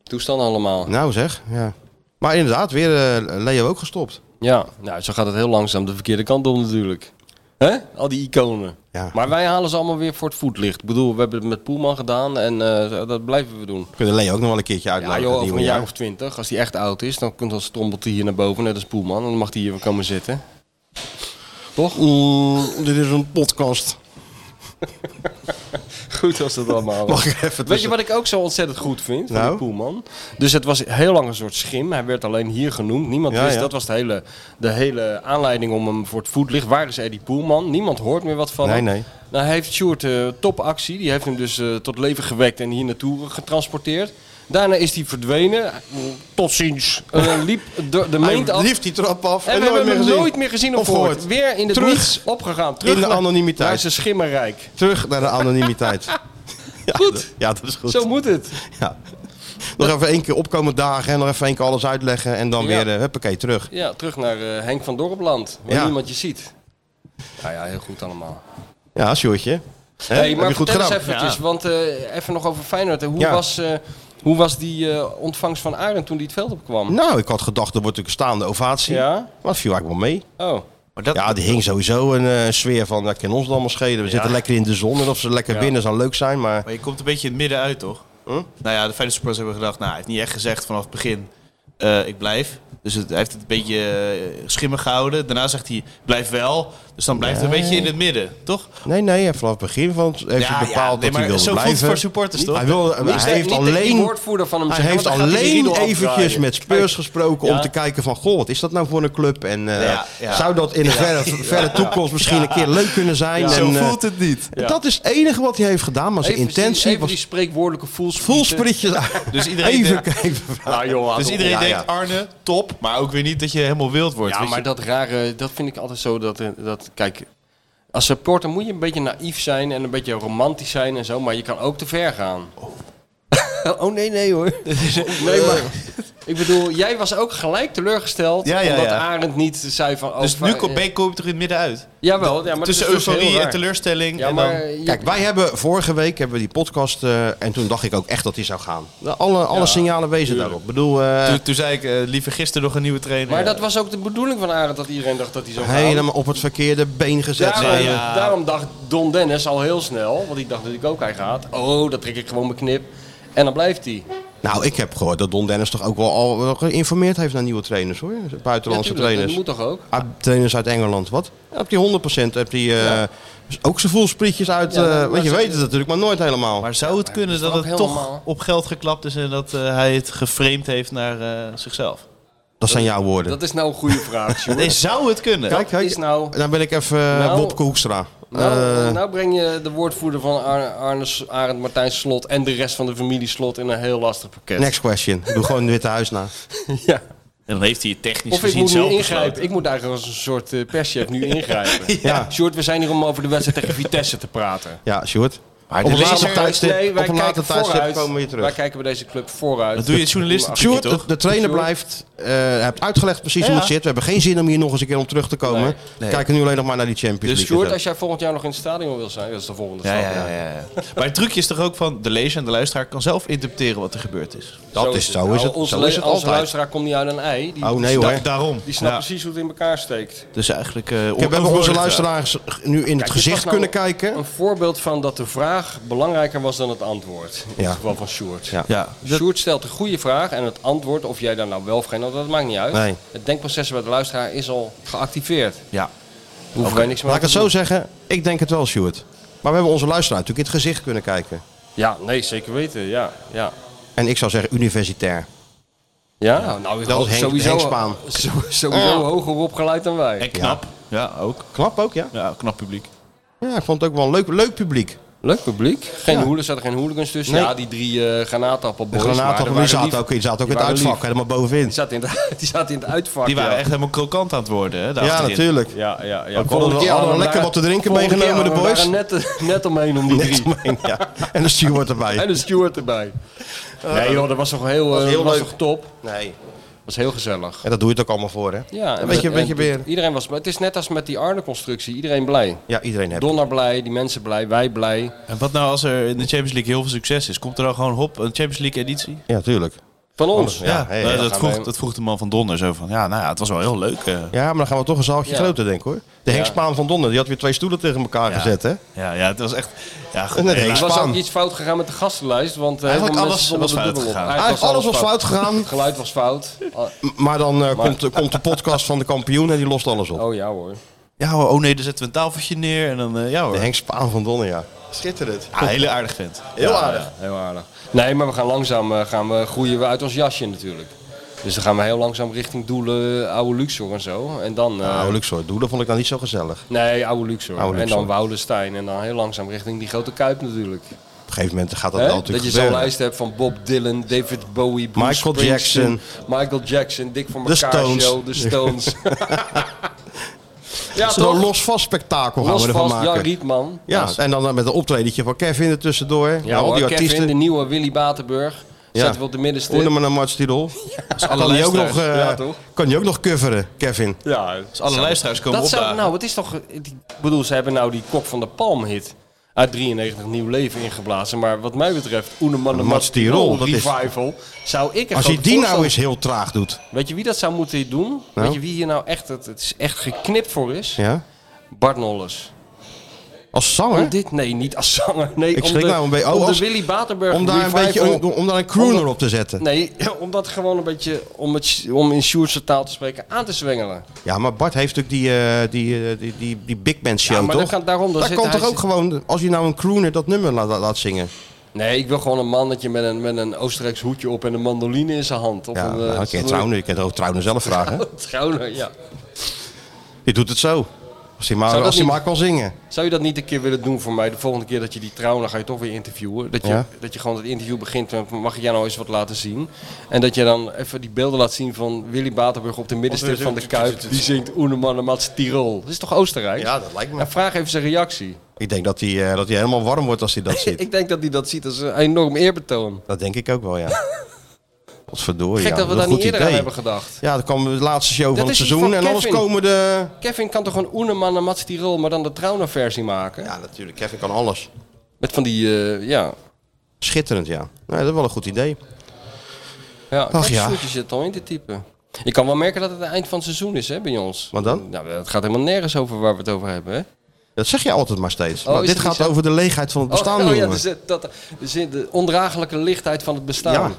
Speaker 7: Toestanden allemaal.
Speaker 6: nou zeg, ja. Maar inderdaad, weer eh, Leo ook gestopt.
Speaker 7: Ja, nou, zo gaat het heel langzaam de verkeerde kant om natuurlijk. Hè? Al die iconen.
Speaker 6: Ja.
Speaker 7: Maar wij halen ze allemaal weer voor het voetlicht. Ik bedoel, we hebben het met Poelman gedaan en eh, dat blijven we doen.
Speaker 6: Kunnen Leo ook nog wel een keertje
Speaker 7: Ja,
Speaker 6: uitleggen.
Speaker 7: joh,
Speaker 6: die
Speaker 7: over een jaar
Speaker 6: jaar.
Speaker 7: of twintig, als hij echt oud is, dan komt dat strompelt hij hier naar boven, net als Poelman. En dan mag hij hier weer komen zitten. Toch?
Speaker 6: dit is een podcast.
Speaker 7: Goed was dat allemaal.
Speaker 6: Mag ik even
Speaker 7: Weet je
Speaker 6: tussen-
Speaker 7: wat ik ook zo ontzettend goed vind van
Speaker 6: Nou?
Speaker 7: die Poelman? Dus het was heel lang een soort schim. Hij werd alleen hier genoemd. Niemand
Speaker 6: Ja,
Speaker 7: wist,
Speaker 6: ja.
Speaker 7: dat was de hele, de hele aanleiding om hem voor het voetlicht. Waar is Eddie Poelman? Niemand hoort meer wat van
Speaker 6: Nee,
Speaker 7: hem.
Speaker 6: nee.
Speaker 7: Nou, hij heeft Sjoerd eh, topactie. Die heeft hem dus eh, tot leven gewekt en hier naartoe getransporteerd. Daarna is hij verdwenen.
Speaker 9: Tot ziens.
Speaker 7: Eh, liep de, de meent
Speaker 6: Hij
Speaker 7: af.
Speaker 6: lief die trap af en,
Speaker 7: En we
Speaker 6: nooit
Speaker 7: hebben
Speaker 6: meer
Speaker 7: hem
Speaker 6: gezien.
Speaker 7: nooit meer gezien of
Speaker 6: Of gehoord.
Speaker 7: gehoord. Weer in het
Speaker 6: Terug.
Speaker 7: niets opgegaan. Terug
Speaker 6: In de
Speaker 7: naar-
Speaker 6: anonimiteit.
Speaker 7: Naar zijn schimmerrijk.
Speaker 6: Terug naar de anonimiteit. ja,
Speaker 7: Goed.
Speaker 6: dat- Ja, dat is goed.
Speaker 7: Zo moet het.
Speaker 6: Ja. Nog even één keer opkomen dagen en nog even één keer alles uitleggen. En dan
Speaker 7: Ja.
Speaker 6: weer, eh, huppakee, terug.
Speaker 7: Ja, terug naar eh, Henk van Dorpland, waar
Speaker 6: Ja.
Speaker 7: niemand je ziet. Nou ja, heel goed allemaal.
Speaker 6: Ja, Sjoerdje. Hè,
Speaker 7: hey,
Speaker 6: heb
Speaker 7: maar
Speaker 6: je goed
Speaker 7: vertel
Speaker 6: gedaan.
Speaker 7: eens eventjes, want eh, even nog over Feyenoord. hè. Hoe,
Speaker 6: Ja.
Speaker 7: was, eh, hoe was die eh, ontvangst van Arend toen die het veld opkwam?
Speaker 6: Nou, ik had gedacht, er wordt een staande ovatie.
Speaker 7: Ja?
Speaker 6: Maar dat viel eigenlijk wel mee.
Speaker 7: Oh,
Speaker 8: Maar dat,
Speaker 6: Ja, die hing sowieso een eh, sfeer van, dat kan ons dan allemaal schelen. We zitten lekker in de zon en of ze lekker binnen zou leuk zijn, maar...
Speaker 8: Maar je komt een beetje in het midden uit, toch? Nou ja, de Feyenoord supporters hebben gedacht, nou, hij heeft niet echt gezegd vanaf het begin, eh, ik blijf. Dus het, hij heeft het een beetje eh, schimmig gehouden. Daarna zegt hij, blijf wel. Dus dan blijft het een beetje in het midden, toch?
Speaker 6: Nee, nee, hij vanaf het begin van, heeft hij bepaald
Speaker 8: nee,
Speaker 6: dat hij wilde
Speaker 8: zo voelt
Speaker 6: blijven.
Speaker 8: het voor supporters, toch?
Speaker 6: Hij, wil,
Speaker 7: Niet
Speaker 6: hij
Speaker 7: de-
Speaker 6: heeft
Speaker 7: niet de
Speaker 6: alleen,
Speaker 7: woordvoerder van hem
Speaker 6: hij
Speaker 7: zeggen,
Speaker 6: heeft
Speaker 7: want dan gaat hij de
Speaker 6: alleen
Speaker 7: riedel
Speaker 6: eventjes
Speaker 7: afdraaien.
Speaker 6: met Spurs gesproken om te kijken van... Goh, wat is dat nou voor een club? En eh,
Speaker 8: Ja, ja.
Speaker 6: zou dat in de verre, verre toekomst misschien een keer leuk kunnen zijn? En,
Speaker 8: Zo
Speaker 6: eh,
Speaker 8: voelt het niet.
Speaker 6: Dat is het enige wat hij heeft gedaan, maar zijn
Speaker 7: Even die,
Speaker 6: intentie
Speaker 7: even die
Speaker 6: was
Speaker 7: spreekwoordelijke voelsprieten.
Speaker 6: vol spritjes uit.
Speaker 8: Dus iedereen,
Speaker 6: Even
Speaker 8: denkt-
Speaker 6: kijken.
Speaker 7: Nou joh,
Speaker 8: dus iedereen
Speaker 6: Ja, ja.
Speaker 8: denkt, Arne, top. Maar ook weer niet dat je helemaal wild wordt.
Speaker 7: Ja,
Speaker 8: weet je.
Speaker 7: maar dat rare, dat vind ik altijd zo. Dat, eh, dat, kijk, als supporter moet je een beetje naïef zijn en een beetje romantisch zijn en zo, maar je kan ook te ver gaan. Oh, nee, nee hoor. nee, maar, ik bedoel, jij was ook gelijk teleurgesteld
Speaker 8: Eh. Ja, ja,
Speaker 7: omdat
Speaker 8: ja.
Speaker 7: Arend niet zei van... Oh,
Speaker 8: Dus nu
Speaker 7: va-
Speaker 8: komt Ben komt er in het midden uit.
Speaker 7: Jawel, ja, maar
Speaker 8: Tussen
Speaker 7: dat is dus heel
Speaker 8: euforie en
Speaker 7: raar.
Speaker 8: teleurstelling.
Speaker 7: Ja,
Speaker 8: en
Speaker 7: maar...
Speaker 8: dan,
Speaker 7: je-
Speaker 6: Kijk, wij hebben vorige week hebben we die podcast eh, en toen dacht ik ook echt dat hij zou gaan. Nou, Alle, alle signalen wezen daarop. Ik bedoel, eh,
Speaker 8: toen, toen zei ik, eh, liever gisteren nog een nieuwe trainer.
Speaker 7: maar dat was ook de bedoeling van Arend, dat iedereen dacht dat hij zo gaan.
Speaker 6: helemaal op het verkeerde been gezet
Speaker 7: Daarom,
Speaker 6: zijn.
Speaker 8: ja.
Speaker 7: daarom dacht Don Dennis al heel snel, want ik dacht natuurlijk ook hij gaat. Oh, dat trek ik gewoon mijn knip. En dan blijft hij.
Speaker 6: Nou, ik heb gehoord dat Don Dennis toch ook wel al wel geïnformeerd heeft naar nieuwe trainers hoor.
Speaker 7: Ja,
Speaker 6: Buitenlandse
Speaker 7: tuurlijk,
Speaker 6: trainers.
Speaker 7: Dat moet toch ook?
Speaker 6: Ah, trainers uit Engeland, wat? Ja, Heb die 100% heb die, eh, ook zijn voelsprietjes uit.
Speaker 7: Ja, nou,
Speaker 6: eh,
Speaker 7: maar
Speaker 6: want je
Speaker 7: ze-
Speaker 6: weet het natuurlijk, maar nooit helemaal.
Speaker 8: Maar zou het kunnen dat,
Speaker 7: dat is
Speaker 8: het
Speaker 7: toch
Speaker 8: toch
Speaker 7: helemaal-
Speaker 8: op geld geklapt is en dat eh, hij het geframed heeft naar eh, zichzelf?
Speaker 6: dat zijn jouw woorden.
Speaker 7: Dat is nou een goede vraag, Sjoerd.
Speaker 8: Nee, zou het kunnen?
Speaker 6: Kijk, kijk.
Speaker 7: is nou-
Speaker 6: Dan ben ik even eh,
Speaker 7: Nou-
Speaker 6: Wopke Hoekstra.
Speaker 7: Nou,
Speaker 6: Eh,
Speaker 7: nou breng je de woordvoerder van Ar Arne S- Arend Martijn Slot en de rest van de familie Slot in een heel lastig pakket.
Speaker 6: next question. Doe gewoon het Witte Huis na.
Speaker 7: Ja.
Speaker 8: En dan heeft hij het technisch
Speaker 7: Of ik
Speaker 8: gezien
Speaker 7: moet nu
Speaker 8: zelf
Speaker 7: ingrijpen.
Speaker 8: besloten.
Speaker 7: Ik moet eigenlijk als een soort eh, perschef nu ingrijpen.
Speaker 6: Ja.
Speaker 7: Sjoerd, we zijn hier om over de wedstrijd tegen Vitesse te praten.
Speaker 6: Ja, Sjoerd. Maar
Speaker 1: Op
Speaker 6: de
Speaker 1: een later
Speaker 6: lezer-
Speaker 1: tijdstip-
Speaker 6: nee,
Speaker 7: wij
Speaker 6: op een later
Speaker 7: kijken
Speaker 6: tijdstip
Speaker 7: vooruit.
Speaker 6: komen we hier
Speaker 7: Wij
Speaker 6: terug.
Speaker 7: kijken bij deze club vooruit.
Speaker 8: Dat doe je als journalist
Speaker 7: Doen we
Speaker 8: natuurlijk
Speaker 6: Sjoerd,
Speaker 8: toch?
Speaker 6: de, de trainer
Speaker 7: Sjoerd.
Speaker 6: blijft. eh, hij heeft uitgelegd precies
Speaker 8: Ja.
Speaker 6: hoe het zit. We hebben geen zin om hier nog eens een keer om terug te komen.
Speaker 7: Nee.
Speaker 6: Kijken nu alleen nog maar naar die Champions
Speaker 7: Dus
Speaker 6: League.
Speaker 7: Sjoerd,
Speaker 6: en
Speaker 7: als
Speaker 6: zo.
Speaker 7: jij volgend jaar nog in het stadion wil zijn, dat is de volgende stap.
Speaker 8: ja, ja. maar het trucje is toch ook van de lezer en de luisteraar kan zelf interpreteren wat er gebeurd is.
Speaker 6: dat is, zo is het,
Speaker 7: Nou, Onze,
Speaker 6: zo is het altijd.
Speaker 7: luisteraar komt niet uit een ei. Die,
Speaker 6: Oh nee
Speaker 8: Da-
Speaker 6: hoor.
Speaker 8: daarom.
Speaker 7: die snapt
Speaker 8: Ja.
Speaker 7: precies hoe het in elkaar steekt.
Speaker 8: Dus eigenlijk... eh, on-
Speaker 6: Kijk, we hebben onze
Speaker 8: onvoorlicht,
Speaker 6: luisteraars nu in het
Speaker 7: Kijk, dit
Speaker 6: gezicht
Speaker 7: was nou
Speaker 6: kunnen kijken.
Speaker 7: Een voorbeeld van dat de vraag belangrijker was dan het antwoord. In
Speaker 6: Ja.
Speaker 7: het geval van Sjoerd. Dus
Speaker 6: Ja.
Speaker 8: Ja, dat-
Speaker 7: Sjoerd stelt een goede vraag en het antwoord, of jij daar nou wel of geen antwoord, dat maakt niet uit.
Speaker 6: Nee.
Speaker 7: Het denkproces bij de luisteraar is al geactiveerd.
Speaker 8: ja.
Speaker 7: Daar Hoeven wij niks meer
Speaker 6: Laat
Speaker 7: aan
Speaker 6: ik het
Speaker 7: te
Speaker 6: zo
Speaker 7: doen.
Speaker 6: zeggen. Ik denk het wel, Sjoerd. Maar we hebben onze luisteraar natuurlijk in het gezicht kunnen kijken.
Speaker 7: Ja, nee, zeker weten. Ja, ja.
Speaker 6: En ik zou zeggen universitair.
Speaker 7: Ja, nou,
Speaker 6: Dat was Henk-
Speaker 7: sowieso,
Speaker 6: Henk Spaan.
Speaker 7: so- sowieso hoger opgeleid dan wij.
Speaker 8: En eh, knap. Ja, ook.
Speaker 6: Knap ook, ja?
Speaker 8: Ja, knap publiek.
Speaker 6: Ja, ik vond het ook wel een leuk, leuk publiek.
Speaker 7: Leuk publiek. Geen ja. hoelen, zaten geen hooligans tussen.
Speaker 6: Nee.
Speaker 7: Ja, die drie eh
Speaker 6: De
Speaker 7: granaatappelboys.
Speaker 6: granaten die zaten ook, die zaten ook in het uitvak,
Speaker 7: Die
Speaker 6: helemaal bovenin.
Speaker 7: zaten in, het- die zaten in het uitvak.
Speaker 8: Die waren
Speaker 7: ja.
Speaker 8: echt helemaal krokant aan het worden. Hè, daar
Speaker 6: Ja,
Speaker 8: achterin.
Speaker 6: natuurlijk.
Speaker 7: Ja, ja, ja.
Speaker 6: Ook hadden we- hadden we lekker wat te drinken meegenomen, de boys.
Speaker 7: We waren net, eh, net omheen om die drie.
Speaker 6: Net, ja. En de steward
Speaker 7: En
Speaker 6: erbij.
Speaker 7: de steward erbij. nee joh, dat was toch heel, eh,
Speaker 6: heel
Speaker 7: dat was
Speaker 6: leuk.
Speaker 7: toch top.
Speaker 6: Nee.
Speaker 7: Dat was heel gezellig.
Speaker 6: En dat doe je het ook allemaal voor, hè?
Speaker 7: Ja, en
Speaker 6: een beetje,
Speaker 7: en-
Speaker 6: een beetje weer.
Speaker 7: Iedereen was blij. Het is net als met die Arne-constructie. Iedereen blij.
Speaker 6: Ja, iedereen heeft.
Speaker 7: Donner blij, die mensen blij, wij blij.
Speaker 8: En wat nou als er in de Champions League heel veel succes is? Komt er dan gewoon hop, een Champions League editie?
Speaker 6: Ja, tuurlijk.
Speaker 7: Van ons.
Speaker 6: Ja, hey,
Speaker 8: Nou,
Speaker 6: ja,
Speaker 8: dat,
Speaker 7: gaan
Speaker 8: vroeg,
Speaker 7: wij-
Speaker 8: dat vroeg de man van Donner zo van, ja, nou ja, het was wel heel leuk. eh.
Speaker 6: Ja, maar dan gaan we toch een zaaltje
Speaker 7: Ja.
Speaker 6: groter, denk ik hoor. De Henk
Speaker 7: Ja.
Speaker 6: Spaan van Donner, die had weer twee stoelen tegen elkaar
Speaker 8: Ja.
Speaker 6: gezet, hè?
Speaker 8: Ja, ja, het was echt... Ja, goed,
Speaker 6: En dat
Speaker 8: eh,
Speaker 6: deed
Speaker 7: Er
Speaker 8: laat-
Speaker 7: was
Speaker 6: Spaan.
Speaker 7: ook iets fout gegaan met de gastenlijst. Want eh,
Speaker 6: Eigenlijk
Speaker 7: heel veel
Speaker 6: alles
Speaker 7: mensen stonden
Speaker 8: was
Speaker 7: er
Speaker 8: fout
Speaker 7: dubbel op.
Speaker 8: gegaan.
Speaker 6: Eigenlijk alles was fout gegaan.
Speaker 7: Het geluid was fout. Ah,
Speaker 6: M- Maar dan eh, Komt, de, komt de podcast van de kampioen en die lost alles op.
Speaker 7: Oh ja hoor.
Speaker 8: ja hoor, oh nee, daar zetten we een tafeltje neer en dan... eh, ja hoor.
Speaker 6: De Henk Spaan van Donner, ja. Schitterend.
Speaker 8: Ja, hele aardig vent.
Speaker 6: Heel aardig.
Speaker 7: Ja, heel aardig. Nee, maar we gaan langzaam eh, gaan we, groeien we uit ons jasje natuurlijk. Dus dan gaan we heel langzaam richting doelen, eh, oude Luxor en zo. En dan... eh,
Speaker 6: Nou, Luxor, doe dat vond ik dan niet zo gezellig.
Speaker 7: Nee, oude Luxor.
Speaker 6: Oude
Speaker 7: En
Speaker 6: Luxor.
Speaker 7: dan Woudenstein. En dan heel langzaam richting die grote Kuip natuurlijk.
Speaker 6: Op een gegeven moment gaat dat
Speaker 7: Hè?
Speaker 6: wel
Speaker 7: Dat,
Speaker 6: natuurlijk
Speaker 7: je zo'n
Speaker 6: gebeuren.
Speaker 7: lijst hebt van Bob Dylan, David Bowie, Bruce
Speaker 6: Michael
Speaker 7: Springsteen,
Speaker 6: Jackson.
Speaker 7: Michael Jackson, Dick van
Speaker 6: De
Speaker 7: elkaar
Speaker 6: Stones.
Speaker 7: Show, de Stones. ja,
Speaker 6: Zo'n
Speaker 7: toch?
Speaker 6: los-vast spektakel gaan
Speaker 7: Los
Speaker 6: we ervan
Speaker 7: vast, Jan
Speaker 6: maken.
Speaker 7: Rietman.
Speaker 6: Ja,
Speaker 7: Als-
Speaker 6: en dan eh, met een optredentje van Kevin er tussendoor.
Speaker 7: ja,
Speaker 6: al die
Speaker 7: hoor, Kevin,
Speaker 6: artiesten.
Speaker 7: de nieuwe Willy Batenburg.
Speaker 6: Ja.
Speaker 7: Zetten we op de middenstip.
Speaker 6: Hoe maar naar Mats Tidal. kan, die ook nog, eh,
Speaker 7: Ja, toch?
Speaker 6: kan die ook nog coveren, Kevin.
Speaker 7: Ja,
Speaker 8: Dus alle luisteraars komen
Speaker 7: dat zou,
Speaker 8: opdagen.
Speaker 7: nou, het is toch, ik bedoel, ze hebben nou die kop van de palm hit uit 93 nieuw leven ingeblazen. Maar wat mij betreft, Oeneman
Speaker 6: Mats Tirol, dat is-
Speaker 7: revival, zou ik een
Speaker 6: Als
Speaker 7: grote
Speaker 6: hij die nou
Speaker 7: voorstander-
Speaker 6: eens heel traag doet.
Speaker 7: Weet je wie dat zou moeten doen? Weet je wie hier nou echt, het, het is echt geknipt voor is?
Speaker 6: Ja?
Speaker 7: Bart Nolles.
Speaker 6: Als zanger?
Speaker 7: Om dit, nee, niet als zanger. Nee,
Speaker 6: Ik
Speaker 7: om
Speaker 6: schrik
Speaker 7: de,
Speaker 6: nou een beetje- oh,
Speaker 7: om de
Speaker 6: als-
Speaker 7: Willy Batenburg
Speaker 6: Om daar een
Speaker 7: revival-
Speaker 6: beetje een, om daar een crooner
Speaker 7: Om-
Speaker 6: op te zetten.
Speaker 7: Nee, om dat gewoon een beetje, om, het, om in Sjoerdse taal te spreken, aan te zwengelen.
Speaker 6: Ja, maar Bart heeft natuurlijk die, eh, die, eh, die, die, die big band show,
Speaker 7: Ja, maar
Speaker 6: toch?
Speaker 7: dat kan- daarom, dan
Speaker 6: dat
Speaker 7: zit
Speaker 6: kan
Speaker 7: hij-
Speaker 6: toch ook gewoon, als je nou een crooner dat nummer laat, laat zingen.
Speaker 7: Nee, ik wil gewoon een mannetje met een, met een Oostenrijks hoedje op en een mandoline in zijn hand. Of
Speaker 6: Ja,
Speaker 7: een,
Speaker 6: nou,
Speaker 7: eh,
Speaker 6: oké, Trouwner, je kunt ook Trouwner zelf vragen.
Speaker 7: Trouwner, ja.
Speaker 6: Die doet het zo. Als hij maar,
Speaker 7: Zou dat
Speaker 6: als hij
Speaker 7: niet-
Speaker 6: maar kan zingen.
Speaker 7: Zou je dat niet een keer willen doen voor mij? De volgende keer dat je die Trouwner ga je toch weer interviewen. Dat je,
Speaker 6: Ja.
Speaker 7: dat je gewoon het interview begint met mag ik jou nou eens wat laten zien? En dat je dan even die beelden laat zien van Willy Batenburg op de middenstip van de Kuip. Die zingt Oeneman en Mats Tirol. Dat is toch Oostenrijk?
Speaker 6: dat lijkt
Speaker 7: En vraag even zijn reactie.
Speaker 6: Ik denk dat hij, eh, dat hij helemaal warm wordt als hij dat ziet.
Speaker 7: Ik denk dat hij dat ziet als een enorm eerbetoon.
Speaker 6: Dat denk ik ook wel, ja. Wat verdorie,
Speaker 7: Gek
Speaker 6: ja.
Speaker 7: dat we
Speaker 6: Wat
Speaker 7: daar
Speaker 6: een
Speaker 7: niet
Speaker 6: goed
Speaker 7: eerder aan
Speaker 6: idee.
Speaker 7: hebben gedacht.
Speaker 6: Ja, dan kwam de laatste show van
Speaker 7: is
Speaker 6: het
Speaker 7: iets
Speaker 6: seizoen.
Speaker 7: van
Speaker 6: en anders
Speaker 7: Kevin.
Speaker 6: komen de...
Speaker 7: Kevin kan toch gewoon Oeneman en Mats Tirol, maar dan de Trouwner versie maken?
Speaker 6: Ja, natuurlijk. Kevin kan alles.
Speaker 7: Met van die, eh, ja.
Speaker 6: Schitterend, ja. Nee, dat is wel een goed idee.
Speaker 7: ja
Speaker 6: Ach, ja.
Speaker 7: Je zit al in te typen. Je kan wel merken dat het het eind van het seizoen is hè, bij ons.
Speaker 6: Wat dan?
Speaker 7: Nou, het gaat helemaal nergens over waar we het over hebben. Hè?
Speaker 6: Dat zeg je altijd maar steeds.
Speaker 7: Oh,
Speaker 6: maar
Speaker 7: is
Speaker 6: dit
Speaker 7: dat niet
Speaker 6: gaat
Speaker 7: zo?
Speaker 6: over de leegheid van het bestaan,
Speaker 7: oh, oh ja,
Speaker 6: jongen.
Speaker 7: dus het- dat, dus de ondraaglijke lichtheid van het bestaan.
Speaker 6: Ja.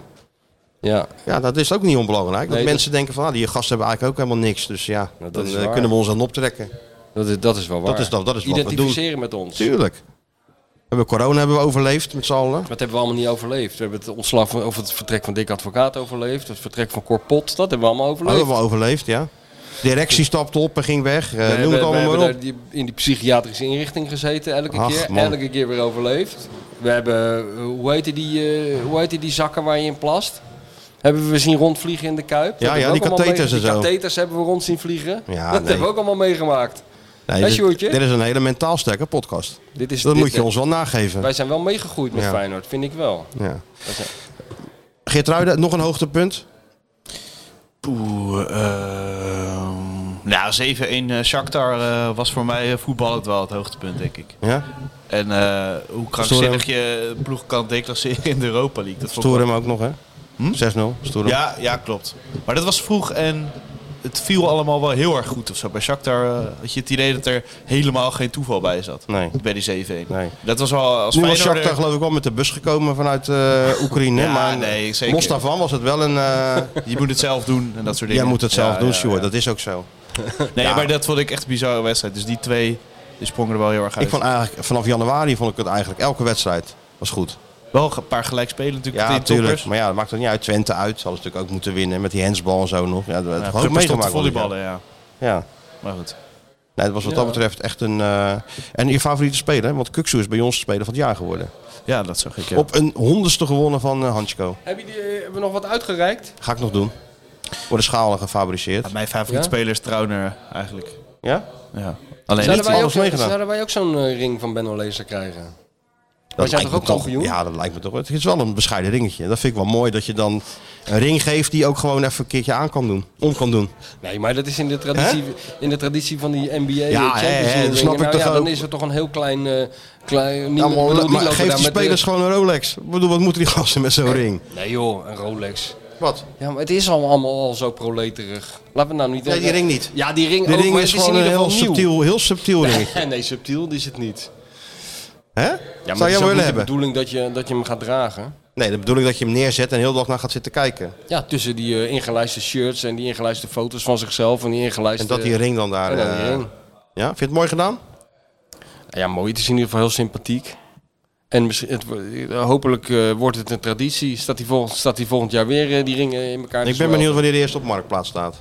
Speaker 7: Ja,
Speaker 6: Ja, dat is ook niet onbelangrijk.
Speaker 7: Nee,
Speaker 6: dat
Speaker 7: dat- Nou,
Speaker 6: mensen denken van, ah, die gasten hebben eigenlijk ook helemaal niks. Dus ja,
Speaker 7: dat
Speaker 6: dan
Speaker 7: is
Speaker 6: eh,
Speaker 7: waar.
Speaker 6: kunnen we ons aan optrekken.
Speaker 7: dat, is, dat is wel waar.
Speaker 6: is dan- dat is wat we doen.
Speaker 7: Identificeren met ons.
Speaker 6: Tuurlijk. We hebben corona hebben we overleefd met z'n allen.
Speaker 7: Dat hebben we allemaal niet overleefd. We hebben het ontslag van, of het vertrek van Dick Advocaat overleefd. Het vertrek van Corpot, dat hebben we allemaal
Speaker 6: Dat
Speaker 7: overleefd.
Speaker 6: hebben we overleefd, ja. Directie stapte op en ging weg. Eh,
Speaker 7: We
Speaker 6: noem
Speaker 7: hebben-
Speaker 6: het
Speaker 7: we
Speaker 6: allemaal
Speaker 7: hebben
Speaker 6: maar op.
Speaker 7: daar die- in die psychiatrische inrichting gezeten elke
Speaker 6: Ach,
Speaker 7: keer.
Speaker 6: man.
Speaker 7: Elke keer weer overleefd. We hebben, eh, hoe heette die, eh, hoe heette die zakken waar je in plast? Hebben we zien rondvliegen in de Kuip. Dat
Speaker 6: Ja,
Speaker 7: hebben
Speaker 6: ja,
Speaker 7: we ook
Speaker 6: die
Speaker 7: allemaal
Speaker 6: katheters
Speaker 7: meege-
Speaker 6: en zo.
Speaker 7: Die katheters hebben we rond zien vliegen.
Speaker 6: Ja,
Speaker 7: dat
Speaker 6: nee.
Speaker 7: hebben we ook allemaal meegemaakt.
Speaker 6: Nee,
Speaker 7: Hè,
Speaker 6: dit,
Speaker 7: Sjoerdje?
Speaker 6: dit is een hele mentaal sterke podcast.
Speaker 7: Dit is
Speaker 6: Dat
Speaker 7: dit-
Speaker 6: moet je ons wel nageven.
Speaker 7: Wij zijn wel meegegroeid met
Speaker 6: Ja.
Speaker 7: Feyenoord, vind ik wel.
Speaker 6: Ja.
Speaker 7: Wij zijn-
Speaker 6: Geertruiden, nog een hoogtepunt?
Speaker 8: Poeh, ehm, nou, 7-1 eh, Shakhtar eh, was voor mij eh, voetballend wel het hoogtepunt, denk ik.
Speaker 6: Ja?
Speaker 8: En eh, hoe krankzinnig je ploeg kan declasseren in de Europa League. Dat vond ik
Speaker 6: Stoer hem ook nog, hè?
Speaker 7: Hm?
Speaker 6: 6-0. Stoer
Speaker 8: wel- Ja, ja, klopt. Maar dat was vroeg en het viel allemaal wel heel erg goed of zo. Bij Shakhtar eh, had je het idee dat er helemaal geen toeval bij zat.
Speaker 6: Nee.
Speaker 8: Bij die 7-1.
Speaker 6: Nee.
Speaker 8: Dat was wel als
Speaker 6: Nu was
Speaker 8: Feyenoorder-
Speaker 7: eh,
Speaker 6: Shakhtar geloof ik wel met de bus gekomen vanuit eh, Oekraïne.
Speaker 8: Ja,
Speaker 6: maar
Speaker 8: nee, zeker.
Speaker 6: los daarvan was het wel een... eh,
Speaker 8: Je moet het zelf doen en dat soort dingen.
Speaker 6: jij moet het zelf
Speaker 8: Ja,
Speaker 6: doen,
Speaker 8: ja,
Speaker 6: Sjoerd.
Speaker 8: ja.
Speaker 6: Dat is ook zo.
Speaker 8: Nee, maar dat vond ik echt een bizarre wedstrijd. Dus die twee die sprongen er wel heel erg uit.
Speaker 6: Ik vond eigenlijk, vanaf januari vond ik het eigenlijk elke wedstrijd was goed.
Speaker 8: Wel een paar gelijkspelen natuurlijk. met
Speaker 6: Ja,
Speaker 8: die
Speaker 6: natuurlijk.
Speaker 8: toppers.
Speaker 6: Maar ja, dat maakt het niet uit. Twente uit. Ze hadden natuurlijk ook moeten winnen met die handsbal en zo nog. Ja, dat
Speaker 8: Ja, Prupper
Speaker 6: had ook
Speaker 8: stond te
Speaker 6: meegemaakt. worden.
Speaker 8: volleyballen, ja.
Speaker 6: Ja.
Speaker 8: Maar goed.
Speaker 6: Nee, dat was wat dat betreft echt een... eh, en je favoriete speler, hè? want Kuksu is bij ons speler van het jaar geworden.
Speaker 8: Ja, dat zag ik. Ja.
Speaker 6: Op een honderdste gewonnen van eh Hansko.
Speaker 7: Heb je die, eh, hebben we nog wat uitgereikt?
Speaker 6: Ga ik nog doen. Worden schalen gefabriceerd.
Speaker 8: Ja, mijn favoriete
Speaker 7: Ja?
Speaker 8: speler is Trauner eigenlijk.
Speaker 6: Ja?
Speaker 8: Ja. Alleen
Speaker 6: Zijn
Speaker 7: Zouden
Speaker 6: heeft
Speaker 7: wij, ook,
Speaker 6: alles meegedaan.
Speaker 7: zouden wij ook zo'n eh, ring van Benno Lezer krijgen?
Speaker 6: Dat
Speaker 7: zijn
Speaker 6: lijkt
Speaker 7: toch
Speaker 6: me
Speaker 7: ook kampioen?
Speaker 6: Ja, dat lijkt me toch. wel. Het is wel een bescheiden ringetje. Dat vind ik wel mooi dat je dan een ring geeft die ook gewoon even een keertje aan kan doen. Om kan doen.
Speaker 7: Nee, maar dat is in de traditie, in de traditie van die NBA
Speaker 6: hè,
Speaker 7: Champions
Speaker 6: hè,
Speaker 7: League.
Speaker 6: dat
Speaker 7: ringen.
Speaker 6: snap ik
Speaker 7: nou,
Speaker 6: toch
Speaker 7: ja,
Speaker 6: ook.
Speaker 7: Dan is er toch een heel klein... eh klein
Speaker 6: Ja, maar,
Speaker 7: bedoel, die
Speaker 6: maar
Speaker 7: lopen
Speaker 6: geef
Speaker 7: daar
Speaker 6: die
Speaker 7: met de-
Speaker 6: spelers gewoon een Rolex. Ik bedoel, wat moeten die gasten met zo'n ring?
Speaker 7: Nee joh, een Rolex.
Speaker 6: Wat?
Speaker 7: Ja, maar het is al- allemaal al zo proleterig. Laten we nou niet...
Speaker 6: Nee, die ring niet.
Speaker 7: Ja, die ring
Speaker 6: Die
Speaker 7: ook,
Speaker 6: ring
Speaker 7: maar
Speaker 6: is
Speaker 7: het is in
Speaker 6: gewoon een
Speaker 7: ieder
Speaker 6: heel
Speaker 7: geval nieuw.
Speaker 6: subtiel, heel subtiel ringetje.
Speaker 7: nee, subtiel is het niet.
Speaker 6: Hè?
Speaker 7: Ja, maar
Speaker 6: Zou
Speaker 7: het is
Speaker 6: jij
Speaker 7: ook
Speaker 6: willen
Speaker 7: niet de
Speaker 6: hebben?
Speaker 7: bedoeling dat je, dat je hem gaat dragen.
Speaker 6: Nee, dat bedoel ik dat je hem neerzet en heel de dag naar gaat zitten kijken.
Speaker 7: Ja, tussen die eh, ingelijste shirts en die ingelijste foto's van zichzelf en die ingelijste...
Speaker 6: En dat die ring dan daar...
Speaker 7: en dan die
Speaker 6: eh,
Speaker 7: ring.
Speaker 6: Ja, vind je het mooi gedaan?
Speaker 7: Ja, mooi. Het is in ieder geval heel sympathiek. En misschien, het, wo- eh, hopelijk eh, wordt het een traditie. Staat die, volgend, staat die volgend jaar weer eh, die ringen in elkaar te
Speaker 6: Ik ben
Speaker 7: zwelgen?
Speaker 6: benieuwd wanneer de eerste op marktplaats staat.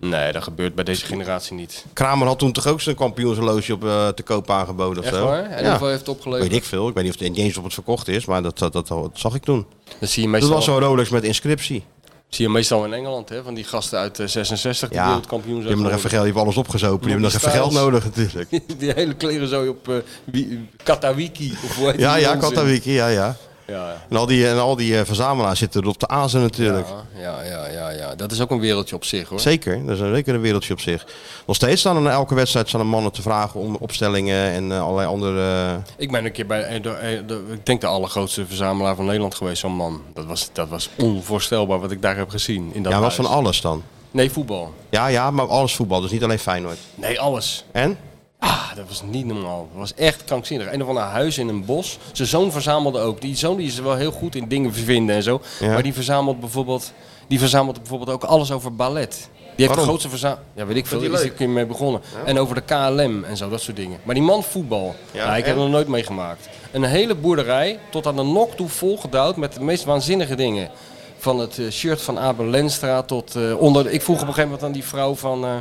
Speaker 7: Nee, dat gebeurt bij deze generatie niet.
Speaker 6: Kramer had toen toch ook zijn kampioenshorloge op eh, te koop aangeboden of
Speaker 7: Echt
Speaker 6: zo.
Speaker 7: waar? En
Speaker 6: Ja.
Speaker 7: hoeveel heeft het opgeleverd?
Speaker 6: Weet ik veel. Ik weet niet of het niet eens op het verkocht is, maar dat, dat, dat, dat zag ik toen.
Speaker 7: Dat zie je
Speaker 6: Dat
Speaker 7: meestal,
Speaker 6: was zo'n Rolex met inscriptie.
Speaker 7: zie je meestal in Engeland, hè? Van die gasten uit eh, 66 die
Speaker 6: Ja,
Speaker 7: wereldkampioen
Speaker 6: Die
Speaker 7: zijn
Speaker 6: hebben nog even
Speaker 7: geworden.
Speaker 6: geld, die hebben alles opgezopen. Die hebben nog even
Speaker 7: Styles.
Speaker 6: geld nodig natuurlijk.
Speaker 7: Die hele kleren zo op eh, wie- Katawiki. Of hoe heet
Speaker 6: Ja,
Speaker 7: die
Speaker 6: ja,
Speaker 7: onzin?
Speaker 6: Katawiki, ja, ja.
Speaker 7: Ja,
Speaker 6: En al die, en al die eh, verzamelaars zitten er op de azen natuurlijk.
Speaker 7: ja, ja, ja, ja, ja. Dat is ook een wereldje op zich, hoor.
Speaker 6: Zeker, dat is een- zeker een wereldje op zich. Nog steeds staan er na elke wedstrijd staan er mannen te vragen om opstellingen en eh, allerlei andere... eh,
Speaker 7: Ik ben een keer bij, eh, door- eh, door- ik denk de allergrootste verzamelaar van Nederland geweest, zo'n man. Dat was, dat was onvoorstelbaar wat ik daar heb gezien. In dat
Speaker 6: ja, was
Speaker 7: huis.
Speaker 6: van alles dan.
Speaker 7: Nee, voetbal.
Speaker 6: Ja, ja, maar alles voetbal, dus niet alleen Feyenoord.
Speaker 7: Nee, alles.
Speaker 6: En?
Speaker 7: Ah, dat was niet normaal. Dat was echt krankzinnig. Een of ander huis in een bos. Zijn zoon verzamelde ook. Die zoon die is wel heel goed in dingen vinden en zo.
Speaker 6: Ja.
Speaker 7: Maar die verzamelt, bijvoorbeeld, die verzamelt bijvoorbeeld ook alles over ballet. Die heeft
Speaker 6: Waarom?
Speaker 7: de grootste verzameling. Ja, weet ik veel. Daar is ik mee begonnen. En over de KLM en zo, dat soort dingen. Maar die man voetbal. Ja,
Speaker 6: Ja,
Speaker 7: ik heb
Speaker 6: en?
Speaker 7: nog nooit meegemaakt. Een hele boerderij tot aan de nok toe volgedouwd met de meest waanzinnige dingen. Van het eh, shirt van Abel Lenstra tot eh, onder. Ik vroeg op een gegeven moment aan die vrouw van. eh,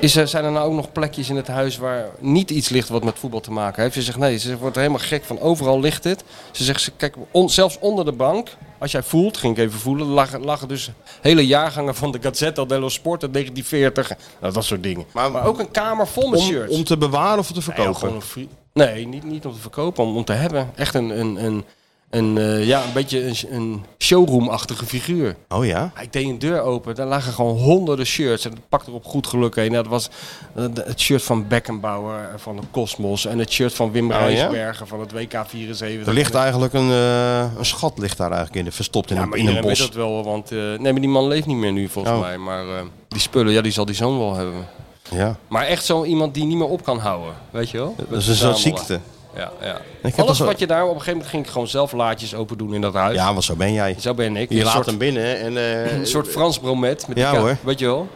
Speaker 7: is er, zijn er nou ook nog plekjes in het huis waar niet iets ligt wat met voetbal te maken heeft? Ze zegt nee, ze wordt er helemaal gek van. Overal ligt het. Ze zegt, ze- kijk, on- zelfs onder de bank, als jij voelt, ging ik even voelen, lagen, lagen dus hele jaargangen van de Gazzetta dello Sport uit 1940. Nou, dat soort dingen. Maar,
Speaker 6: Maar-
Speaker 7: ook een kamer vol met
Speaker 6: Om,
Speaker 7: shirts.
Speaker 6: om te bewaren of te
Speaker 7: Nee, joh,
Speaker 6: verkopen?
Speaker 7: gewoon een free- nee niet, niet om te verkopen, om, om te hebben. Echt een, een, een, een, eh, ja, een beetje een, een showroom-achtige figuur.
Speaker 6: Oh ja?
Speaker 7: Ik deed een deur open, daar lagen gewoon honderden shirts. En dat pakte er op goed geluk heen. Dat was eh, de- het shirt van Beckenbauer, eh, van de Cosmos. En het shirt van Wim
Speaker 6: Oh, ja?
Speaker 7: Rijsbergen van het WK74.
Speaker 6: Er ligt eigenlijk een, eh, een schat ligt daar eigenlijk in, de- verstopt in,
Speaker 7: ja,
Speaker 6: een,
Speaker 7: maar
Speaker 6: in een
Speaker 7: iedereen weet
Speaker 6: bos.
Speaker 7: dat wel, want... eh, nee, maar die man leeft niet meer nu volgens
Speaker 6: Oh.
Speaker 7: mij. Maar eh, die spullen, ja, die zal die zoon wel hebben.
Speaker 6: Ja,
Speaker 7: Maar echt zo iemand die niet meer op kan houden, weet je wel?
Speaker 6: dat is een soort
Speaker 7: verzamelen.
Speaker 6: ziekte.
Speaker 7: Ja, ja.
Speaker 6: heb dat
Speaker 7: Alles
Speaker 6: zo-
Speaker 7: wat je daar... Op een gegeven moment ging ik gewoon zelf laadjes open doen in dat huis.
Speaker 6: Ja, want zo ben jij.
Speaker 7: Zo ben ik.
Speaker 6: Je
Speaker 7: een,
Speaker 6: laat
Speaker 7: soort,
Speaker 6: hem binnen en... eh,
Speaker 7: een soort Frans bromet. Met
Speaker 6: Ja,
Speaker 7: die ka-
Speaker 6: hoor.
Speaker 7: Weet je wel?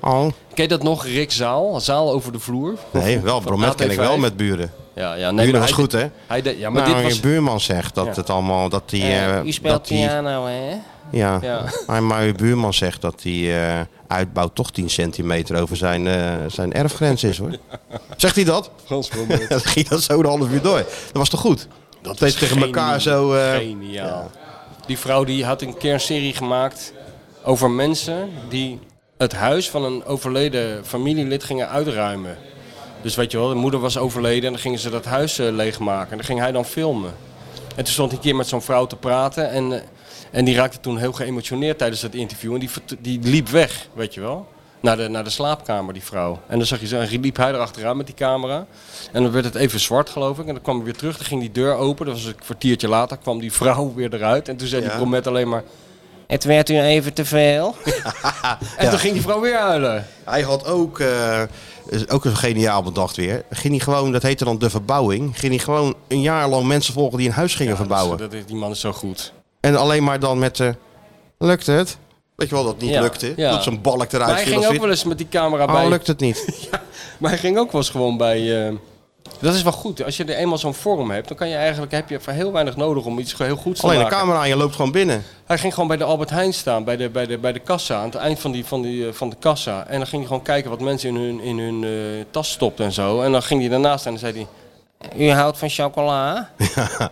Speaker 6: Oh.
Speaker 7: Ken je dat nog, Rick Zaal? Zaal over de vloer?
Speaker 6: Nee, wel, Bromet ken ik wel
Speaker 7: AT5.
Speaker 6: met buren.
Speaker 7: Ja, ja. Nee,
Speaker 6: Buren
Speaker 7: maar
Speaker 6: was
Speaker 7: hij
Speaker 6: goed,
Speaker 7: deed-
Speaker 6: hè?
Speaker 7: Hij deed, ja, maar
Speaker 6: Maar nou,
Speaker 7: dit was...
Speaker 6: je buurman zegt dat
Speaker 7: Ja.
Speaker 6: het allemaal, dat die... eh, dat die,
Speaker 7: piano, hè?
Speaker 6: Ja,
Speaker 7: Ja.
Speaker 6: Maar, maar uw buurman zegt dat die eh, uitbouw toch 10 centimeter over zijn, eh, zijn erfgrens is, hoor. Zegt hij dat?
Speaker 7: Frans
Speaker 6: Dan ging dat zo de half uur door. Dat was toch goed? Dat steeds tegen elkaar zo... eh,
Speaker 7: Geniaal. Die vrouw die had een keer een serie gemaakt over mensen die het huis van een overleden familielid gingen uitruimen. Dus weet je wel, de moeder was overleden en dan gingen ze dat huis eh, leegmaken. En dan ging hij dan filmen. En toen stond hij een keer met zo'n vrouw te praten. En, eh, en die raakte toen heel geëmotioneerd tijdens dat interview. En die, vert- die liep weg, weet je wel. Naar de, naar de slaapkamer, die vrouw. En dan zag je zo, en liep hij erachteraan met die camera. En dan werd het even zwart, geloof ik. En dan kwam hij weer terug, dan ging die deur open. Dat was een kwartiertje later, kwam die vrouw weer eruit. En toen zei die bromet alleen maar... Het werd u even te veel. en toen ging die vrouw weer huilen.
Speaker 6: Hij had ook, eh, is ook een geniaal bedacht weer. Ging hij gewoon, dat heette dan de verbouwing. Ging hij gewoon een jaar lang mensen volgen die een huis gingen verbouwen.
Speaker 7: Dus, eh, Dat, is- die man is zo goed.
Speaker 6: En alleen maar dan met, eh lukt het? Weet je wel dat het niet
Speaker 7: Ja,
Speaker 6: lukte?
Speaker 7: ja.
Speaker 6: Dat zo'n balk
Speaker 7: Maar
Speaker 6: eruit
Speaker 7: hij
Speaker 6: viel
Speaker 7: ging
Speaker 6: of
Speaker 7: ook wel
Speaker 6: zoiets.
Speaker 7: eens met die camera bij.
Speaker 6: Oh, lukt het niet.
Speaker 7: Maar hij ging ook wel eens gewoon bij. eh, dat is wel goed. Als je er eenmaal zo'n forum hebt, dan kan je eigenlijk, heb je voor heel weinig nodig om iets heel goeds te
Speaker 6: Alleen de
Speaker 7: maken.
Speaker 6: camera en je loopt gewoon binnen.
Speaker 7: Hij ging gewoon bij de Albert Heijn staan, bij de, bij de, bij de kassa, aan het eind van, die, van, die, eh, van de kassa. En dan ging hij gewoon kijken wat mensen in hun, in hun eh, tas stopten en zo. En dan ging hij daarnaast staan en dan zei hij... U houdt van chocola?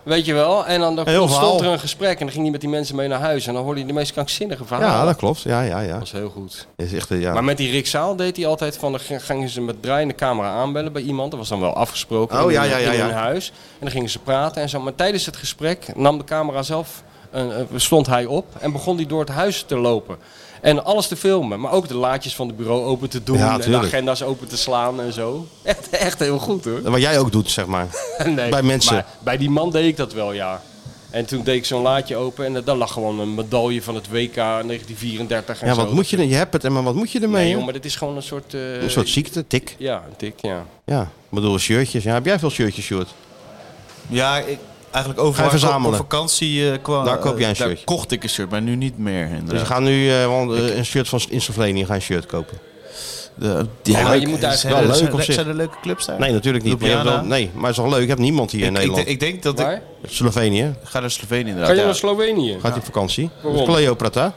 Speaker 7: Weet je wel? En dan, dan
Speaker 6: Heel
Speaker 7: stond er
Speaker 6: verhaal.
Speaker 7: een gesprek en dan ging hij met die mensen mee naar huis. En dan hoorde je de meest krankzinnige verhalen.
Speaker 6: Ja, dat klopt. Ja, ja, ja.
Speaker 7: Dat was heel goed.
Speaker 6: Is echt, eh, ja.
Speaker 7: Maar met die Rick Zaal deed hij altijd van, dan ging- gingen ze met draaiende camera aanbellen bij iemand. Dat was dan wel afgesproken
Speaker 6: Oh,
Speaker 7: in,
Speaker 6: ja,
Speaker 7: hun-
Speaker 6: ja, ja,
Speaker 7: in hun
Speaker 6: ja.
Speaker 7: huis. En dan gingen ze praten en zo. Maar tijdens het gesprek nam de camera zelf, een- een- stond hij op en begon hij door het huis te lopen. En alles te filmen, maar ook de laadjes van het bureau open te doen.
Speaker 6: Ja,
Speaker 7: en de
Speaker 6: tuurlijk.
Speaker 7: agenda's open te slaan en zo. Echt, echt heel goed hoor.
Speaker 6: Wat jij ook doet, zeg maar.
Speaker 7: Nee,
Speaker 6: Eh, Bij mensen.
Speaker 7: maar bij die man deed ik dat wel, ja. En toen deed ik zo'n laadje open en daar lag gewoon een medaille van het WK 1934 en
Speaker 6: Ja,
Speaker 7: zo.
Speaker 6: wat moet je, dan- je hebt het, en maar wat moet je ermee?
Speaker 7: Nee,
Speaker 6: joh?
Speaker 7: joh, maar dit is gewoon een soort... eh,
Speaker 6: Een soort ziekte, tik.
Speaker 7: Ja, een tik, ja.
Speaker 6: Ja, ik bedoel, shirtjes. Ja, heb jij veel shirtjes, Sjoerd?
Speaker 8: Ja, ik, eigenlijk
Speaker 6: Ga
Speaker 8: overal
Speaker 6: je
Speaker 8: waar ik op- op
Speaker 6: verzamelen?
Speaker 8: vakantie eh, kwam.
Speaker 6: Daar koop jij een
Speaker 8: eh, daar
Speaker 6: shirtje.
Speaker 8: kocht ik een shirt, maar nu niet meer. inderdaad.
Speaker 6: Dus we gaan nu eh, want, eh, een shirt van in Slovenië ga je een shirt kopen.
Speaker 8: De- die-
Speaker 7: maar je moet eigenlijk-
Speaker 8: zijn
Speaker 6: Wel
Speaker 8: er-
Speaker 6: leuk
Speaker 8: zijn er-
Speaker 6: op zich.
Speaker 8: Zijn er leuke clubs daar?
Speaker 6: Nee, natuurlijk niet. Maar je hebt wel-
Speaker 8: Ljubljana.
Speaker 6: nee, maar het is toch leuk? Je hebt niemand hier in
Speaker 8: ik,
Speaker 6: Nederland.
Speaker 8: ik, ik denk dat
Speaker 7: Waar?
Speaker 8: ik...
Speaker 6: Slovenië.
Speaker 8: Ga naar Slovenië
Speaker 7: Kan
Speaker 8: inderdaad.
Speaker 7: je
Speaker 8: ja.
Speaker 7: naar Slovenië?
Speaker 6: Gaat op vakantie.
Speaker 7: Waarom?
Speaker 6: Kleoprata.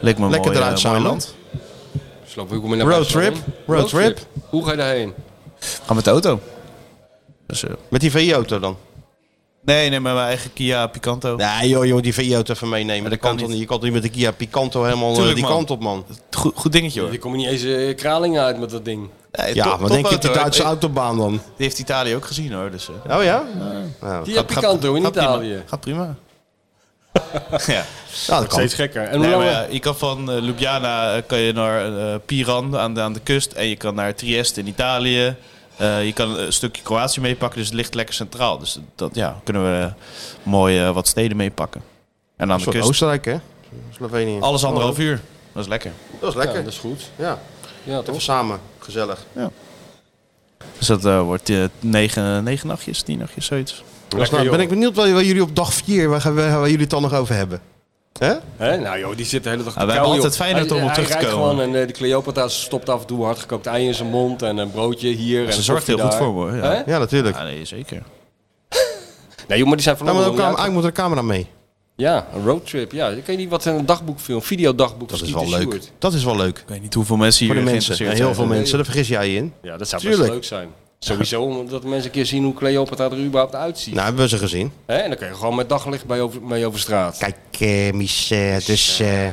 Speaker 8: Leek me een
Speaker 6: Lekker
Speaker 8: mooi,
Speaker 6: eruit
Speaker 8: eh, mooi
Speaker 6: samen.
Speaker 8: land.
Speaker 7: Slovenië, hoe kom je naar
Speaker 6: Roadtrip.
Speaker 7: Barcelona?
Speaker 6: Roadtrip.
Speaker 7: Hoe ga je daarheen?
Speaker 8: Ga met de auto. Dus, eh,
Speaker 6: Met die VI-auto dan?
Speaker 8: nee, nee, met mijn eigen Kia Picanto.
Speaker 6: Nee joh, je moet die VI-auto even meenemen. Dat kan
Speaker 8: niet.
Speaker 6: toch niet? Je kan toch niet met de Kia Picanto helemaal eh,
Speaker 8: Tuurlijk,
Speaker 6: die
Speaker 8: man.
Speaker 6: kant op, man.
Speaker 8: Goed, goed dingetje hoor.
Speaker 7: Je komt niet eens eh, Kralingen uit met dat ding.
Speaker 8: Nee,
Speaker 6: Ja,
Speaker 8: top-
Speaker 6: wat denk je
Speaker 8: topauto,
Speaker 6: op de
Speaker 8: hoor.
Speaker 6: Duitse
Speaker 8: Die-
Speaker 6: autobaan dan?
Speaker 8: Die heeft Italië ook gezien hoor. Dus, eh,
Speaker 6: Oh ja?
Speaker 7: Die heb je kanto in
Speaker 8: gaat prima.
Speaker 7: Italië.
Speaker 8: Gaat prima. ja.
Speaker 6: Nou, dat kan.
Speaker 7: Steeds gekker. En hoe
Speaker 8: Nee, maar
Speaker 7: lang-
Speaker 8: ja, je kan van eh, Ljubljana eh, kan je naar eh, Piran aan de, aan de kust. En je kan naar Trieste in Italië. Eh, je kan een stukje Kroatië meepakken. Dus het ligt lekker centraal. Dus dat ja, kunnen we eh, mooi eh, wat steden meepakken. En aan
Speaker 6: Een
Speaker 8: de
Speaker 6: soort
Speaker 8: kust.
Speaker 6: Oostenrijk, hè? Slovenië. Oh,
Speaker 8: Alles anderhalf uur. Dat is lekker.
Speaker 6: Dat is
Speaker 7: Ja,
Speaker 6: lekker. Dus,
Speaker 7: dat is goed.
Speaker 6: Ja,
Speaker 7: Ja, toch?
Speaker 6: even samen. Gezellig.
Speaker 8: Dus dat eh, wordt eh, negen, negen nachtjes, tien nachtjes, zoiets.
Speaker 6: Dus nou,
Speaker 7: joh.
Speaker 6: ben ik benieuwd wat waar jullie op dag 4, waar, gaan we- waar jullie het dan nog over hebben. Hè?
Speaker 7: Hè? Nou joh, die zit de hele dag te
Speaker 8: Ja, wij
Speaker 7: kauwen,
Speaker 8: hebben altijd
Speaker 7: joh.
Speaker 8: Feyenoord om
Speaker 7: Hij-
Speaker 8: op terug te
Speaker 7: hij rijdt
Speaker 8: komen.
Speaker 7: gewoon en eh, de Cleopatra stopt af en toe hardgekookt ei in zijn mond en een broodje hier. en
Speaker 8: Ze
Speaker 7: een
Speaker 8: zorgt heel
Speaker 7: koffie
Speaker 8: goed
Speaker 7: daar.
Speaker 8: voor me hoor.
Speaker 7: Hè?
Speaker 8: Ja.
Speaker 6: Ja, natuurlijk.
Speaker 8: Ja, nee, zeker.
Speaker 7: Nee joh, maar die zijn
Speaker 6: Nou, maar
Speaker 8: oh,
Speaker 7: verloren.
Speaker 6: dan kwam- eigenlijk moet er een camera mee.
Speaker 7: Ja, een roadtrip. Ja, dan kan je niet wat in een dagboek filmen, videodagboek.
Speaker 6: Dat
Speaker 7: van
Speaker 6: is
Speaker 7: Skeeter
Speaker 6: wel leuk.
Speaker 7: Stewart.
Speaker 6: Dat is wel leuk.
Speaker 8: Ik weet niet hoeveel mensen
Speaker 6: Voor
Speaker 8: hier
Speaker 6: de mensen.
Speaker 8: geïnteresseerd
Speaker 6: En heel veel
Speaker 8: zijn.
Speaker 6: mensen, daar vergis jij je in.
Speaker 7: Ja, dat zou best
Speaker 6: Tuurlijk.
Speaker 7: leuk zijn. Sowieso, omdat mensen een keer zien hoe Cleopatra er überhaupt uitziet.
Speaker 6: Nou, hebben we ze gezien.
Speaker 7: Hè? En dan kun je gewoon met daglicht mee over, mee over straat.
Speaker 6: Kijk, eh, mis, eh, dus... eh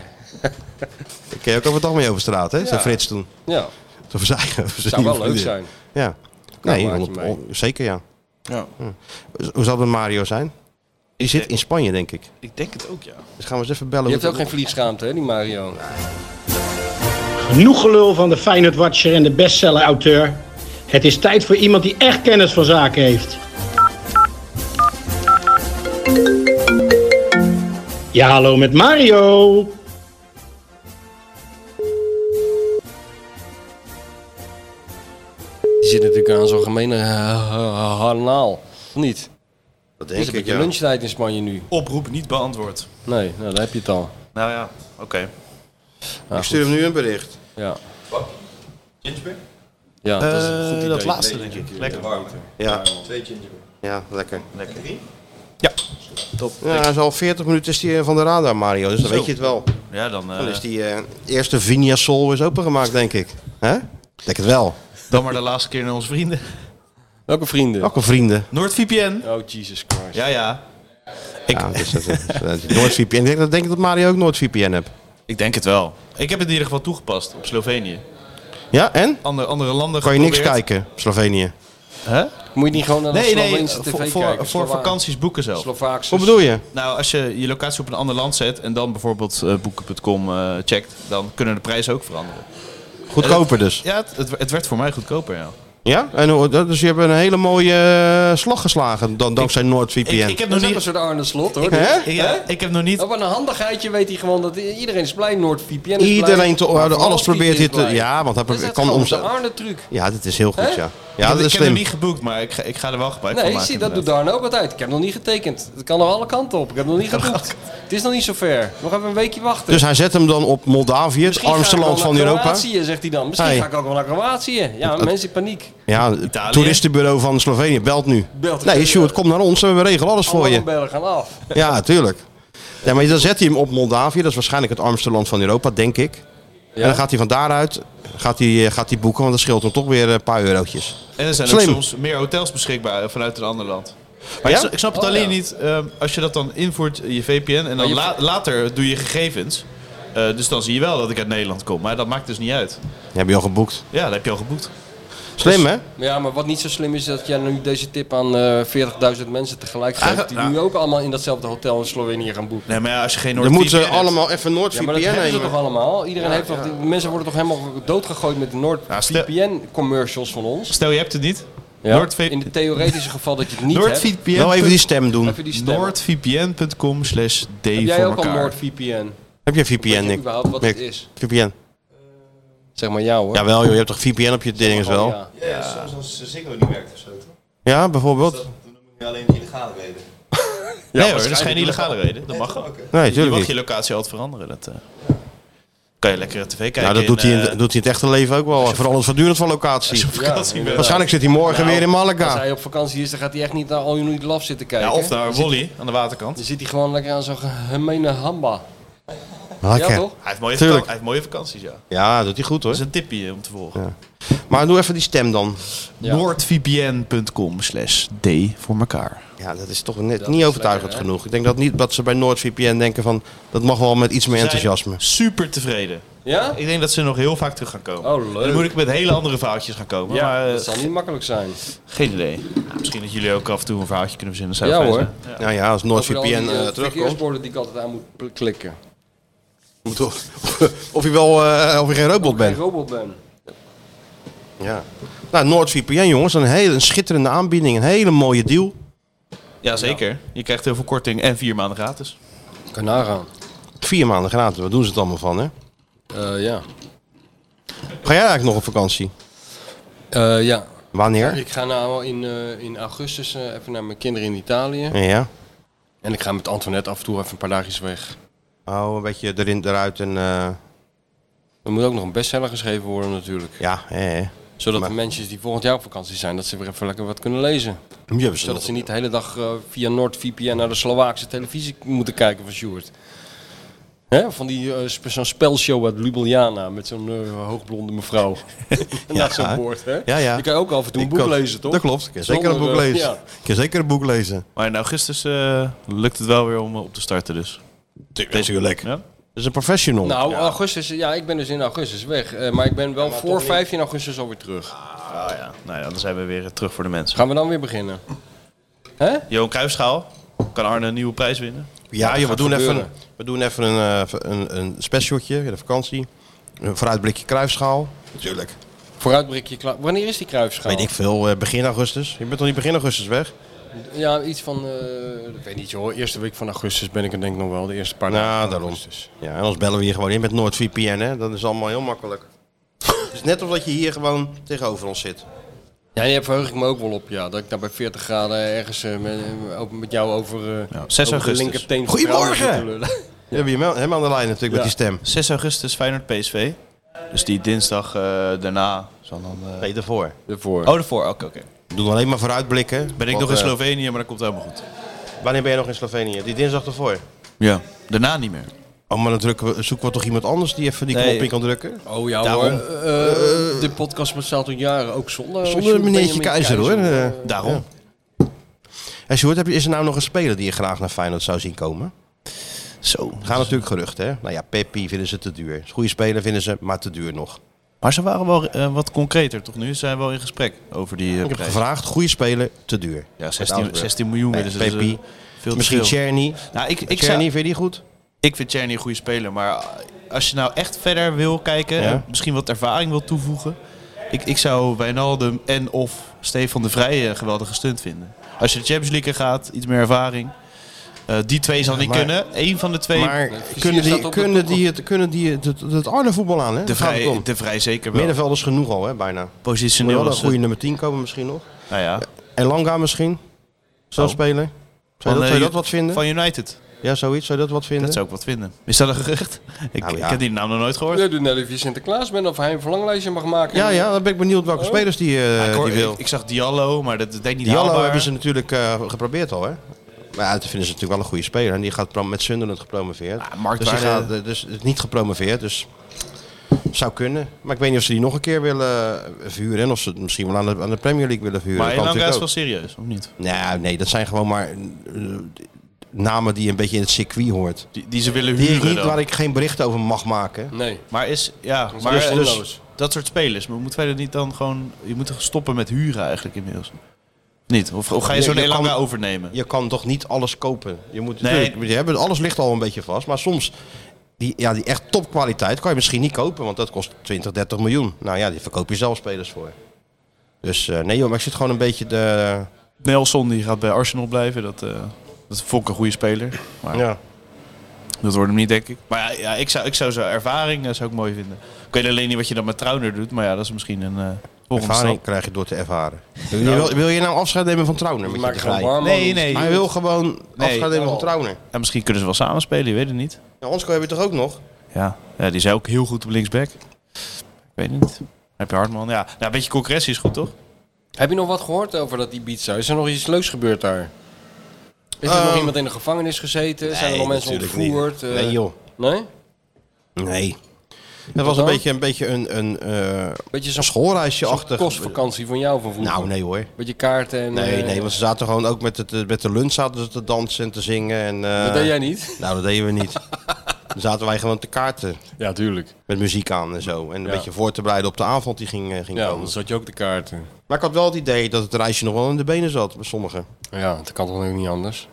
Speaker 6: Ik ken ook over het dag mee over straat, hè? Zei
Speaker 7: Ja.
Speaker 6: Frits toen.
Speaker 7: Ja,
Speaker 6: Toen verzeigen we ze
Speaker 7: zou
Speaker 6: niet
Speaker 7: wel leuk
Speaker 6: vriendin.
Speaker 7: zijn.
Speaker 6: Ja.
Speaker 7: Kan
Speaker 6: Nee,
Speaker 7: een maatje
Speaker 6: honderd-
Speaker 7: mee.
Speaker 6: honderd- zeker ja.
Speaker 8: Ja.
Speaker 6: Z- Hoe zal het met Mario zijn? Die zit in Spanje, denk ik.
Speaker 8: Ik denk het ook, ja.
Speaker 6: Dus gaan we eens even bellen.
Speaker 7: Je
Speaker 6: hoe
Speaker 7: hebt ook
Speaker 6: het-
Speaker 7: geen vliegschaamte, hè, die Mario.
Speaker 10: Genoeg gelul van de Feyenoord Watcher en de bestseller auteur. Het is tijd voor iemand die echt kennis van zaken heeft. Ja, hallo met Mario.
Speaker 7: Die zit natuurlijk aan zo'n gemene eh, harnaal. Of Niet? Het
Speaker 6: Dat
Speaker 7: is
Speaker 6: denk
Speaker 7: een
Speaker 6: ik,
Speaker 7: beetje
Speaker 6: ja.
Speaker 7: lunchtijd in Spanje nu.
Speaker 8: Oproep niet beantwoord.
Speaker 7: Nee, nou, daar heb je het al.
Speaker 8: Nou ja, oké.
Speaker 7: Ja,
Speaker 6: Ik stuur hem nu een bericht.
Speaker 7: Ja. Ja, dat is
Speaker 6: Eh,
Speaker 7: een goed idee.
Speaker 8: dat laatste denk ik. Lekker.
Speaker 6: Ja. Ja, lekker.
Speaker 8: Lekker.
Speaker 6: Ja, hij is al 40 minuten is die eh, van de radar, Mario. Dus dan
Speaker 8: Zo.
Speaker 6: weet je het wel.
Speaker 8: Ja, dan, eh,
Speaker 6: Dan is die eh, eerste Vinia Sol is opengemaakt, denk ik. Hè? Denk het wel.
Speaker 8: dan maar de laatste keer naar onze vrienden.
Speaker 7: Welke vrienden?
Speaker 6: Welke vrienden.
Speaker 8: NoordVPN.
Speaker 7: Oh, Jesus Christ.
Speaker 8: Ja, ja.
Speaker 6: Ik ja, dus dat, is- dat is NoordVPN. Ik denk, dat- denk ik dat Mario ook NoordVPN hebt.
Speaker 8: Ik denk het wel. Ik heb het in ieder geval toegepast op Slovenië.
Speaker 6: Ja, en?
Speaker 8: Andere, andere landen
Speaker 6: Kan je niks
Speaker 8: geprobeerd.
Speaker 6: kijken, Slovenië?
Speaker 8: Hè?
Speaker 7: Moet je niet gewoon naar de
Speaker 8: Nee, nee,
Speaker 7: Slovense
Speaker 8: voor,
Speaker 7: tv
Speaker 8: voor,
Speaker 7: kijken?
Speaker 8: voor vakanties boeken zelf.
Speaker 7: Slovaaks.
Speaker 6: Wat bedoel je?
Speaker 8: Nou, als je je locatie op een ander land zet en dan bijvoorbeeld eh, boeken.com eh, checkt, dan kunnen de prijzen ook veranderen.
Speaker 6: Goedkoper dus.
Speaker 8: Ja, het, het, het werd voor mij goedkoper, ja.
Speaker 6: Ja? En, hoe- dat- dus je hebt een hele mooie eh, slag geslagen dan, dankzij NordVPN.
Speaker 8: Ik, ik heb nog
Speaker 7: Dat is ook een
Speaker 8: niet...
Speaker 7: soort Arne Slot, hoor.
Speaker 6: Hè?
Speaker 8: Ik, ja, ik heb nog niet...
Speaker 7: Op een handigheidje weet hij gewoon dat i- iedereen is blij. NoordVPN is blij.
Speaker 6: Iedereen, te,
Speaker 7: Maar
Speaker 6: alles
Speaker 7: vooral
Speaker 6: probeert
Speaker 7: Piet
Speaker 6: hier
Speaker 7: is
Speaker 6: te...
Speaker 7: blij.
Speaker 6: Ja, want hij
Speaker 7: Dat is
Speaker 6: probeert-
Speaker 7: het
Speaker 6: kan
Speaker 7: gewoon
Speaker 6: om...
Speaker 7: de Arne truc.
Speaker 6: Ja, dat is heel goed,
Speaker 7: Hè?
Speaker 6: ja. Ja, dat
Speaker 8: ik
Speaker 6: is
Speaker 8: heb nog
Speaker 6: slim.
Speaker 8: niet geboekt, maar ik ga, ik ga er wel gebruik van
Speaker 7: Nee,
Speaker 8: maken.
Speaker 7: zie, dat doet
Speaker 8: inderdaad.
Speaker 7: Darno ook altijd. Ik heb nog niet getekend. Het kan nog alle kanten op. Ik heb nog niet geboekt. Het is nog niet zo ver. Nog even een weekje wachten.
Speaker 6: Dus hij zet hem dan op Moldavië, het
Speaker 7: Misschien
Speaker 6: armste
Speaker 7: ga ik
Speaker 6: land
Speaker 7: wel
Speaker 6: van
Speaker 7: naar
Speaker 6: Europa.
Speaker 7: Kroatië, zegt hij dan. Misschien
Speaker 6: Hey.
Speaker 7: ga ik ook wel naar Kroatië. Ja, mensen in paniek.
Speaker 6: Ja, het toeristenbureau van Slovenië belt nu.
Speaker 7: Belt
Speaker 6: nee,
Speaker 7: hem.
Speaker 6: Sjoerd, kom naar ons en we regelen alles voor je.
Speaker 7: Alarmbellen gaan af.
Speaker 6: Ja, tuurlijk. Ja, maar dan zet hij hem op Moldavië. Dat is waarschijnlijk het armste land van Europa, denk ik. En dan gaat hij van daaruit gaat hij, eh, gaat hij boeken, want dat scheelt hem toch weer een paar eurotjes.
Speaker 8: En er zijn ook
Speaker 6: Slim.
Speaker 8: soms meer hotels beschikbaar eh, vanuit een ander land. Maar
Speaker 6: Ja?
Speaker 8: ik, s- ik snap het
Speaker 7: Oh,
Speaker 8: alleen
Speaker 7: ja. Oh,
Speaker 8: niet, ehm, als je dat dan invoert, je VPN, en dan
Speaker 7: je-
Speaker 8: la- later doe je gegevens. Eh, dus dan zie je wel dat ik uit Nederland kom, maar dat maakt dus niet uit.
Speaker 6: Die heb je al geboekt.
Speaker 8: Ja, dat heb je al geboekt.
Speaker 6: Slim, hè?
Speaker 7: Maar Ja, maar wat niet zo slim is, dat jij nu deze tip aan eh 40.000 mensen tegelijk geeft. Die
Speaker 8: nou.
Speaker 7: nu ook allemaal in datzelfde hotel in Slovenië gaan boeken.
Speaker 8: Nee, maar ja, als je geen
Speaker 6: Dan
Speaker 8: NordVPN
Speaker 6: moeten ze
Speaker 8: hebt-
Speaker 6: allemaal even
Speaker 7: Ja, maar dat
Speaker 6: NoordVPN
Speaker 7: hebben ze
Speaker 6: nemen.
Speaker 7: toch allemaal? Iedereen heeft toch, die mensen worden toch helemaal doodgegooid met de
Speaker 8: Ja, stel-
Speaker 7: NoordVPN-commercials van ons?
Speaker 8: Stel, je hebt het niet. NordV-
Speaker 7: In het theoretische geval dat je het niet hebt.
Speaker 8: NordVPN.
Speaker 6: Nou, even die stem doen.
Speaker 7: Even die stemmen.
Speaker 8: NordVPN.com slash D
Speaker 7: Heb
Speaker 8: voor
Speaker 7: jij ook al
Speaker 8: elkaar.
Speaker 7: NoordVPN?
Speaker 6: Heb je VPN,
Speaker 7: Weet je
Speaker 6: Nick?
Speaker 7: überhaupt wat het
Speaker 6: Nick,
Speaker 7: is?
Speaker 6: VPN.
Speaker 7: Zeg maar jou hoor.
Speaker 6: Jawel, joh, je hebt toch VPN op je dinges
Speaker 7: Oh,
Speaker 6: wel?
Speaker 7: ja.
Speaker 6: Ja, bijvoorbeeld?
Speaker 8: nee hoor, dat is geen illegale reden. Dat mag wel.
Speaker 6: Nee,
Speaker 8: Je
Speaker 6: tuurlijk
Speaker 8: mag
Speaker 6: niet.
Speaker 8: je locatie altijd veranderen. Dat, eh, kan je lekker tv kijken.
Speaker 6: Ja, dat doet hij, in,
Speaker 8: eh,
Speaker 6: doet hij in het echte leven ook wel. Vooral het Nou, voortdurend van locatie.
Speaker 8: op vakantie. bent.
Speaker 6: Waarschijnlijk zit hij morgen weer in
Speaker 7: Als
Speaker 6: Malaga.
Speaker 7: hij op vakantie is, dan gaat hij echt niet naar All You Need Love zitten kijken.
Speaker 8: ja, of naar Wally aan de waterkant.
Speaker 7: Dan zit hij gewoon lekker aan zo'n gemene hamba. Ja,
Speaker 6: Lekker.
Speaker 7: toch?
Speaker 8: Hij heeft mooie,
Speaker 6: Tuurlijk.
Speaker 8: vakan- hij heeft mooie vakanties, ja.
Speaker 6: Ah, Ja, doet hij goed hoor.
Speaker 8: Dat is een tipje om te volgen.
Speaker 6: Maar doe even die stem dan.
Speaker 7: Ja.
Speaker 8: NordVPN.com slash D voor elkaar.
Speaker 6: Ja, dat is toch net
Speaker 7: Dat
Speaker 6: niet
Speaker 7: is
Speaker 6: overtuigend
Speaker 7: lekker, hè?
Speaker 6: genoeg. Ik denk dat, niet, dat ze bij NoordVPN denken van... dat mag wel met iets meer enthousiasme.
Speaker 8: Super tevreden.
Speaker 7: Ja?
Speaker 8: Ik denk dat ze nog heel vaak terug gaan komen.
Speaker 7: Oh, leuk.
Speaker 8: En dan moet ik met hele andere verhaaltjes gaan komen.
Speaker 7: Ja,
Speaker 8: maar, eh,
Speaker 7: dat zal niet makkelijk zijn.
Speaker 8: Geen idee. Nou, misschien dat jullie ook af en toe een verhaaltje kunnen verzinnen. dat
Speaker 7: Ja,
Speaker 8: Zou fijn
Speaker 7: hoor.
Speaker 8: zijn.
Speaker 6: Nou ja, als NoordVPN
Speaker 7: Overal die,
Speaker 6: eh,
Speaker 7: eh,
Speaker 6: terugkomt...
Speaker 7: verkeersborden die ik altijd aan moet pl- klikken.
Speaker 6: moet wel- of je wel eh, of je geen robot
Speaker 7: Ben.
Speaker 6: bent.
Speaker 7: robot ben.
Speaker 6: Ja. Nou, NoordVPN jongens, een hele een schitterende aanbieding. Een hele mooie deal.
Speaker 8: Ja, zeker. Je krijgt heel veel korting en vier maanden gratis.
Speaker 7: Kan nagaan.
Speaker 6: Vier maanden gratis, waar doen ze het allemaal van hè?
Speaker 7: Eh, ja.
Speaker 6: Ga jij eigenlijk nog op vakantie?
Speaker 7: Eh, ja.
Speaker 6: Wanneer?
Speaker 7: Ik ga nou in, eh, in augustus eh, even naar mijn kinderen in Italië.
Speaker 6: Ja.
Speaker 7: En ik ga met Antoinette af en toe even een paar dagjes weg.
Speaker 6: Oh, een beetje erin, eruit en... eh,
Speaker 7: Er moet ook nog een bestseller geschreven worden natuurlijk.
Speaker 6: ja, hè, hè.
Speaker 7: Zodat
Speaker 6: Maar-
Speaker 7: de mensen die volgend jaar op vakantie zijn, dat ze weer even lekker wat kunnen lezen.
Speaker 6: Die hebben ze
Speaker 7: Zodat
Speaker 6: nog.
Speaker 7: ze niet de hele dag eh, via NordVPN naar de Slovaakse televisie moeten kijken van Sjoerd. Hè? Van die eh, spe- zo'n spelshow uit Ljubljana met zo'n eh, hoogblonde mevrouw. en dat zo'n woord, hè?
Speaker 6: Ja, ja.
Speaker 7: Je kan ook af en toe een
Speaker 6: Ik
Speaker 7: boek
Speaker 6: kan-
Speaker 7: lezen, toch?
Speaker 6: Dat klopt. Ik kan zeker een
Speaker 7: Zonder,
Speaker 6: boek
Speaker 7: eh,
Speaker 6: lezen.
Speaker 7: ja.
Speaker 6: Ik kan zeker een boek lezen.
Speaker 8: Maar in augustus eh, lukt het wel weer om eh, op te starten dus.
Speaker 6: Deze is lekker.
Speaker 8: Ja?
Speaker 6: Dat is een professional.
Speaker 7: Nou, augustus, ja, ik ben dus in augustus weg. eh, maar ik ben wel voor 15 augustus alweer terug.
Speaker 8: Oh ja. Nou ja, dan zijn we weer eh, terug voor de mensen.
Speaker 7: Gaan we dan weer beginnen? Hè?
Speaker 8: Johan Cruijffschaal. Kan Arne een nieuwe prijs winnen?
Speaker 6: Ja, joh, we,
Speaker 7: gaat
Speaker 6: doen even,
Speaker 7: gebeuren.
Speaker 6: we doen even een, eh, een, een specialtje in de vakantie. Een vooruitblikje kruisschaal. Natuurlijk.
Speaker 7: Vooruitbrekje klaar. Wanneer is die kruifschaal?
Speaker 6: Weet ik veel, eh, begin augustus. Je bent toch niet begin augustus weg?
Speaker 7: Ja, iets van, eh, ik weet niet joh, eerste week van augustus ben ik er denk ik nog wel, de eerste paar dagen.
Speaker 6: Nou,
Speaker 7: van
Speaker 6: daarom.
Speaker 7: augustus.
Speaker 6: Ja, en anders bellen we hier gewoon in met NoordVPN, hè. Dat is allemaal heel makkelijk. Het is net of dat je hier gewoon tegenover ons zit.
Speaker 7: Ja, daar verheug ik me ook wel op, ja. Dat ik daar bij 40 graden ergens eh, met, eh, ook met jou over, eh,
Speaker 8: Ja, 6
Speaker 7: over de
Speaker 8: augustus.
Speaker 7: linkerteen van
Speaker 6: Goedemorgen!
Speaker 7: vrouwen zit te lullen.
Speaker 6: We hebben je hem- hem aan de lijn natuurlijk met die stem.
Speaker 8: 6 augustus Feyenoord PSV. Dus die dinsdag eh, daarna zal dan... eh,
Speaker 6: Nee, daarvoor.
Speaker 7: Daarvoor.
Speaker 8: Oh, daarvoor. Oké, oké.
Speaker 6: We doen alleen maar vooruitblikken.
Speaker 8: Ben ik
Speaker 6: Want,
Speaker 8: nog in
Speaker 6: eh,
Speaker 8: Slovenië, maar dat komt helemaal goed.
Speaker 6: Wanneer ben je nog in Slovenië? Die dinsdag ervoor.
Speaker 8: Ja. Daarna niet meer.
Speaker 6: Oh, maar dan drukken we, zoeken we toch iemand anders die even die
Speaker 8: Nee.
Speaker 6: knop in kan drukken?
Speaker 7: Oh ja
Speaker 6: Daarom.
Speaker 7: hoor. Eh, de podcast bestaat al jaren, ook zonder...
Speaker 6: Zonder meneertje Keizer, hoor. Eh,
Speaker 8: Daarom.
Speaker 6: En Sjoerd, heb je- is er nou nog een speler die je graag naar Feyenoord zou zien komen?
Speaker 8: Zo.
Speaker 6: Er gaan natuurlijk geruchten, hè? Nou ja, Peppi vinden ze te duur. Is een goede speler vinden ze, maar te duur nog.
Speaker 8: Maar ze waren wel eh, wat concreter, toch nu? Ze zijn wel in gesprek over die eh,
Speaker 6: Ik heb
Speaker 8: prijs.
Speaker 6: gevraagd, goede speler, te duur.
Speaker 8: Ja,
Speaker 6: Met
Speaker 8: 16,
Speaker 6: Augsburg.
Speaker 8: 16 miljoen.
Speaker 6: Nee,
Speaker 8: dus dat is, eh,
Speaker 6: Pepi.
Speaker 8: veel
Speaker 6: Misschien
Speaker 8: verschil.
Speaker 6: Czerny.
Speaker 8: Nou, ik, ik,
Speaker 6: Czerny,
Speaker 8: zou,
Speaker 6: vind je die goed?
Speaker 8: ik vind Czerny een goede speler. Maar als je nou echt verder wil kijken,
Speaker 6: Ja.
Speaker 8: en misschien wat ervaring wil toevoegen. Ik, ik zou Wijnaldum en of Stefan de Vrij een geweldige stunt vinden. Als je de Champions League in gaat, iets meer ervaring. Eh, die twee zal niet
Speaker 6: maar-
Speaker 8: kunnen. Eén van de twee.
Speaker 6: Maar
Speaker 7: vizier
Speaker 6: kunnen
Speaker 7: staat
Speaker 6: die,
Speaker 7: op de
Speaker 6: kunnen
Speaker 7: koekel.
Speaker 6: die, het, kunnen die het, het, het harde voetbal aan, hè?
Speaker 8: de,
Speaker 6: Daar gaat het
Speaker 8: vrij,
Speaker 6: om.
Speaker 8: de Vrij zeker wel.
Speaker 6: Middenveld is genoeg al, hè, bijna. Moet
Speaker 8: Positioneel
Speaker 6: wel een
Speaker 8: is het-
Speaker 6: goede nummer 10 komen misschien nog.
Speaker 8: Nou ja.
Speaker 6: En Langa misschien? Zo'n
Speaker 8: Oh.
Speaker 6: speler? Zou je dat,
Speaker 8: eh,
Speaker 6: zou je dat wat vinden?
Speaker 8: Van United.
Speaker 6: Ja, zoiets. Zou je dat wat vinden?
Speaker 8: Dat zou ik wat vinden. Is dat een gerucht? Ik,
Speaker 6: Nou ja.
Speaker 8: ik heb die naam nog nooit gehoord.
Speaker 7: Nee, doe net even je Sinterklaas bent of hij een verlanglijstje mag maken.
Speaker 6: Ja, ja, dan ben ik benieuwd welke
Speaker 7: Oh.
Speaker 6: spelers die, eh,
Speaker 8: Ja, ik, hoor-
Speaker 6: die wil.
Speaker 8: ik, ik zag Diallo, maar dat denk ik niet
Speaker 6: Diallo
Speaker 8: haalbaar.
Speaker 6: hebben ze natuurlijk eh, geprobeerd al, hè? Maar ja, dat vinden ze natuurlijk wel een goede speler. En die gaat pro- met Sunderland gepromoveerd.
Speaker 8: Ja, marktwaarde-
Speaker 6: dus die gaat eh, dus het niet gepromoveerd, dus zou kunnen. Maar ik weet niet of ze die nog een keer willen eh, verhuren. En of ze het misschien wel aan de, aan de Premier League willen verhuren.
Speaker 8: Maar
Speaker 6: Dat kan
Speaker 8: Elanga is wel
Speaker 6: natuurlijk
Speaker 8: serieus, of niet?
Speaker 6: ook. Nou, nee, dat zijn gewoon maar eh, namen die een beetje in het circuit hoort.
Speaker 8: Die, die ze willen
Speaker 6: Die ik
Speaker 8: huren
Speaker 6: niet,
Speaker 8: dan.
Speaker 6: waar ik geen bericht over mag maken.
Speaker 7: Nee.
Speaker 8: Maar is, ja, maar
Speaker 7: Dus-
Speaker 8: eh,
Speaker 7: dus-
Speaker 8: dus dat soort spelers. Maar moeten wij dat niet dan gewoon... Je moet toch stoppen met huren eigenlijk inmiddels? Niet? Of, of ga je
Speaker 6: Ja,
Speaker 8: zo'n
Speaker 6: je
Speaker 8: Elanga
Speaker 6: kan-
Speaker 8: overnemen?
Speaker 6: je kan toch niet alles kopen. Je moet,
Speaker 8: Nee.
Speaker 6: natuurlijk, je hebt, alles ligt al een beetje vast. Maar soms, die, ja, die echt topkwaliteit kan je misschien niet kopen. Want dat kost 20, 30 miljoen. Nou ja, die verkoop je zelf spelers voor. Dus eh, nee joh, maar ik zit gewoon een beetje de...
Speaker 8: Nelson die gaat bij Arsenal blijven. Dat, eh dat vond ik een goede speler. Maar
Speaker 6: ja.
Speaker 8: dat wordt hem niet, denk ik. Maar ja, ja ik, zou, ik zou zijn ervaring eh, zou ik mooi vinden. Ik weet alleen niet wat je dan met Trauner doet. Maar ja, dat is misschien een eh volgende
Speaker 6: Ervaring
Speaker 8: stap.
Speaker 6: krijg je door te ervaren. Wil, wil je nou afscheid nemen van Trauner?
Speaker 7: Je
Speaker 6: Met je
Speaker 7: maakt gewoon eh,
Speaker 6: gedraai?
Speaker 7: warm.
Speaker 8: Nee, nee.
Speaker 6: Hij wil gewoon
Speaker 8: Nee.
Speaker 6: afscheid nemen van Trauner.
Speaker 8: En misschien kunnen ze wel samen spelen, je weet het niet.
Speaker 6: Ja, Onsko heb je toch ook nog?
Speaker 8: Ja, ja die zijn ook heel goed op linksback. Ik weet het niet. Heb je Hartman? Ja, nou, een beetje concurrentie is goed, toch?
Speaker 7: Heb je nog wat gehoord over dat Ibiza? Is er nog iets leuks gebeurd daar? Is er
Speaker 6: Ehm,
Speaker 7: nog iemand in de gevangenis gezeten? Zijn er nog mensen
Speaker 6: natuurlijk niet.
Speaker 7: ontvoerd? Eh,
Speaker 6: Nee joh.
Speaker 7: Nee?
Speaker 6: Nee. Het was een
Speaker 7: dan?
Speaker 6: beetje een, beetje een, een eh,
Speaker 7: Beetje zo'n
Speaker 6: een schoolreisje
Speaker 7: zo'n
Speaker 6: achter.
Speaker 7: kostvakantie van jou van vroeger.
Speaker 6: Nou nee hoor.
Speaker 7: Beetje kaarten en...
Speaker 6: Nee,
Speaker 7: eh,
Speaker 6: nee, want ze zaten gewoon ook met,
Speaker 11: eh,
Speaker 6: het, met de lunch zaten ze te dansen en te zingen. En, eh,
Speaker 7: Dat deed jij niet?
Speaker 6: Nou, dat deden we niet. Dan zaten wij gewoon te kaarten
Speaker 7: Ja, tuurlijk.
Speaker 6: met muziek aan en zo. En een
Speaker 7: Ja.
Speaker 6: beetje voor te bereiden op de avond die ging, eh, ging
Speaker 7: Ja,
Speaker 6: komen.
Speaker 7: anders had je ook de kaarten.
Speaker 6: Maar ik had wel het idee dat het reisje nog wel in de benen zat bij sommigen.
Speaker 7: Ja, dat kan toch ook niet anders?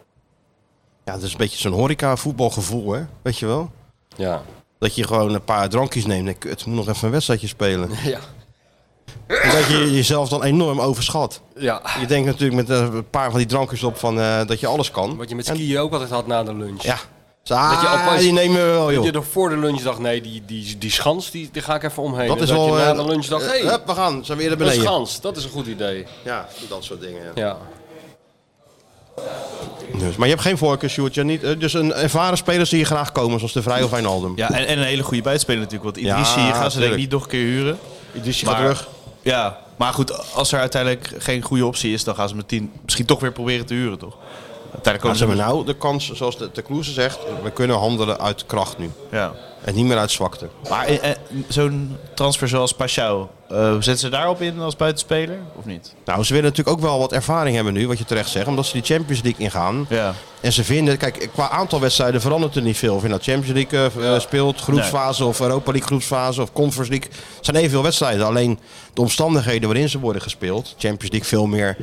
Speaker 6: Ja, dat is een beetje zo'n horeca-voetbalgevoel, hè? Weet je wel?
Speaker 7: Ja.
Speaker 6: Dat je gewoon een paar drankjes neemt en kut, moet nog even een wedstrijdje spelen.
Speaker 7: Ja.
Speaker 6: En dat je jezelf dan enorm overschat.
Speaker 7: Ja.
Speaker 6: Je denkt natuurlijk met eh, een paar van die drankjes op van, eh, dat je alles kan.
Speaker 7: Wat je met skiën ook altijd had na de lunch.
Speaker 6: Ja. Ah,
Speaker 7: je ook wel eens-
Speaker 6: die nemen we wel, Oh, joh.
Speaker 7: Dat je nog voor de lunch dacht, nee, die, die, die schans, die, die ga ik even omheen.
Speaker 6: Dat
Speaker 7: En
Speaker 6: is wel...
Speaker 7: je na
Speaker 6: eh,
Speaker 7: de lunch dacht,
Speaker 6: eh,
Speaker 7: hé,
Speaker 6: hup, we gaan. Zijn we weer naar
Speaker 7: een
Speaker 6: beneden.
Speaker 7: schans, dat is een goed idee.
Speaker 6: Ja, dat soort dingen. ja.
Speaker 7: Ja.
Speaker 6: Dus, maar je hebt geen voorkeur, Sjoerd. Je niet, eh, dus een ervaren speler zie je graag komen, zoals De Vrij of Wijnaldum.
Speaker 8: Ja, en, en een hele goede buitenspeler natuurlijk. Want
Speaker 6: Ja,
Speaker 8: Idrissi gaan ze denk ik
Speaker 6: tuurlijk.
Speaker 8: niet nog een keer huren.
Speaker 6: Dus je gaat
Speaker 8: Maar-
Speaker 6: terug.
Speaker 8: Ja, maar goed, als er uiteindelijk geen goede optie is, dan gaan ze met tien misschien toch weer proberen te huren, toch? Uiteindelijk
Speaker 6: Maar
Speaker 8: komen
Speaker 6: ze
Speaker 8: ze
Speaker 6: hebben nou de kans, zoals de, de Kloeze zegt, we kunnen handelen uit kracht nu.
Speaker 8: Ja.
Speaker 6: En niet meer uit zwakte.
Speaker 8: Maar eh, eh, zo'n transfer zoals Pashao, zetten ze daarop in als buitenspeler of niet?
Speaker 6: Nou, ze willen natuurlijk ook wel wat ervaring hebben nu, wat je terecht zegt. Omdat ze die Champions League ingaan.
Speaker 8: Ja.
Speaker 6: En ze vinden, kijk, qua aantal wedstrijden verandert er niet veel. Of je nou Champions League eh, v- eh, speelt, groepsfase of Europa League groepsfase of Conference League. Het zijn evenveel wedstrijden. Alleen de omstandigheden waarin ze worden gespeeld. Champions League veel meer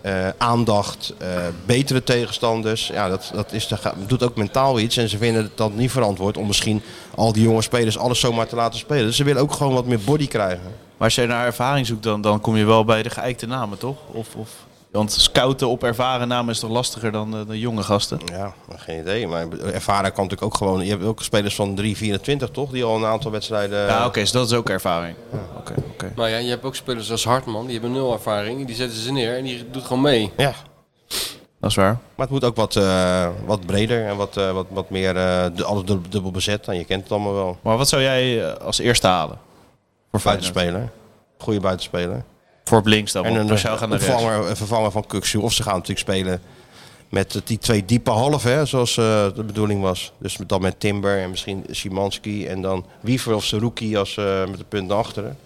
Speaker 6: eh, aandacht, eh, betere tegenstanders. Ja, dat, dat is, de ga- doet ook mentaal iets. En ze vinden het dan niet verantwoord om misschien al die jonge spelers alles zomaar te laten spelen. Dus ze willen ook gewoon wat meer body krijgen.
Speaker 8: Maar als je naar ervaring zoekt, dan, dan kom je wel bij de geëikte namen, toch? Of, of, want scouten op ervaren namen is toch lastiger dan, eh, dan jonge gasten?
Speaker 6: Ja, geen idee. Maar ervaren kan natuurlijk ook gewoon. Je hebt ook spelers van 3, 24 toch? Die al een aantal wedstrijden.
Speaker 8: Ja, oké, dus dat is ook ervaring. Oké, oké.
Speaker 7: Maar ja, je hebt ook spelers als Hartman, die hebben nul ervaring. Die zetten ze neer en die doet gewoon mee.
Speaker 6: Ja,
Speaker 8: Dat is waar.
Speaker 6: Maar het moet ook wat, eh, wat breder en wat, eh, wat, wat meer eh, du- alles dub- dubbel bezet. En je kent het allemaal wel.
Speaker 8: Maar wat zou jij eh, als eerste halen? Voor Feyenoord?
Speaker 6: Buitenspeler. Goede buitenspeler.
Speaker 8: Voor op links dan,
Speaker 6: En
Speaker 8: want
Speaker 6: een
Speaker 8: Pashao gaat naar rechts.
Speaker 6: vervanger, een vervanger van Kuksu. Of ze gaan natuurlijk spelen met eh, die twee diepe half, hè, zoals eh, de bedoeling was. Dus met- dan met Timber en misschien Simanski. En dan Wiever of Seruki als, eh, met de punt naar achteren.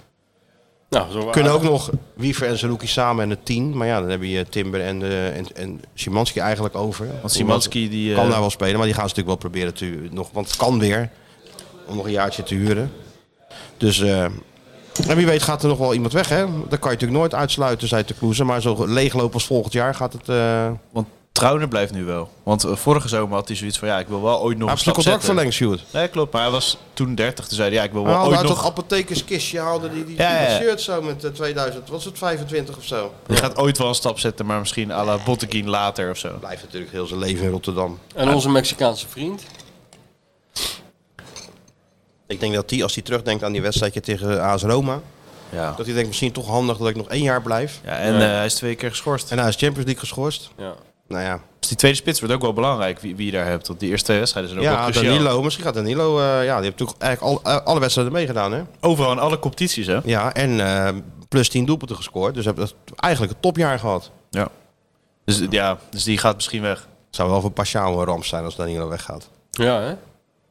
Speaker 7: Nou, zo
Speaker 6: Kunnen ook nog Wiever en Seruki samen in het tien. Maar ja, dan heb je eh, Timber en, eh, en, en Simanski eigenlijk over.
Speaker 8: Want Simanski die... eh,
Speaker 6: kan
Speaker 11: nou-
Speaker 6: daar wel spelen, maar die gaan ze natuurlijk wel proberen te nog, want het kan weer om nog een jaartje te huren. Dus eh,
Speaker 11: En wie weet gaat er nog wel iemand weg, hè? Dat kan je natuurlijk nooit uitsluiten, zei de Kloezen. Maar zo leeglopen als volgend jaar gaat het... eh
Speaker 8: Want Trouwner blijft nu wel. Want eh, vorige zomer had hij zoiets van... Ja, ik wil wel ooit nog een
Speaker 11: Hij heeft
Speaker 8: stap
Speaker 11: zijn contract
Speaker 8: zetten.
Speaker 11: verlengd, Sjoerd.
Speaker 8: Nee, klopt. Maar hij was toen 30. Toen zei hij, ja, ik wil
Speaker 11: We
Speaker 8: wel
Speaker 11: haalden
Speaker 8: ooit
Speaker 11: uit
Speaker 8: nog...
Speaker 11: dat apothekerskistje haalden die, die,
Speaker 8: Ja,
Speaker 11: die
Speaker 8: ja.
Speaker 11: shirt zo met eh, 2000, wat is het, 25 of zo.
Speaker 8: Je gaat ooit wel een stap zetten, maar misschien à la Botteguin later of zo.
Speaker 11: Blijft natuurlijk heel zijn leven in Rotterdam.
Speaker 7: En onze Mexicaanse vriend.
Speaker 11: Ik denk dat die, als hij terugdenkt aan die wedstrijdje tegen AS Roma,
Speaker 8: Ja.
Speaker 11: dat hij denkt misschien toch handig dat ik nog één jaar blijf.
Speaker 8: ja en eh, hij is twee keer geschorst.
Speaker 11: En hij is Champions League geschorst.
Speaker 7: Ja.
Speaker 11: Nou ja,
Speaker 8: Dus die tweede spits wordt ook wel belangrijk, wie, wie je daar hebt. Want die eerste twee wedstrijden zijn ook wel
Speaker 11: ja
Speaker 8: cruciaal.
Speaker 11: Danilo, misschien gaat Danilo, eh, ja, die heeft natuurlijk eigenlijk al, eh, alle wedstrijden meegedaan, hè?
Speaker 8: Overal in alle competities, hè?
Speaker 11: Ja, en eh, plus 10 doelpunten gescoord, dus hebben dat eigenlijk een topjaar gehad.
Speaker 8: Ja. Dus, ja, dus die gaat misschien weg.
Speaker 11: Het zou wel voor Pashao een ramp zijn als Danilo weggaat.
Speaker 7: Ja, hè?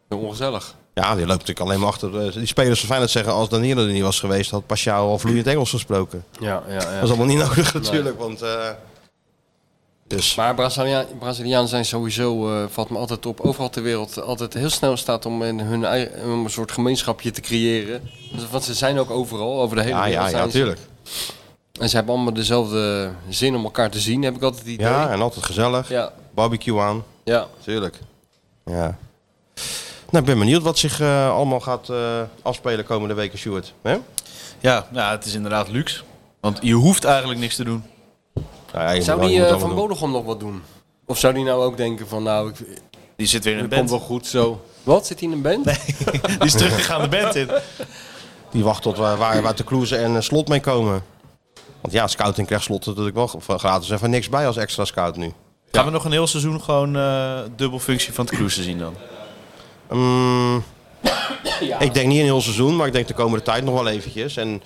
Speaker 7: Heel Ongezellig.
Speaker 11: Ja, die loopt natuurlijk alleen maar achter. eh, Die spelers van Feyenoord zeggen, als Danilo er niet was geweest, had Pashao al vloeiend Engels gesproken.
Speaker 7: Ja, ja, ja.
Speaker 11: Dat is allemaal niet nodig natuurlijk, want... eh, dus.
Speaker 7: Maar Brazilia- Brazilianen zijn sowieso, eh, valt me altijd op, overal ter wereld altijd heel snel in staat om in hun eigen, om een soort gemeenschapje te creëren. Dus- Want ze zijn ook overal, over de hele
Speaker 11: Ja,
Speaker 7: wereld.
Speaker 11: ja, ja,
Speaker 7: zijn ze.
Speaker 11: natuurlijk.
Speaker 7: En ze hebben allemaal dezelfde zin om elkaar te zien, heb ik altijd het idee.
Speaker 11: Ja, en altijd gezellig.
Speaker 7: ja,
Speaker 11: Barbecue aan.
Speaker 7: ja.
Speaker 11: Tuurlijk. Ja. Nou, ik ben benieuwd wat zich eh, allemaal gaat eh, afspelen komende weken, Stuart. Hè?
Speaker 8: Ja, nou, het is inderdaad luxe. Want je hoeft eigenlijk niks te doen.
Speaker 11: Nou ja, je
Speaker 7: Zou
Speaker 11: moet- je
Speaker 7: die
Speaker 11: moet
Speaker 7: eh,
Speaker 11: allemaal
Speaker 7: Van
Speaker 11: doen.
Speaker 7: Bodegom nog wat doen? Of zou die nou ook denken van, nou, ik,
Speaker 8: Die zit weer in een
Speaker 7: het komt wel
Speaker 8: band.
Speaker 7: goed zo. Wat, zit hij in een band?
Speaker 8: Die is teruggegaan de band in.
Speaker 11: Die wacht tot waar, waar, waar de Kloeze en eh, Slot mee komen. Want ja, scouting krijgt Slot natuurlijk wel van gratis en van niks bij als extra scout nu.
Speaker 8: Gaan we nog een heel seizoen gewoon eh dubbel functie van het cruise zien dan?
Speaker 11: Mm, Ik denk niet een heel seizoen, maar ik denk de komende tijd nog wel eventjes. En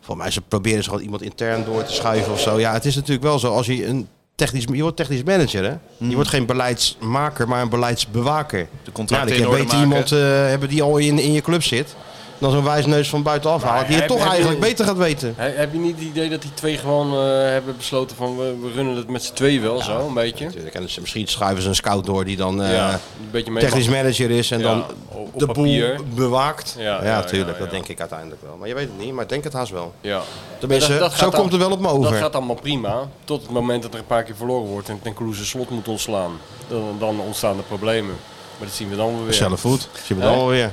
Speaker 11: voor mij ze proberen ze gewoon iemand intern door te schuiven of zo. Ja, het is natuurlijk wel zo. Als je een technisch, je wordt technisch manager, hè? Je wordt geen beleidsmaker, maar een beleidsbewaker.
Speaker 8: Hmm. De
Speaker 11: Ja,
Speaker 8: contracten
Speaker 11: dan
Speaker 8: in
Speaker 11: kan je
Speaker 8: orde
Speaker 11: beter
Speaker 8: maken.
Speaker 11: iemand eh, hebben die al in, in je club zit. Dan zo'n wijsneus van buitenaf halen. Die
Speaker 7: heb-
Speaker 11: het toch
Speaker 7: heb
Speaker 11: eigenlijk
Speaker 7: je-
Speaker 11: beter gaat weten.
Speaker 7: He- heb je niet het idee dat die twee gewoon eh, hebben besloten van, we, we runnen het met z'n tweeën wel zo, een beetje?
Speaker 11: Natuurlijk. En dus misschien schuiven ze een scout door die dan eh,
Speaker 7: Ja, een beetje mee.
Speaker 11: technisch manager is. En
Speaker 7: Ja,
Speaker 11: dan
Speaker 7: op- op
Speaker 11: de
Speaker 7: papier.
Speaker 11: boel bewaakt.
Speaker 7: Ja,
Speaker 11: Ja,
Speaker 7: ja,
Speaker 11: tuurlijk.
Speaker 7: ja,
Speaker 11: Dat
Speaker 7: ja.
Speaker 11: denk ik uiteindelijk wel. Maar je weet het niet. Maar ik denk het haast wel.
Speaker 7: Ja.
Speaker 11: Tenminste,
Speaker 7: Maar dat- dat
Speaker 11: zo
Speaker 7: gaat dan-
Speaker 11: komt het wel op me over.
Speaker 7: Dat gaat allemaal prima, tot het moment dat er een paar keer verloren wordt en ten Kloeze slot moet ontslaan. Dan, dan ontstaan de problemen. Maar dat zien we dan weer.
Speaker 11: Zelf goed. Zien we
Speaker 7: Hè?
Speaker 11: dan wel weer.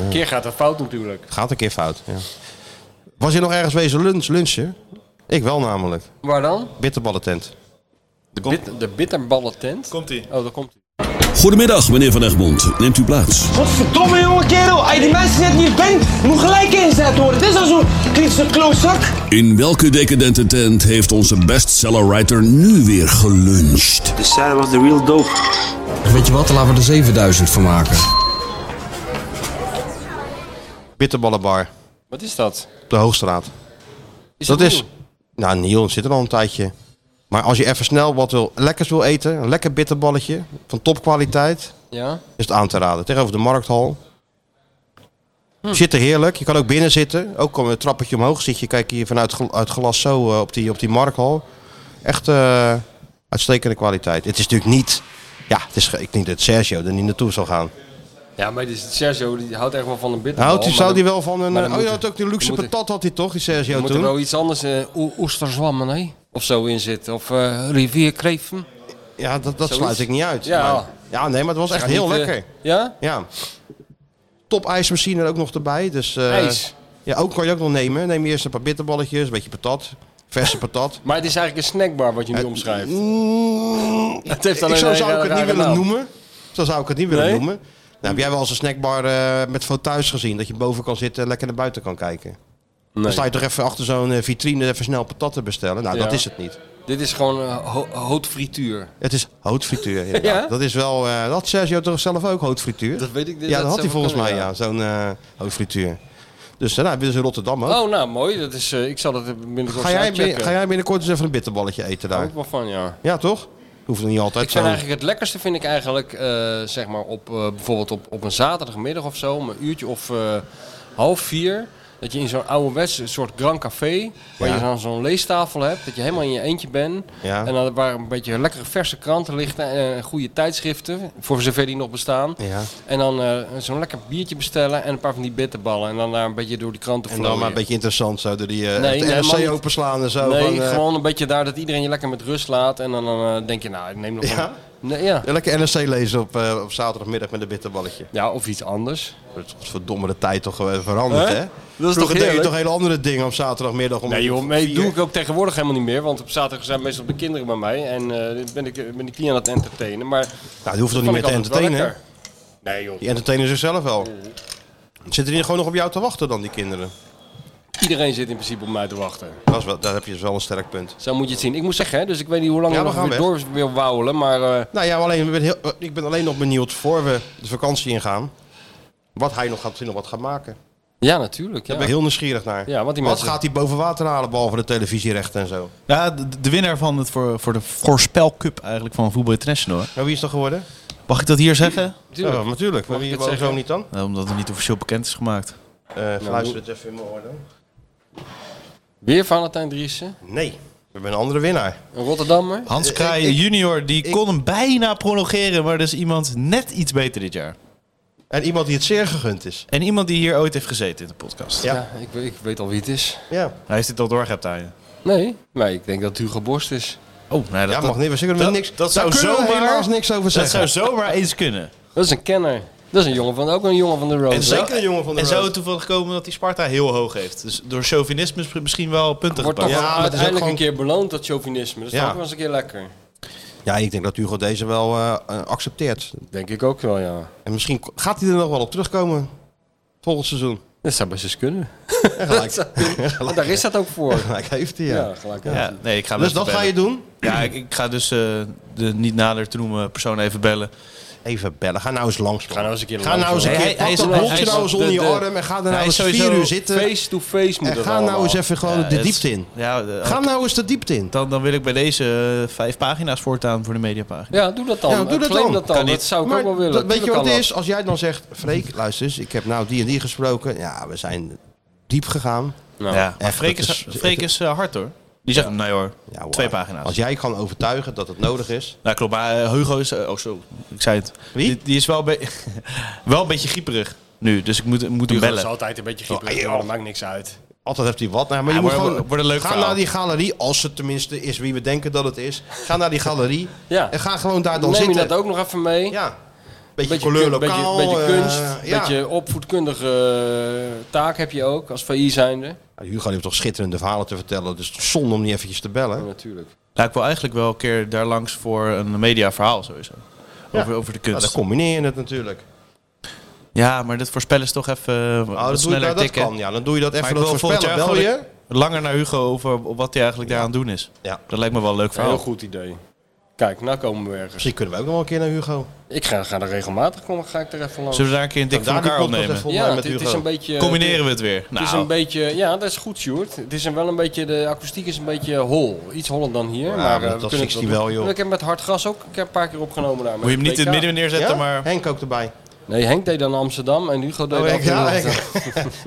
Speaker 7: Een keer gaat dat fout natuurlijk.
Speaker 11: Gaat een keer fout. Ja. Was je nog ergens wezen lunch, lunchen? Ik wel namelijk.
Speaker 7: Waar dan?
Speaker 11: Bitterballentent.
Speaker 7: De, bit, de bitterballen tent.
Speaker 8: Komt ie.
Speaker 7: Oh, daar komt hij.
Speaker 5: Goedemiddag, meneer Van Egmond. Neemt u plaats.
Speaker 10: Godverdomme jonge kerel, als je die mensen net niet bent, moet gelijk ingezet worden. Dit is al zo'n kritische klootzak.
Speaker 5: In welke decadente tent heeft onze bestsellerwriter nu weer geluncht?
Speaker 12: De Sarah was de real dope.
Speaker 13: Weet je wat, laten we er 7000 van maken.
Speaker 11: Bitterballenbar.
Speaker 7: Wat is dat?
Speaker 11: Op de Hoogstraat.
Speaker 7: Is
Speaker 11: dat
Speaker 7: het
Speaker 11: is.
Speaker 7: nieuw?
Speaker 11: Nou, Niel zit er al een tijdje. Maar als je even snel wat wil, lekkers wil eten, een lekker bitterballetje van topkwaliteit,
Speaker 7: Ja?
Speaker 11: is het aan te raden. Tegenover de markthal. Zit er heerlijk. Je kan ook binnen zitten. Ook kom je een trappetje omhoog zit je. Kijk hier vanuit gl- uit glas zo eh, op, die, op die markthal. Echt eh, uitstekende kwaliteit. Het is natuurlijk niet. Ja, het is, ge- ik denk dat Sergio er niet naartoe zal gaan.
Speaker 7: Ja, maar dit is Sergio die houdt echt wel van een bitterbal.
Speaker 11: Houdt hij,
Speaker 7: Nou, maar
Speaker 11: zou
Speaker 7: dan-
Speaker 11: die wel van een.
Speaker 7: maar
Speaker 11: eh,
Speaker 7: dan
Speaker 11: Oh,
Speaker 7: moet
Speaker 11: je
Speaker 7: er-
Speaker 11: had ook die luxe
Speaker 7: dan moet er-
Speaker 11: patat, had hij toch, die Sergio
Speaker 7: Er moet er
Speaker 11: toen?
Speaker 7: wel iets anders, eh o- oesterzwammen, nee? Of zo in zitten. Of eh rivierkreeften.
Speaker 11: Ja, dat, dat
Speaker 7: Zoiets?
Speaker 11: sluit ik niet uit.
Speaker 7: Ja.
Speaker 11: Maar- ja, nee, maar het was echt
Speaker 7: Ga
Speaker 11: heel
Speaker 7: niet, eh,
Speaker 11: lekker.
Speaker 7: ja?
Speaker 11: Ja. Top ijsmachine er ook nog erbij. Dus, eh,
Speaker 7: IJs.
Speaker 11: Ja, ook kan je ook nog nemen. Neem eerst een paar bitterballetjes, een beetje patat. Verse patat.
Speaker 7: Maar het is eigenlijk een snackbar wat je nu omschrijft.
Speaker 11: Eh, Mm,
Speaker 7: Het heeft
Speaker 11: ik,
Speaker 7: alleen
Speaker 11: zo
Speaker 7: een eh,
Speaker 11: zou ik het
Speaker 7: rare
Speaker 11: niet willen
Speaker 7: naam.
Speaker 11: noemen. Zo zou ik het niet willen
Speaker 7: Nee?
Speaker 11: noemen. Nou, heb jij wel eens een snackbar eh, met fauteuils gezien? Dat je boven kan zitten en lekker naar buiten kan kijken. Dan
Speaker 7: Nee.
Speaker 11: sta je toch even achter zo'n eh, vitrine even snel patat te bestellen. Nou,
Speaker 7: Ja.
Speaker 11: dat is het niet.
Speaker 7: Dit is gewoon eh, ho- haute frituur.
Speaker 11: Het is houtfrituur. inderdaad.
Speaker 7: Ja?
Speaker 11: Dat is wel. eh, dat had Sergio toch zelf ook houtfrituur?
Speaker 7: Dat weet ik niet.
Speaker 11: ja, dat, had
Speaker 7: zou
Speaker 11: hij volgens
Speaker 7: wel
Speaker 11: mij,
Speaker 7: kunnen,
Speaker 11: ja. Zo'n eh hoofdfrituur. Dus eh, nou, hebben ze in Rotterdam ook.
Speaker 7: Oh, nou mooi. Dat is, eh, ik zal dat binnenkort
Speaker 11: ga, jij,
Speaker 7: eens uitchecken.
Speaker 11: bin- ga jij binnenkort eens even een bitterballetje eten
Speaker 7: Daar
Speaker 11: daar?
Speaker 7: hou ik wel van, ja.
Speaker 11: Ja, toch? Hoeft nog niet altijd
Speaker 7: Ik vind
Speaker 11: zo.
Speaker 7: eigenlijk het lekkerste vind ik eigenlijk, eh, zeg maar, op, eh, bijvoorbeeld op, op een zaterdagmiddag of zo, om een uurtje of eh, half vier. Dat je in zo'n ouderwets een soort grand café, waar
Speaker 11: Ja.
Speaker 7: je dan zo'n leestafel hebt, dat je helemaal in je eentje bent.
Speaker 11: Ja.
Speaker 7: En dan waar een beetje lekkere verse kranten liggen en goede tijdschriften, voor zover die nog bestaan.
Speaker 11: Ja.
Speaker 7: En dan eh, zo'n lekker biertje bestellen en een paar van die bitterballen. En dan daar een beetje door die kranten
Speaker 11: En dan maar een beetje interessant zo, door die eh, het NRC
Speaker 7: man.
Speaker 11: openslaan en zo.
Speaker 7: Nee,
Speaker 11: van, eh,
Speaker 7: gewoon een beetje daar dat iedereen je lekker met rust laat. En dan, eh, denk je, nou, ik neem nog
Speaker 11: Ja?
Speaker 7: een... Nee, ja.
Speaker 11: Ja, lekker NRC lezen op, eh, op zaterdagmiddag met een bitterballetje.
Speaker 7: Ja, of iets anders.
Speaker 11: Dat is toch verdomme de tijd toch eh, veranderd,
Speaker 7: Hè?
Speaker 11: hè?
Speaker 7: Dat is
Speaker 11: Vroeger
Speaker 7: toch
Speaker 11: deed je
Speaker 7: heerlijk?
Speaker 11: toch hele andere dingen op zaterdagmiddag om
Speaker 7: Nee joh, nee,
Speaker 11: vier.
Speaker 7: doe ik ook tegenwoordig helemaal niet meer. Want op zaterdag zijn meestal de kinderen bij mij. En eh, ben, ik, ben ik die aan het entertainen. Maar
Speaker 11: Nou, die hoeft toch niet
Speaker 7: vond
Speaker 11: meer
Speaker 7: ik altijd
Speaker 11: te
Speaker 7: wel
Speaker 11: entertainen, hè?
Speaker 7: lekker. Nee joh.
Speaker 11: Die entertainen zichzelf wel. Zitten die gewoon nog op jou te wachten dan, die kinderen?
Speaker 7: Iedereen zit in principe op mij te wachten.
Speaker 11: Dat, is wel, daar heb je dus wel een sterk punt.
Speaker 7: Zo moet je het zien. Ik moet zeggen, hè, dus ik weet niet hoe lang
Speaker 11: Ja,
Speaker 7: ik
Speaker 11: we
Speaker 7: nog
Speaker 11: gaan
Speaker 7: weer door wil wouwelen. Maar eh,
Speaker 11: Nou ja, alleen, ik, ben heel, eh, ik ben alleen nog benieuwd voor we de vakantie ingaan. Wat hij nog gaat, nog wat gaat maken.
Speaker 7: ja, natuurlijk. Ja.
Speaker 11: Daar ben ik heel nieuwsgierig naar.
Speaker 7: Ja, want die
Speaker 11: wat
Speaker 7: mensen-
Speaker 11: gaat hij boven water halen, behalve de televisierechten en zo?
Speaker 8: Ja, de, de winnaar van het voor, voor de Voorspel Cup eigenlijk van Voetbal International. hè.
Speaker 11: Nou, wie is dat geworden?
Speaker 8: Mag ik dat hier zeggen?
Speaker 11: Ja, natuurlijk.
Speaker 7: Mag
Speaker 11: Maar
Speaker 7: ik
Speaker 11: wie
Speaker 7: het
Speaker 11: waarom
Speaker 7: zeggen?
Speaker 11: zo niet dan?
Speaker 8: Nou, omdat het niet officieel bekend is gemaakt.
Speaker 11: Eh
Speaker 7: Nou,
Speaker 11: luister het even in mijn oor dan.
Speaker 7: Weer Valentijn Driessen.
Speaker 11: Nee, we hebben een andere winnaar.
Speaker 7: Een Rotterdammer.
Speaker 11: Eh,
Speaker 8: Hans Kraai junior, die kon hem bijna prolongeren, maar dus iemand net iets beter dit jaar.
Speaker 11: En iemand die het zeer gegund is.
Speaker 8: En iemand die hier ooit heeft gezeten in de podcast.
Speaker 11: Ja.
Speaker 7: Ja, ik, weet- ik weet al wie het is.
Speaker 11: Ja,
Speaker 8: Hij heeft dit al doorgehebt aan je.
Speaker 7: Nee, maar ik denk dat het Hugo Borst is.
Speaker 8: Oh, nee, dat,
Speaker 11: ja mag niet. We zeggen er
Speaker 8: dat-
Speaker 11: niks.
Speaker 8: Dat zou
Speaker 11: Daar kunnen we
Speaker 8: zomaar,
Speaker 11: helaas niks over
Speaker 8: dat
Speaker 11: zeggen.
Speaker 8: zou zomaar eens kunnen.
Speaker 7: Dat is een kenner. Dat is een jongen van, ook een jongen van de road.
Speaker 8: En zo,
Speaker 11: Zeker een jongen van de
Speaker 8: en
Speaker 11: road.
Speaker 8: zo toevallig komen dat hij Sparta heel hoog heeft. Dus door chauvinisme is misschien wel punten
Speaker 7: Wordt toch
Speaker 8: gepakt.
Speaker 11: Ja, maar
Speaker 7: wel
Speaker 11: het is ook
Speaker 7: uiteindelijk
Speaker 11: gewoon-
Speaker 7: een keer beloond, dat chauvinisme. Dat is
Speaker 11: Ja.
Speaker 7: toch ook wel eens een keer lekker.
Speaker 11: Ja, ik denk dat Hugo deze wel eh, eh, accepteert.
Speaker 7: Denk ik ook wel, ja.
Speaker 11: En misschien ko- gaat hij er nog wel op terugkomen. Volgend seizoen.
Speaker 7: Dat zou best eens kunnen.
Speaker 11: En gelijk,
Speaker 7: Want daar is dat ook voor.
Speaker 11: gelijk heeft hij,
Speaker 7: Ja,
Speaker 11: ja.
Speaker 7: gelijk.
Speaker 8: Ja, nee, ik ga hem
Speaker 11: Dus
Speaker 8: even
Speaker 11: dat ga je
Speaker 8: bellen.
Speaker 11: doen?
Speaker 8: Ja, ik, ik ga dus eh, de niet nader te noemen persoon even bellen.
Speaker 11: Even bellen. Ga nou eens langs. man.
Speaker 7: Ga nou eens een keer
Speaker 11: Ga nou eens een
Speaker 8: Hij-
Speaker 11: keer.
Speaker 8: hij
Speaker 11: Pak
Speaker 8: is-
Speaker 11: dat
Speaker 8: hij
Speaker 11: hondje
Speaker 8: is-
Speaker 11: nou eens
Speaker 7: de-
Speaker 11: onder je
Speaker 7: de-
Speaker 11: arm en ga er nou
Speaker 8: hij
Speaker 11: eens
Speaker 8: is
Speaker 11: vier
Speaker 8: sowieso
Speaker 11: uur zitten.
Speaker 7: Face to face moet
Speaker 11: En
Speaker 7: dat
Speaker 11: ga nou
Speaker 7: allemaal.
Speaker 11: eens even gewoon
Speaker 8: Ja,
Speaker 11: de
Speaker 8: het-
Speaker 11: diepte in.
Speaker 8: Ja, de-
Speaker 11: Ga nou eens de diepte in.
Speaker 8: dan, dan wil ik bij deze eh, vijf pagina's voortaan voor de mediapagina.
Speaker 7: Ja, doe dat dan.
Speaker 11: Ja, doe dat
Speaker 7: Claim
Speaker 11: dan.
Speaker 7: dat dan.
Speaker 8: Kan
Speaker 7: dat
Speaker 8: niet.
Speaker 7: zou ik ook wel willen.
Speaker 11: dat- weet je
Speaker 7: Tuurlijk kan
Speaker 11: wat het
Speaker 7: dat.
Speaker 11: is? Als jij dan zegt, Freek, luister eens, ik heb nou die en die gesproken. Ja, we zijn diep gegaan.
Speaker 7: Nou,
Speaker 8: ja, maar
Speaker 11: echt,
Speaker 8: Freek
Speaker 11: dat
Speaker 8: is,
Speaker 11: is-
Speaker 8: Freek is eh, hard hoor. Die zegt, nee hoor,
Speaker 11: Ja, hoor.
Speaker 8: twee pagina's.
Speaker 11: Als jij kan overtuigen dat het nodig is.
Speaker 8: Nou klopt, maar eh, Hugo is... eh, oh zo, ik zei het.
Speaker 11: Wie?
Speaker 8: Die, die is wel, be- wel een beetje grieperig nu, dus ik moet, moet hem
Speaker 7: Hugo is
Speaker 8: bellen.
Speaker 7: altijd een beetje grieperig,
Speaker 11: Oh, joh.
Speaker 7: maar dat maakt niks uit.
Speaker 11: Altijd heeft hij wat. Nou, maar je
Speaker 8: Ja,
Speaker 11: moet
Speaker 8: wordt-
Speaker 11: gewoon,
Speaker 8: wordt een leuk
Speaker 11: ga
Speaker 8: verhaal.
Speaker 11: naar die galerie, als het tenminste is wie we denken dat het is. Ga naar die galerie
Speaker 7: Ja.
Speaker 11: en ga gewoon daar dan
Speaker 7: Neem je
Speaker 11: zitten.
Speaker 7: dat ook nog even mee?
Speaker 11: Ja, beetje,
Speaker 7: Beetje,
Speaker 11: kleur
Speaker 7: kun-
Speaker 11: lokaal.
Speaker 7: beetje, beetje
Speaker 11: eh,
Speaker 7: kunst,
Speaker 11: ja.
Speaker 7: beetje opvoedkundige eh, taak heb je ook als VI zijnde.
Speaker 11: Nou, Hugo heeft toch schitterende verhalen te vertellen. Dus het is zonde om niet eventjes te bellen.
Speaker 7: Ja, natuurlijk.
Speaker 8: Ja, ik wil eigenlijk wel een keer daar langs voor een mediaverhaal sowieso. Over, over de
Speaker 11: Nou, dan
Speaker 8: kunst.
Speaker 11: combineer je het natuurlijk.
Speaker 8: ja, maar dat voorspellen is toch even eh, wat
Speaker 11: Oh, dat, doe je,
Speaker 8: sneller
Speaker 11: dat, dat
Speaker 8: tikken.
Speaker 11: kan. Ja, dan doe je dat even
Speaker 8: Maar ik
Speaker 11: dat
Speaker 8: wil volgend
Speaker 11: voorspellen.
Speaker 8: jaar
Speaker 11: Bel
Speaker 8: gewoon
Speaker 11: je?
Speaker 8: Langer naar Hugo over wat hij eigenlijk daaraan doen is.
Speaker 11: Ja.
Speaker 8: Dat lijkt me wel een leuk verhaal.
Speaker 7: Heel goed idee. Kijk, nou komen we ergens.
Speaker 11: Misschien kunnen we ook nog wel een keer naar Hugo.
Speaker 7: Ik ga, ga er regelmatig komen, ga ik er even langs.
Speaker 8: Zullen we daar een keer een dik voor
Speaker 11: Daar die
Speaker 8: elkaar
Speaker 11: podcast
Speaker 8: opnemen?
Speaker 11: even eh, op
Speaker 7: ja,
Speaker 11: met
Speaker 7: dit
Speaker 11: Hugo.
Speaker 7: is een beetje... eh,
Speaker 8: Combineren we het weer.
Speaker 7: Het is
Speaker 8: Nou.
Speaker 7: een beetje, ja, dat is goed, Sjoerd. Het is een wel een beetje, de akoestiek is een beetje hol. Iets holler dan hier. maar,
Speaker 11: maar
Speaker 7: eh, we
Speaker 11: dat
Speaker 7: kunnen
Speaker 11: fixt
Speaker 7: het
Speaker 11: die wel, joh.
Speaker 7: doen. Ik heb met hard gras ook ik heb een paar keer opgenomen daar. met
Speaker 8: Moet je hem niet in het
Speaker 7: WK.
Speaker 8: midden neerzetten,
Speaker 11: Ja?
Speaker 8: maar...
Speaker 11: Henk ook erbij.
Speaker 7: Nee, Henk deed dan Amsterdam en Hugo deed
Speaker 11: Oh, Henk,
Speaker 7: dan...
Speaker 11: ja, Henk.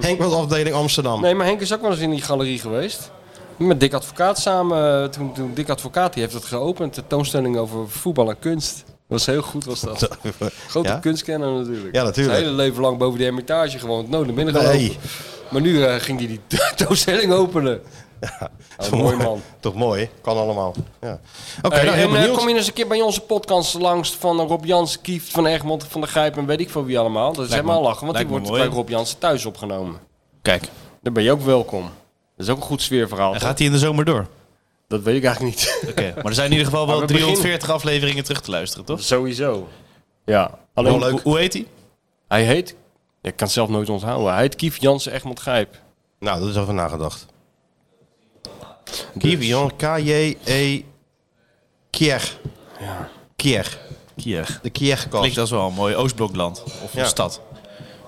Speaker 11: Henk was afdeling Amsterdam.
Speaker 7: Nee, maar Henk is ook wel eens in die galerie geweest. Met Dick Advocaat samen. eh, Toen, toen Dick Advocaat die heeft het geopend. De toonstelling over voetbal en kunst. Dat was heel goed, was dat. Grote
Speaker 11: Ja?
Speaker 7: kunstkenner natuurlijk.
Speaker 11: Ja, natuurlijk.
Speaker 7: Zijn hele leven lang boven de hermitage gewoon. Nou, naar binnen
Speaker 11: Nee.
Speaker 7: gelopen. Maar nu eh, ging hij die toonstelling openen. Oh, mooi man.
Speaker 11: Toch mooi, kan allemaal. Ja. Oké,
Speaker 7: Hey,
Speaker 11: nou, heel
Speaker 7: en eh,
Speaker 11: benieuwd.
Speaker 7: kom je eens een keer bij onze podcast langs van eh, Rob Jansen, Kieft, Van Egmond, Van der Gijp en weet ik veel wie allemaal. Dat is
Speaker 8: Lijkt me-
Speaker 7: helemaal lachen, want die
Speaker 8: lijkt me
Speaker 7: wordt
Speaker 8: mooi.
Speaker 7: bij Rob Jansen thuis opgenomen.
Speaker 8: Kijk,
Speaker 7: Daar ben je ook welkom. Dat is ook een goed sfeerverhaal.
Speaker 8: dan gaat hij in de zomer door.
Speaker 7: Dat weet ik eigenlijk niet.
Speaker 8: Oké, maar er zijn in ieder geval wel
Speaker 7: Maar we beginnen-
Speaker 8: 340 afleveringen terug te luisteren, toch?
Speaker 7: Sowieso. Ja. Alleen,
Speaker 8: Hoe- Hoe heet hij?
Speaker 7: Hij heet... Ik kan het zelf nooit onthouden. Hij heet Kief Jansen Egmond Gijp.
Speaker 11: Nou, dat is over nagedacht. Kivion, K-J-E... Kier.
Speaker 7: Ja.
Speaker 11: Kier.
Speaker 8: Kier.
Speaker 11: E De Kierkast.
Speaker 8: E Klinkt als wel een mooi Oostblokland. Of
Speaker 11: Ja.
Speaker 8: een stad.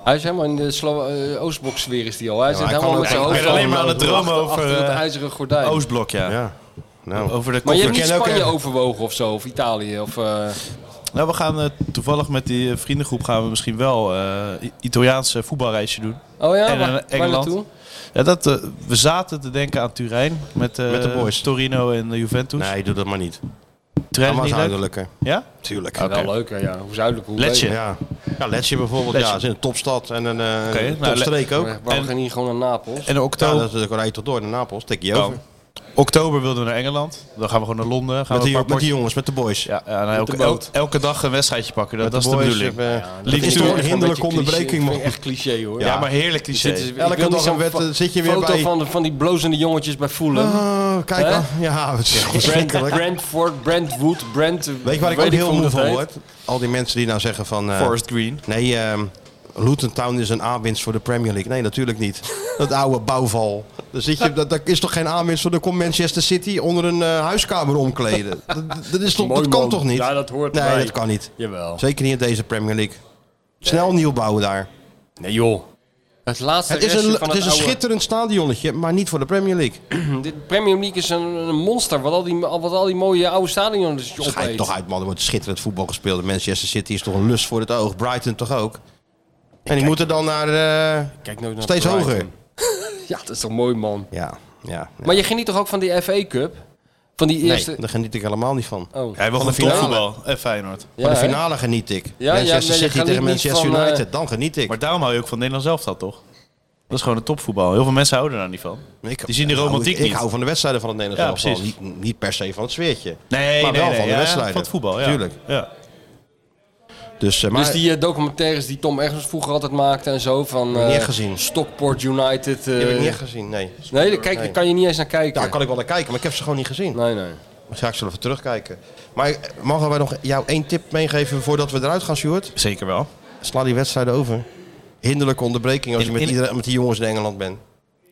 Speaker 7: Hij is helemaal in de Slo- eh, Oostbloksfeer is die al. Hij zit
Speaker 11: hij
Speaker 7: helemaal
Speaker 11: kan
Speaker 7: met
Speaker 11: ook-
Speaker 7: zijn
Speaker 11: hij
Speaker 7: hoofd...
Speaker 11: kan alleen
Speaker 7: al
Speaker 8: maar aan het
Speaker 7: achter-
Speaker 8: dromen
Speaker 7: achter
Speaker 8: over,
Speaker 7: het
Speaker 8: eh,
Speaker 7: ijzeren gordijn.
Speaker 8: Oostblok, ja.
Speaker 11: Ja. Nou.
Speaker 8: Over de
Speaker 7: Maar je hebt
Speaker 8: koffie-
Speaker 7: niet
Speaker 11: ken ook,
Speaker 7: Spanje
Speaker 11: eh,
Speaker 7: overwogen of zo, of Italië, of... eh,
Speaker 8: Nou, we gaan eh, toevallig met die eh, vriendengroep gaan we misschien wel eh, I- Italiaanse voetbalreisje doen.
Speaker 7: Oh ja,
Speaker 8: En
Speaker 7: waar,
Speaker 8: dan
Speaker 7: waar
Speaker 8: Engeland.
Speaker 7: naartoe?
Speaker 8: Ja, dat, eh, we zaten te denken aan Turijn met, eh,
Speaker 11: Met de boys.
Speaker 8: Torino en eh, Juventus.
Speaker 11: Nee, doe dat maar niet.
Speaker 8: Turijn is
Speaker 11: Dat was
Speaker 8: niet leuk?
Speaker 11: zuidelijker.
Speaker 8: Ja?
Speaker 11: Tuurlijk.
Speaker 8: Ja, wel Oké.
Speaker 7: leuker, ja. Hoe zuidelijk, hoe
Speaker 8: Letje.
Speaker 7: beter.
Speaker 11: Ja, ja Letje bijvoorbeeld.
Speaker 8: Letje.
Speaker 11: Ja, is in een topstad en een eh
Speaker 8: Oké, nou,
Speaker 11: topstreek
Speaker 8: Le-
Speaker 11: ook.
Speaker 8: Maar
Speaker 7: Waarom gaan we niet gewoon naar Napels?
Speaker 8: En in oktober,
Speaker 11: Ja, dat is natuurlijk een tot door naar Napels. Tik je
Speaker 8: Oh.
Speaker 11: over.
Speaker 8: oktober wilden we naar Engeland. Dan gaan we gewoon naar Londen. Gaan
Speaker 11: Met
Speaker 8: we
Speaker 11: die,
Speaker 8: een
Speaker 11: met
Speaker 8: paar
Speaker 11: die
Speaker 8: potjes-
Speaker 11: jongens, met de boys.
Speaker 8: Ja, ja, nou, elke,
Speaker 11: de boot.
Speaker 8: el- elke dag een wedstrijdje pakken. Dat,
Speaker 11: Met
Speaker 8: dat
Speaker 11: de
Speaker 8: is de
Speaker 11: boys,
Speaker 8: bedoeling.
Speaker 11: eh,
Speaker 8: Ja,
Speaker 11: dat is toch een hinderlijke onderbreking, man.
Speaker 7: Echt cliché hoor.
Speaker 8: Ja, maar heerlijk cliché.
Speaker 7: Dit is- ik
Speaker 11: Elke
Speaker 7: wil niet
Speaker 11: dag
Speaker 7: zo'n
Speaker 11: een wet,
Speaker 7: fo-
Speaker 11: eh, zit je weer
Speaker 7: foto
Speaker 11: bij-
Speaker 7: Van, de- van die blozende jongetjes bij Fulham.
Speaker 11: Oh, kijk
Speaker 7: Hè?
Speaker 11: dan. Ja, het is
Speaker 7: Brent,
Speaker 11: verschrikkelijk.
Speaker 7: Brentford, Brentwood, Brent...
Speaker 11: Weet je waar ik ook heel
Speaker 7: veel
Speaker 11: moe
Speaker 7: hoe dat
Speaker 11: van
Speaker 7: heet?
Speaker 11: word? Al die mensen die nou zeggen van... eh,
Speaker 8: Forest Green.
Speaker 11: Nee, ehm, Luton Town is een aanwinst voor de Premier League. Nee, natuurlijk niet. Dat oude bouwval. Dan zit je, dat, dat is toch geen aanwinst voor de komt Manchester City onder een eh, huiskamer omkleden. Dat, dat, is toch,
Speaker 7: Mooi,
Speaker 11: dat kan
Speaker 7: man.
Speaker 11: toch niet?
Speaker 7: Ja, dat hoort
Speaker 11: Nee,
Speaker 7: erbij.
Speaker 11: dat kan niet.
Speaker 7: Jawel.
Speaker 11: Zeker niet in deze Premier League. Snel nieuw bouwen daar.
Speaker 7: Nee joh. Het laatste
Speaker 11: Het is
Speaker 7: restje
Speaker 11: een,
Speaker 7: van
Speaker 11: het is een
Speaker 7: oude-
Speaker 11: schitterend stadionnetje, maar niet voor de Premier League.
Speaker 7: De Premier League is een, een monster wat al, die, wat al die mooie oude stadions dus
Speaker 11: Dus ga je
Speaker 7: opeet.
Speaker 11: toch uit, man. Er wordt schitterend voetbal gespeeld. Manchester City is toch een lust voor het oog. Brighton toch ook. En die moeten dan naar, eh,
Speaker 7: Kijk nooit naar
Speaker 11: steeds
Speaker 7: Brighton.
Speaker 11: hoger.
Speaker 7: Ja, dat is toch mooi man.
Speaker 11: Ja, ja. ja.
Speaker 7: Maar je geniet toch ook van die FA Cup? Van die eerste...
Speaker 11: Nee, daar geniet ik helemaal niet van.
Speaker 7: Oh.
Speaker 8: Hij wil
Speaker 11: Van de
Speaker 8: gewoon topvoetbal.
Speaker 11: finale.
Speaker 8: En Feyenoord.
Speaker 11: Van de
Speaker 7: hè?
Speaker 11: finale geniet ik.
Speaker 7: Ja, ja,
Speaker 11: Manchester
Speaker 7: nee, je
Speaker 11: City
Speaker 7: geniet
Speaker 11: tegen
Speaker 7: niet
Speaker 11: Manchester
Speaker 7: van, eh,
Speaker 11: United, dan geniet ik.
Speaker 8: Maar daarom hou je ook van Nederland zelf dat toch? Dat is gewoon het topvoetbal. Heel veel mensen houden daar niet van.
Speaker 11: Ik-
Speaker 8: Die zien de
Speaker 11: ik hou-
Speaker 8: romantiek
Speaker 11: ik,
Speaker 8: niet.
Speaker 11: hou van de wedstrijden van het Nederlands
Speaker 8: Ja,
Speaker 11: elftal.
Speaker 8: precies.
Speaker 11: Niet, niet per se van het sfeertje.
Speaker 8: Nee,
Speaker 11: maar
Speaker 8: nee,
Speaker 11: wel
Speaker 8: nee,
Speaker 11: van de
Speaker 8: ja,
Speaker 11: wedstrijden.
Speaker 8: Van het voetbal, ja.
Speaker 11: Tuurlijk.
Speaker 8: Ja.
Speaker 11: Dus, eh, maar,
Speaker 7: Dus die eh, documentaires die Tom Ergens vroeger altijd maakte en zo van...
Speaker 11: Heb ik niet
Speaker 7: eh,
Speaker 11: gezien.
Speaker 7: Stockport United. eh,
Speaker 11: die heb ik niet gezien, nee.
Speaker 7: Nee, daar kijk, daar kan je niet eens naar kijken.
Speaker 11: Daar kan ik wel naar kijken, maar ik heb ze gewoon niet gezien.
Speaker 7: Nee, nee.
Speaker 11: Maar Ga ik ze even terugkijken. Maar eh, mogen wij nog jou één tip meegeven voordat we eruit gaan, Sjoerd?
Speaker 8: Zeker wel.
Speaker 11: Sla die wedstrijden over. Hinderlijke onderbreking als je
Speaker 8: In-
Speaker 11: met,
Speaker 8: in-
Speaker 11: iedereen- met die jongens in Engeland bent.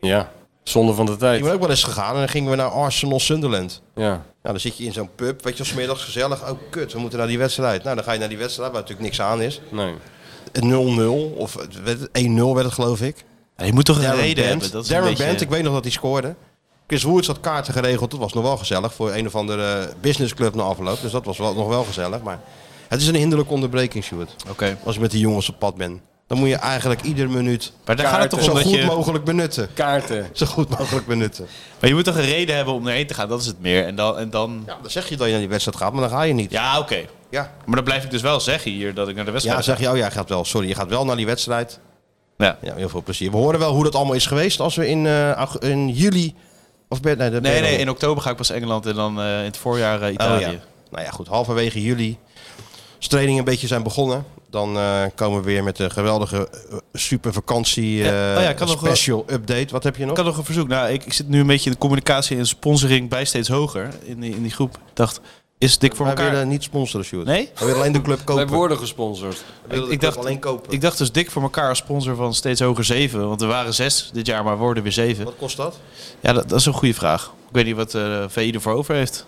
Speaker 7: Ja, zonde van de
Speaker 11: Ik
Speaker 7: tijd.
Speaker 11: ben ook wel eens gegaan en dan gingen we naar Arsenal Sunderland.
Speaker 7: Ja.
Speaker 11: Nou, dan zit je in zo'n pub, weet je, smiddags gezellig. Oh, kut, we moeten naar die wedstrijd. Nou, dan ga je naar die wedstrijd waar natuurlijk niks aan is.
Speaker 7: Nee.
Speaker 11: 0-0 of het werd- 1-0 werd het, geloof ik.
Speaker 8: Ja, je moet toch een
Speaker 11: Darren
Speaker 8: reden
Speaker 11: Bent.
Speaker 8: hebben. Dat is een
Speaker 11: Darren
Speaker 8: beetje-
Speaker 11: Bent, ik weet nog dat hij scoorde. Chris Woods had kaarten geregeld. Dat was nog wel gezellig voor een of andere eh, businessclub na afloop. Dus dat was wel, nog wel gezellig. Maar het is een hinderlijke onderbreking, Sjoerd.
Speaker 8: Oké.
Speaker 11: Als je met die jongens op pad bent. Dan moet je eigenlijk ieder minuut
Speaker 8: Maar daar gaat het toch
Speaker 11: zo
Speaker 8: om dat
Speaker 11: goed
Speaker 8: je...
Speaker 11: mogelijk benutten.
Speaker 7: Kaarten.
Speaker 11: Zo goed mogelijk benutten.
Speaker 8: Maar je moet toch een reden hebben om erheen te gaan. Dat is het meer. En dan... En dan... Ja,
Speaker 11: Dan zeg je dat je naar die wedstrijd gaat, maar dan ga je niet.
Speaker 8: oké.
Speaker 11: Ja.
Speaker 8: Maar dan blijf ik dus wel zeggen hier dat ik naar de wedstrijd
Speaker 11: Ja,
Speaker 8: ga.
Speaker 11: zeg je, oh ja, gaat wel. Sorry, je gaat wel naar die wedstrijd.
Speaker 8: Ja.
Speaker 11: Ja, heel veel plezier. We horen wel hoe dat allemaal is geweest als we in, eh, aug- in juli... Of ben, nee, dat ben
Speaker 8: Nee,
Speaker 11: je
Speaker 8: nee,
Speaker 11: nog.
Speaker 8: in oktober ga ik pas Engeland en dan eh, in het voorjaar eh, Italië.
Speaker 11: Oh, ja. Nou ja, goed. Halverwege juli, als trainingen een beetje zijn begonnen, dan eh, komen we weer met een geweldige eh, super vakantie
Speaker 8: Ja. Oh ja,
Speaker 11: eh,
Speaker 8: kan nog wel-
Speaker 11: special update. Wat heb je nog?
Speaker 8: Ik had nog een verzoek. Nou, ik, ik zit nu een beetje in de communicatie en sponsoring bij steeds hoger in die, in die groep. Ik dacht, is dik voor
Speaker 11: Wij
Speaker 8: elkaar?
Speaker 11: willen niet sponsoren, Sjoerd.
Speaker 8: Nee?
Speaker 11: We willen alleen de club
Speaker 7: Wij
Speaker 11: kopen.
Speaker 7: worden gesponsord.
Speaker 11: We willen de
Speaker 8: Ik
Speaker 11: club
Speaker 8: dacht,
Speaker 11: alleen kopen.
Speaker 8: ik dacht dus dik voor elkaar als sponsor van steeds hoger 7. Want er waren 6 dit jaar, maar we worden weer 7.
Speaker 11: Wat kost dat?
Speaker 8: Ja, dat, dat is een goede vraag. Ik weet niet wat eh VI ervoor over heeft.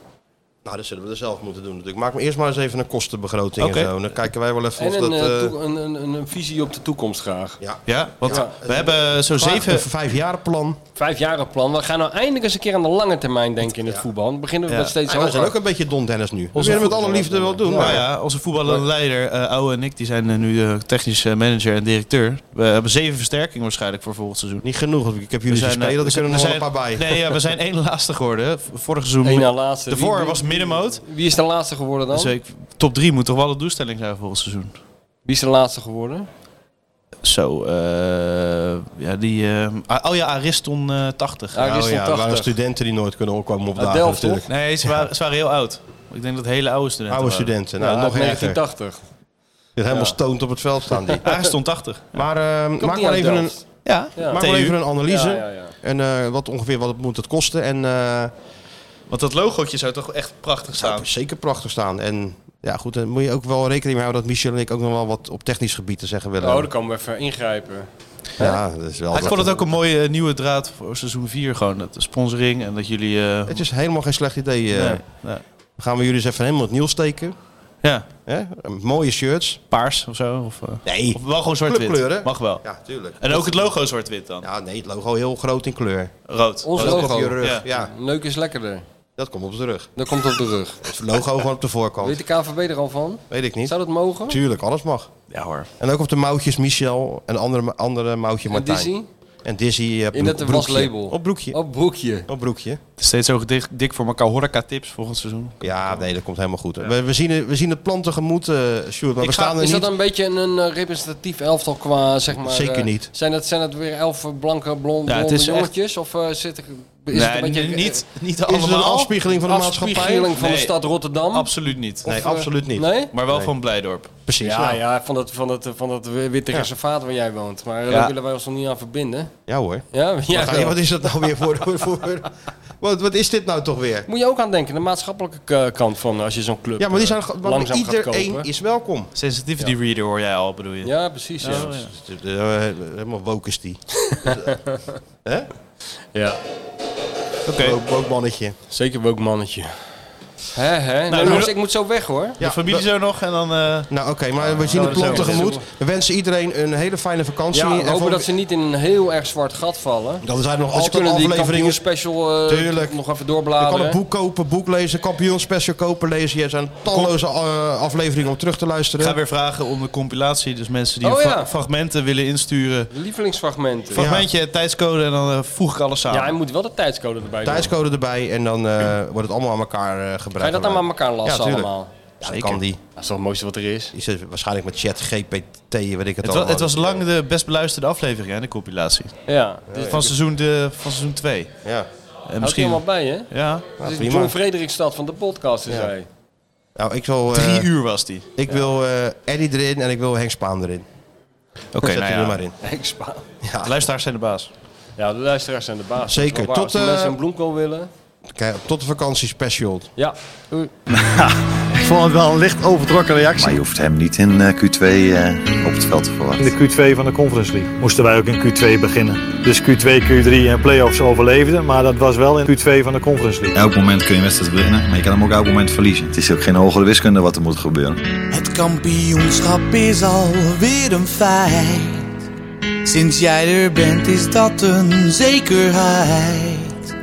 Speaker 11: Nou, dat zullen we er zelf moeten doen natuurlijk. Maak me eerst maar eens even een kostenbegroting
Speaker 8: Oké.
Speaker 11: en zo. Dan kijken wij wel even of
Speaker 7: En een,
Speaker 11: dat...
Speaker 7: eh,
Speaker 11: eh,
Speaker 7: toe- een, een, een, een visie op de toekomst graag.
Speaker 11: ja. eh,
Speaker 8: Ja, want
Speaker 7: Ja.
Speaker 8: we hebben zo'n
Speaker 11: Klaar,
Speaker 8: 7.
Speaker 11: Een vijfjarenplan.
Speaker 7: Vijfjarenplan. We gaan nou eindelijk eens een keer aan de lange termijn denken in het voetbal. Dan beginnen we
Speaker 8: Ja.
Speaker 7: met steeds
Speaker 11: Ja, Ah, we zijn ook
Speaker 7: hoger.
Speaker 11: een beetje Don Dennis nu. We willen met alle liefde wel doen.
Speaker 8: Nou
Speaker 11: maar
Speaker 8: ja, onze voetballende leider, eh Ouwe en ik, die zijn eh, nu eh, technisch eh, manager en directeur. We hebben zeven versterkingen waarschijnlijk voor volgend seizoen.
Speaker 11: Niet genoeg. want Ik heb jullie
Speaker 8: We zijn, eh,
Speaker 11: gespeeld.
Speaker 8: we
Speaker 11: Er
Speaker 8: zijn-
Speaker 11: kunnen nog
Speaker 8: we
Speaker 11: wel een paar bij.
Speaker 8: zijn- Nee, ja, we zijn één laatste geworden. V- Vorig seizoen.
Speaker 7: Eén na laatste. Wie-
Speaker 8: Daarvoor
Speaker 7: wie-
Speaker 8: was middenmoot.
Speaker 7: Wie is de laatste geworden dan?
Speaker 8: Dus ik, top 3 moet toch wel de doelstelling zijn volgend seizoen.
Speaker 7: Wie is de laatste geworden?
Speaker 8: Zo, eh, ja, die. eh, ah, oh ja, Ariston eh, 80.
Speaker 7: Ja,
Speaker 11: Oh ja, er waren
Speaker 7: 80.
Speaker 11: studenten die nooit kunnen opkomen op
Speaker 7: Uit
Speaker 11: dagen
Speaker 7: Delft,
Speaker 11: natuurlijk.
Speaker 8: Nee, ze waren, ze waren heel oud. Ik denk dat hele oude studenten.
Speaker 11: Oude
Speaker 8: waren.
Speaker 11: studenten.
Speaker 7: Ja,
Speaker 11: Nou, nog
Speaker 7: uit
Speaker 11: erger.
Speaker 7: 1980.
Speaker 11: Dit helemaal stoned op het veld staan die.
Speaker 8: Ariston 80.
Speaker 11: Maar eh, maak
Speaker 7: niet
Speaker 11: maar
Speaker 7: uit
Speaker 11: even een,
Speaker 7: Delft.
Speaker 8: Ja,
Speaker 7: Ja.
Speaker 11: maak
Speaker 8: TU.
Speaker 11: maar even een analyse.
Speaker 7: Ja, ja, ja.
Speaker 11: En eh, wat ongeveer wat het moet het kosten. En eh,
Speaker 8: Want dat logootje zou toch echt prachtig
Speaker 11: zou
Speaker 8: staan.
Speaker 11: het Oh, zeker prachtig staan. En ja, goed, dan moet je ook wel rekening mee houden dat Michel en ik ook nog wel wat op technisch gebied te zeggen willen.
Speaker 7: Oh, daar kan we even ingrijpen.
Speaker 11: ja, dat is wel.
Speaker 8: ik vond het ook een mooie eh, nieuwe draad voor seizoen 4. Gewoon dat de sponsoring en dat jullie. eh,
Speaker 11: Het is helemaal geen slecht idee. eh.
Speaker 8: nee, nee.
Speaker 11: Dan Gaan we jullie eens even helemaal het nieuw steken.
Speaker 8: Ja,
Speaker 11: hè? Mooie shirts.
Speaker 8: paars of zo. Of, eh,
Speaker 11: Nee.
Speaker 8: of wel gewoon zwart-wit.
Speaker 11: Clubkleuren.
Speaker 8: Mag wel.
Speaker 11: Ja, tuurlijk.
Speaker 8: En ook het logo zwart-wit dan.
Speaker 11: Ja, nee, het logo heel groot in kleur.
Speaker 8: Rood.
Speaker 7: Ons
Speaker 8: Rood.
Speaker 11: Ook
Speaker 7: logo.
Speaker 11: op je rug.
Speaker 8: Ja.
Speaker 11: Ja.
Speaker 7: Neuk is lekkerder.
Speaker 11: dat komt op de rug.
Speaker 7: Dat komt op de rug.
Speaker 11: Het logo gewoon op de voorkant.
Speaker 7: Weet de KVB er al van?
Speaker 11: Weet ik niet.
Speaker 7: Zou dat mogen?
Speaker 11: Tuurlijk, alles mag.
Speaker 8: Ja hoor.
Speaker 11: En ook op de mouwtjes Michel en andere, andere mouwtje
Speaker 7: En
Speaker 11: Martijn.
Speaker 7: Dizzy?
Speaker 6: En Dizzy eh, broek-
Speaker 7: In het
Speaker 6: broekje.
Speaker 7: waslabel. Oh.
Speaker 6: Op broekje.
Speaker 7: Op broekje.
Speaker 6: Op broekje.
Speaker 8: Steeds zo dik, dik voor elkaar horeca-tips volgend seizoen.
Speaker 6: Ja, nee, dat komt helemaal goed. We, we, zien, we zien het plan tegemoet, eh Sjoerd. Maar we staan er
Speaker 7: is
Speaker 6: niet.
Speaker 7: dat een beetje een, eh, representatief elftal qua, zeg maar...
Speaker 6: Zeker
Speaker 7: eh,
Speaker 6: niet.
Speaker 7: Zijn dat, zijn dat weer elf blanke, blond,
Speaker 6: Ja, het
Speaker 7: blonde
Speaker 6: is echt-
Speaker 7: jongetjes? Of eh, zit ik... Is
Speaker 8: Nee,
Speaker 7: het een beetje,
Speaker 8: niet-
Speaker 7: eh,
Speaker 8: niet
Speaker 6: Is het een afspiegeling van de
Speaker 7: Afspiegeling
Speaker 6: maatschappij?
Speaker 7: van de
Speaker 6: Nee.
Speaker 7: stad Rotterdam?
Speaker 8: Absoluut niet.
Speaker 7: Of, eh, Nee?
Speaker 8: Maar wel
Speaker 7: Nee.
Speaker 8: van Blijdorp.
Speaker 6: Precies.
Speaker 7: Ja,
Speaker 6: ja.
Speaker 7: ja, van dat, van dat, van dat eh, witte reservaat waar jij woont. Maar eh,
Speaker 6: Ja.
Speaker 7: daar willen wij ons nog niet aan verbinden.
Speaker 6: Ja hoor.
Speaker 7: Ja,
Speaker 6: wat,
Speaker 7: ja,
Speaker 6: ga je-
Speaker 7: wel.
Speaker 6: wat is dat nou weer voor... voor, voor- wat, wat is dit nou toch weer?
Speaker 7: Moet je ook aan denken, de maatschappelijke k- kant van als je zo'n club
Speaker 6: Ja, maar die zijn...
Speaker 7: eh,
Speaker 6: want
Speaker 7: langzaam gaat
Speaker 6: Iedereen
Speaker 7: kopen.
Speaker 6: is welkom.
Speaker 8: Sensitivity reader hoor jij al, bedoel je?
Speaker 7: Ja, precies. Ja.
Speaker 8: Oh, ja.
Speaker 6: Dus, eh, Helemaal woke is die. Hè?
Speaker 7: Ja.
Speaker 8: Oké.
Speaker 6: Woke- woke mannetje.
Speaker 7: Zeker woke mannetje. Hè, hè? Nou,
Speaker 8: Nou,
Speaker 7: jongens,
Speaker 8: we-
Speaker 7: ik moet zo weg hoor.
Speaker 8: de familie zo nog en dan... eh,
Speaker 6: Nou oké, maar we zien
Speaker 8: Ja,
Speaker 6: het
Speaker 8: dat
Speaker 6: plan
Speaker 8: is ook-
Speaker 6: tegemoet.
Speaker 8: dat is
Speaker 6: We wensen iedereen een hele fijne vakantie.
Speaker 7: Ja,
Speaker 6: En
Speaker 7: we hopen
Speaker 6: voor-
Speaker 7: dat ze niet in een heel erg zwart gat vallen.
Speaker 6: Dan zijn er nog
Speaker 7: Want ze
Speaker 6: altijd
Speaker 7: kunnen die
Speaker 6: afleveringen.
Speaker 7: special
Speaker 6: Tuurlijk.
Speaker 7: nog even
Speaker 6: Je kan
Speaker 7: doorbladeren.
Speaker 6: een boek kopen, boek lezen, kampioen special kopen, lezen. Er zijn talloze eh, afleveringen om terug te
Speaker 8: Ik
Speaker 6: luisteren.
Speaker 8: ga weer vragen om de compilatie. Dus mensen die
Speaker 7: Oh,
Speaker 8: fra-
Speaker 7: ja.
Speaker 8: fragmenten willen insturen.
Speaker 7: Lievelingsfragmenten.
Speaker 8: Fragmentje, tijdscode en dan eh, voeg ik alles
Speaker 7: Ja,
Speaker 8: samen.
Speaker 7: hij moet wel de tijdscode erbij doen.
Speaker 6: Tijdscode erbij en dan eh, wordt het allemaal aan elkaar eh, gebruikt.
Speaker 7: Ga je dat dan aan elkaar lassen
Speaker 6: Ja, tuurlijk.
Speaker 7: allemaal?
Speaker 6: Ja, dat kan die.
Speaker 7: Dat is toch het mooiste wat er is.
Speaker 6: Die zit waarschijnlijk met chat, GPT, weet ik het,
Speaker 8: Het, wa-
Speaker 6: allemaal.
Speaker 8: het was lang de best beluisterde aflevering, hè, de compilatie.
Speaker 7: Ja.
Speaker 8: Dus van, seizoen de, van seizoen 2.
Speaker 6: Ja.
Speaker 8: En
Speaker 7: Houdt hij
Speaker 8: misschien...
Speaker 7: allemaal bij, hè?
Speaker 8: Ja.
Speaker 7: Dat is de
Speaker 6: prima.
Speaker 7: John Frederikstad van de podcast, is
Speaker 6: Ja.
Speaker 7: hij.
Speaker 6: Nou, ik zal, eh,
Speaker 8: Drie uur was die.
Speaker 6: Ik wil eh Eddie erin en ik wil Henk Spaan erin.
Speaker 8: Oké,
Speaker 6: Zet
Speaker 8: nou
Speaker 6: die
Speaker 8: ja.
Speaker 6: er maar in.
Speaker 7: Henk Spaan.
Speaker 8: De luisteraars zijn de baas.
Speaker 7: Ja, de luisteraars zijn de baas.
Speaker 6: Zeker.
Speaker 7: Dat is wel waar.
Speaker 6: Tot,
Speaker 7: Als de
Speaker 6: eh,
Speaker 7: mensen een bloemkool willen.
Speaker 6: Kijk, tot de vakantie special.
Speaker 7: Ja. Oei.
Speaker 1: Ik vond het wel een licht overtrokken reactie.
Speaker 2: Maar je hoeft hem niet in eh, Q2 eh, op het veld te
Speaker 3: In
Speaker 2: verwachten.
Speaker 3: de Q2 van de Conference League moesten wij ook in Q2 beginnen. Dus Q2, Q3 en play-offs overleefden, maar dat was wel in Q2 van de Conference League.
Speaker 4: Elk moment kun je een wedstrijd winnen, maar je kan hem ook elk moment verliezen.
Speaker 2: Het is ook geen hogere wiskunde wat er moet gebeuren.
Speaker 5: Het kampioenschap is alweer een feit. Sinds jij er bent is dat een zekerheid.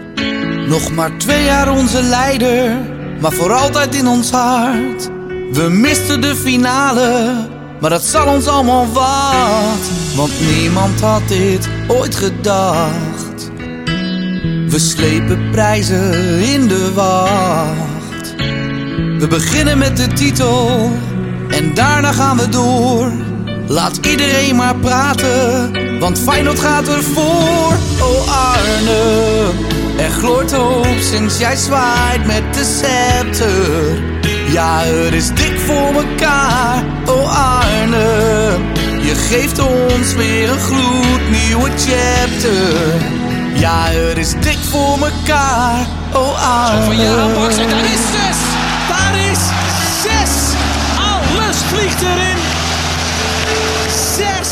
Speaker 5: Nog maar twee jaar onze leider, maar voor altijd in ons hart. We misten de finale, maar dat zal ons allemaal wat. Want niemand had dit ooit gedacht. We slepen prijzen in de wacht. We beginnen met de titel en daarna gaan we door. Laat iedereen maar praten, want Feyenoord gaat ervoor. Oh Arne, er gloort hoop sinds jij zwaait met de scepter. Ja, er is dik voor mekaar. Oh Arne, je geeft ons weer een gloednieuwe chapter. Ja, er is dik voor mekaar. Oh Arne.
Speaker 14: Van Jaren Baks en daar is zes! Daar is zes! Alles vliegt erin! Zes!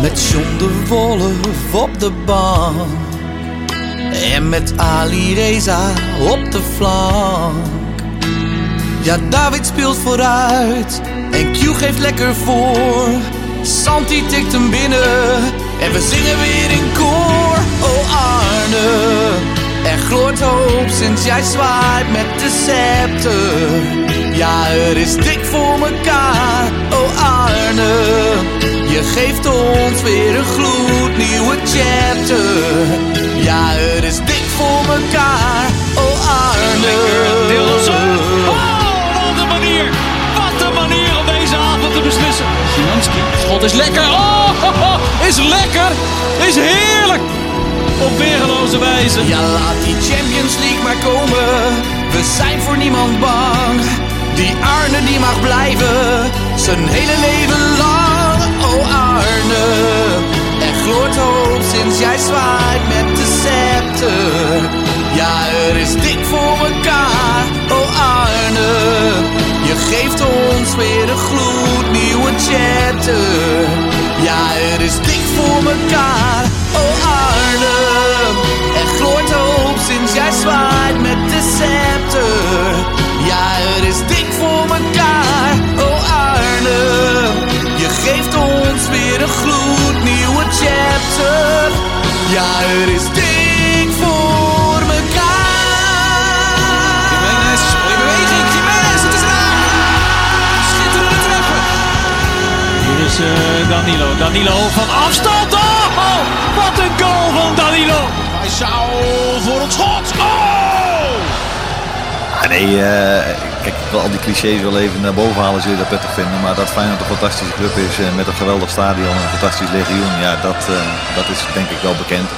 Speaker 5: Met John de Wolf op de bank. En met Ali Reza op de flank. Ja, David speelt vooruit. En Q geeft lekker voor. Santi tikt hem binnen. En we zingen weer in koor. Oh Arne, er gloort hoop sinds jij zwaait met de scepter. Ja, er is dik voor mekaar. Oh Arne, je geeft ons weer een gloednieuwe chapter. Ja, er is dik voor mekaar. Oh Arne.
Speaker 14: Dilsen! Oh, wat een manier! Wat een manier om deze avond te beslissen! Szymanski. Schot is lekker! Oh, ho, ho, is lekker! Is heerlijk! Op weergeloze wijze.
Speaker 5: Ja, laat die Champions League maar komen. We zijn voor niemand bang. Die Arne die mag blijven, zijn hele leven lang. Oh Arne, er gloort hoop sinds jij zwaait met de scepter. Ja, er is dik voor elkaar. Oh Arne, je geeft ons weer een gloednieuwe chapter. Ja, er is dik voor elkaar. Oh Arne. Er gloort hoop sinds jij zwaait met de scepter. Ja, het is dik voor mekaar, oh Arne. Je geeft ons weer een gloednieuwe chapter. Ja, het is dik voor mekaar.
Speaker 14: Jiménez, in beweging, Jiménez, het is raak! Schitterende treffer!
Speaker 9: Hier is
Speaker 14: is eh, Danilo. Danilo van afstand. Oh, oh, wat een goal van Danilo. Hij zou voor het schot. Oh!
Speaker 2: Ah, nee, eh, kijk, ik wil al die clichés wel even naar boven halen, zul je dat prettig vinden. Maar dat Feyenoord een fantastische club is eh, met een geweldig stadion en een fantastisch legioen, ja, dat, eh, dat is denk ik wel bekend.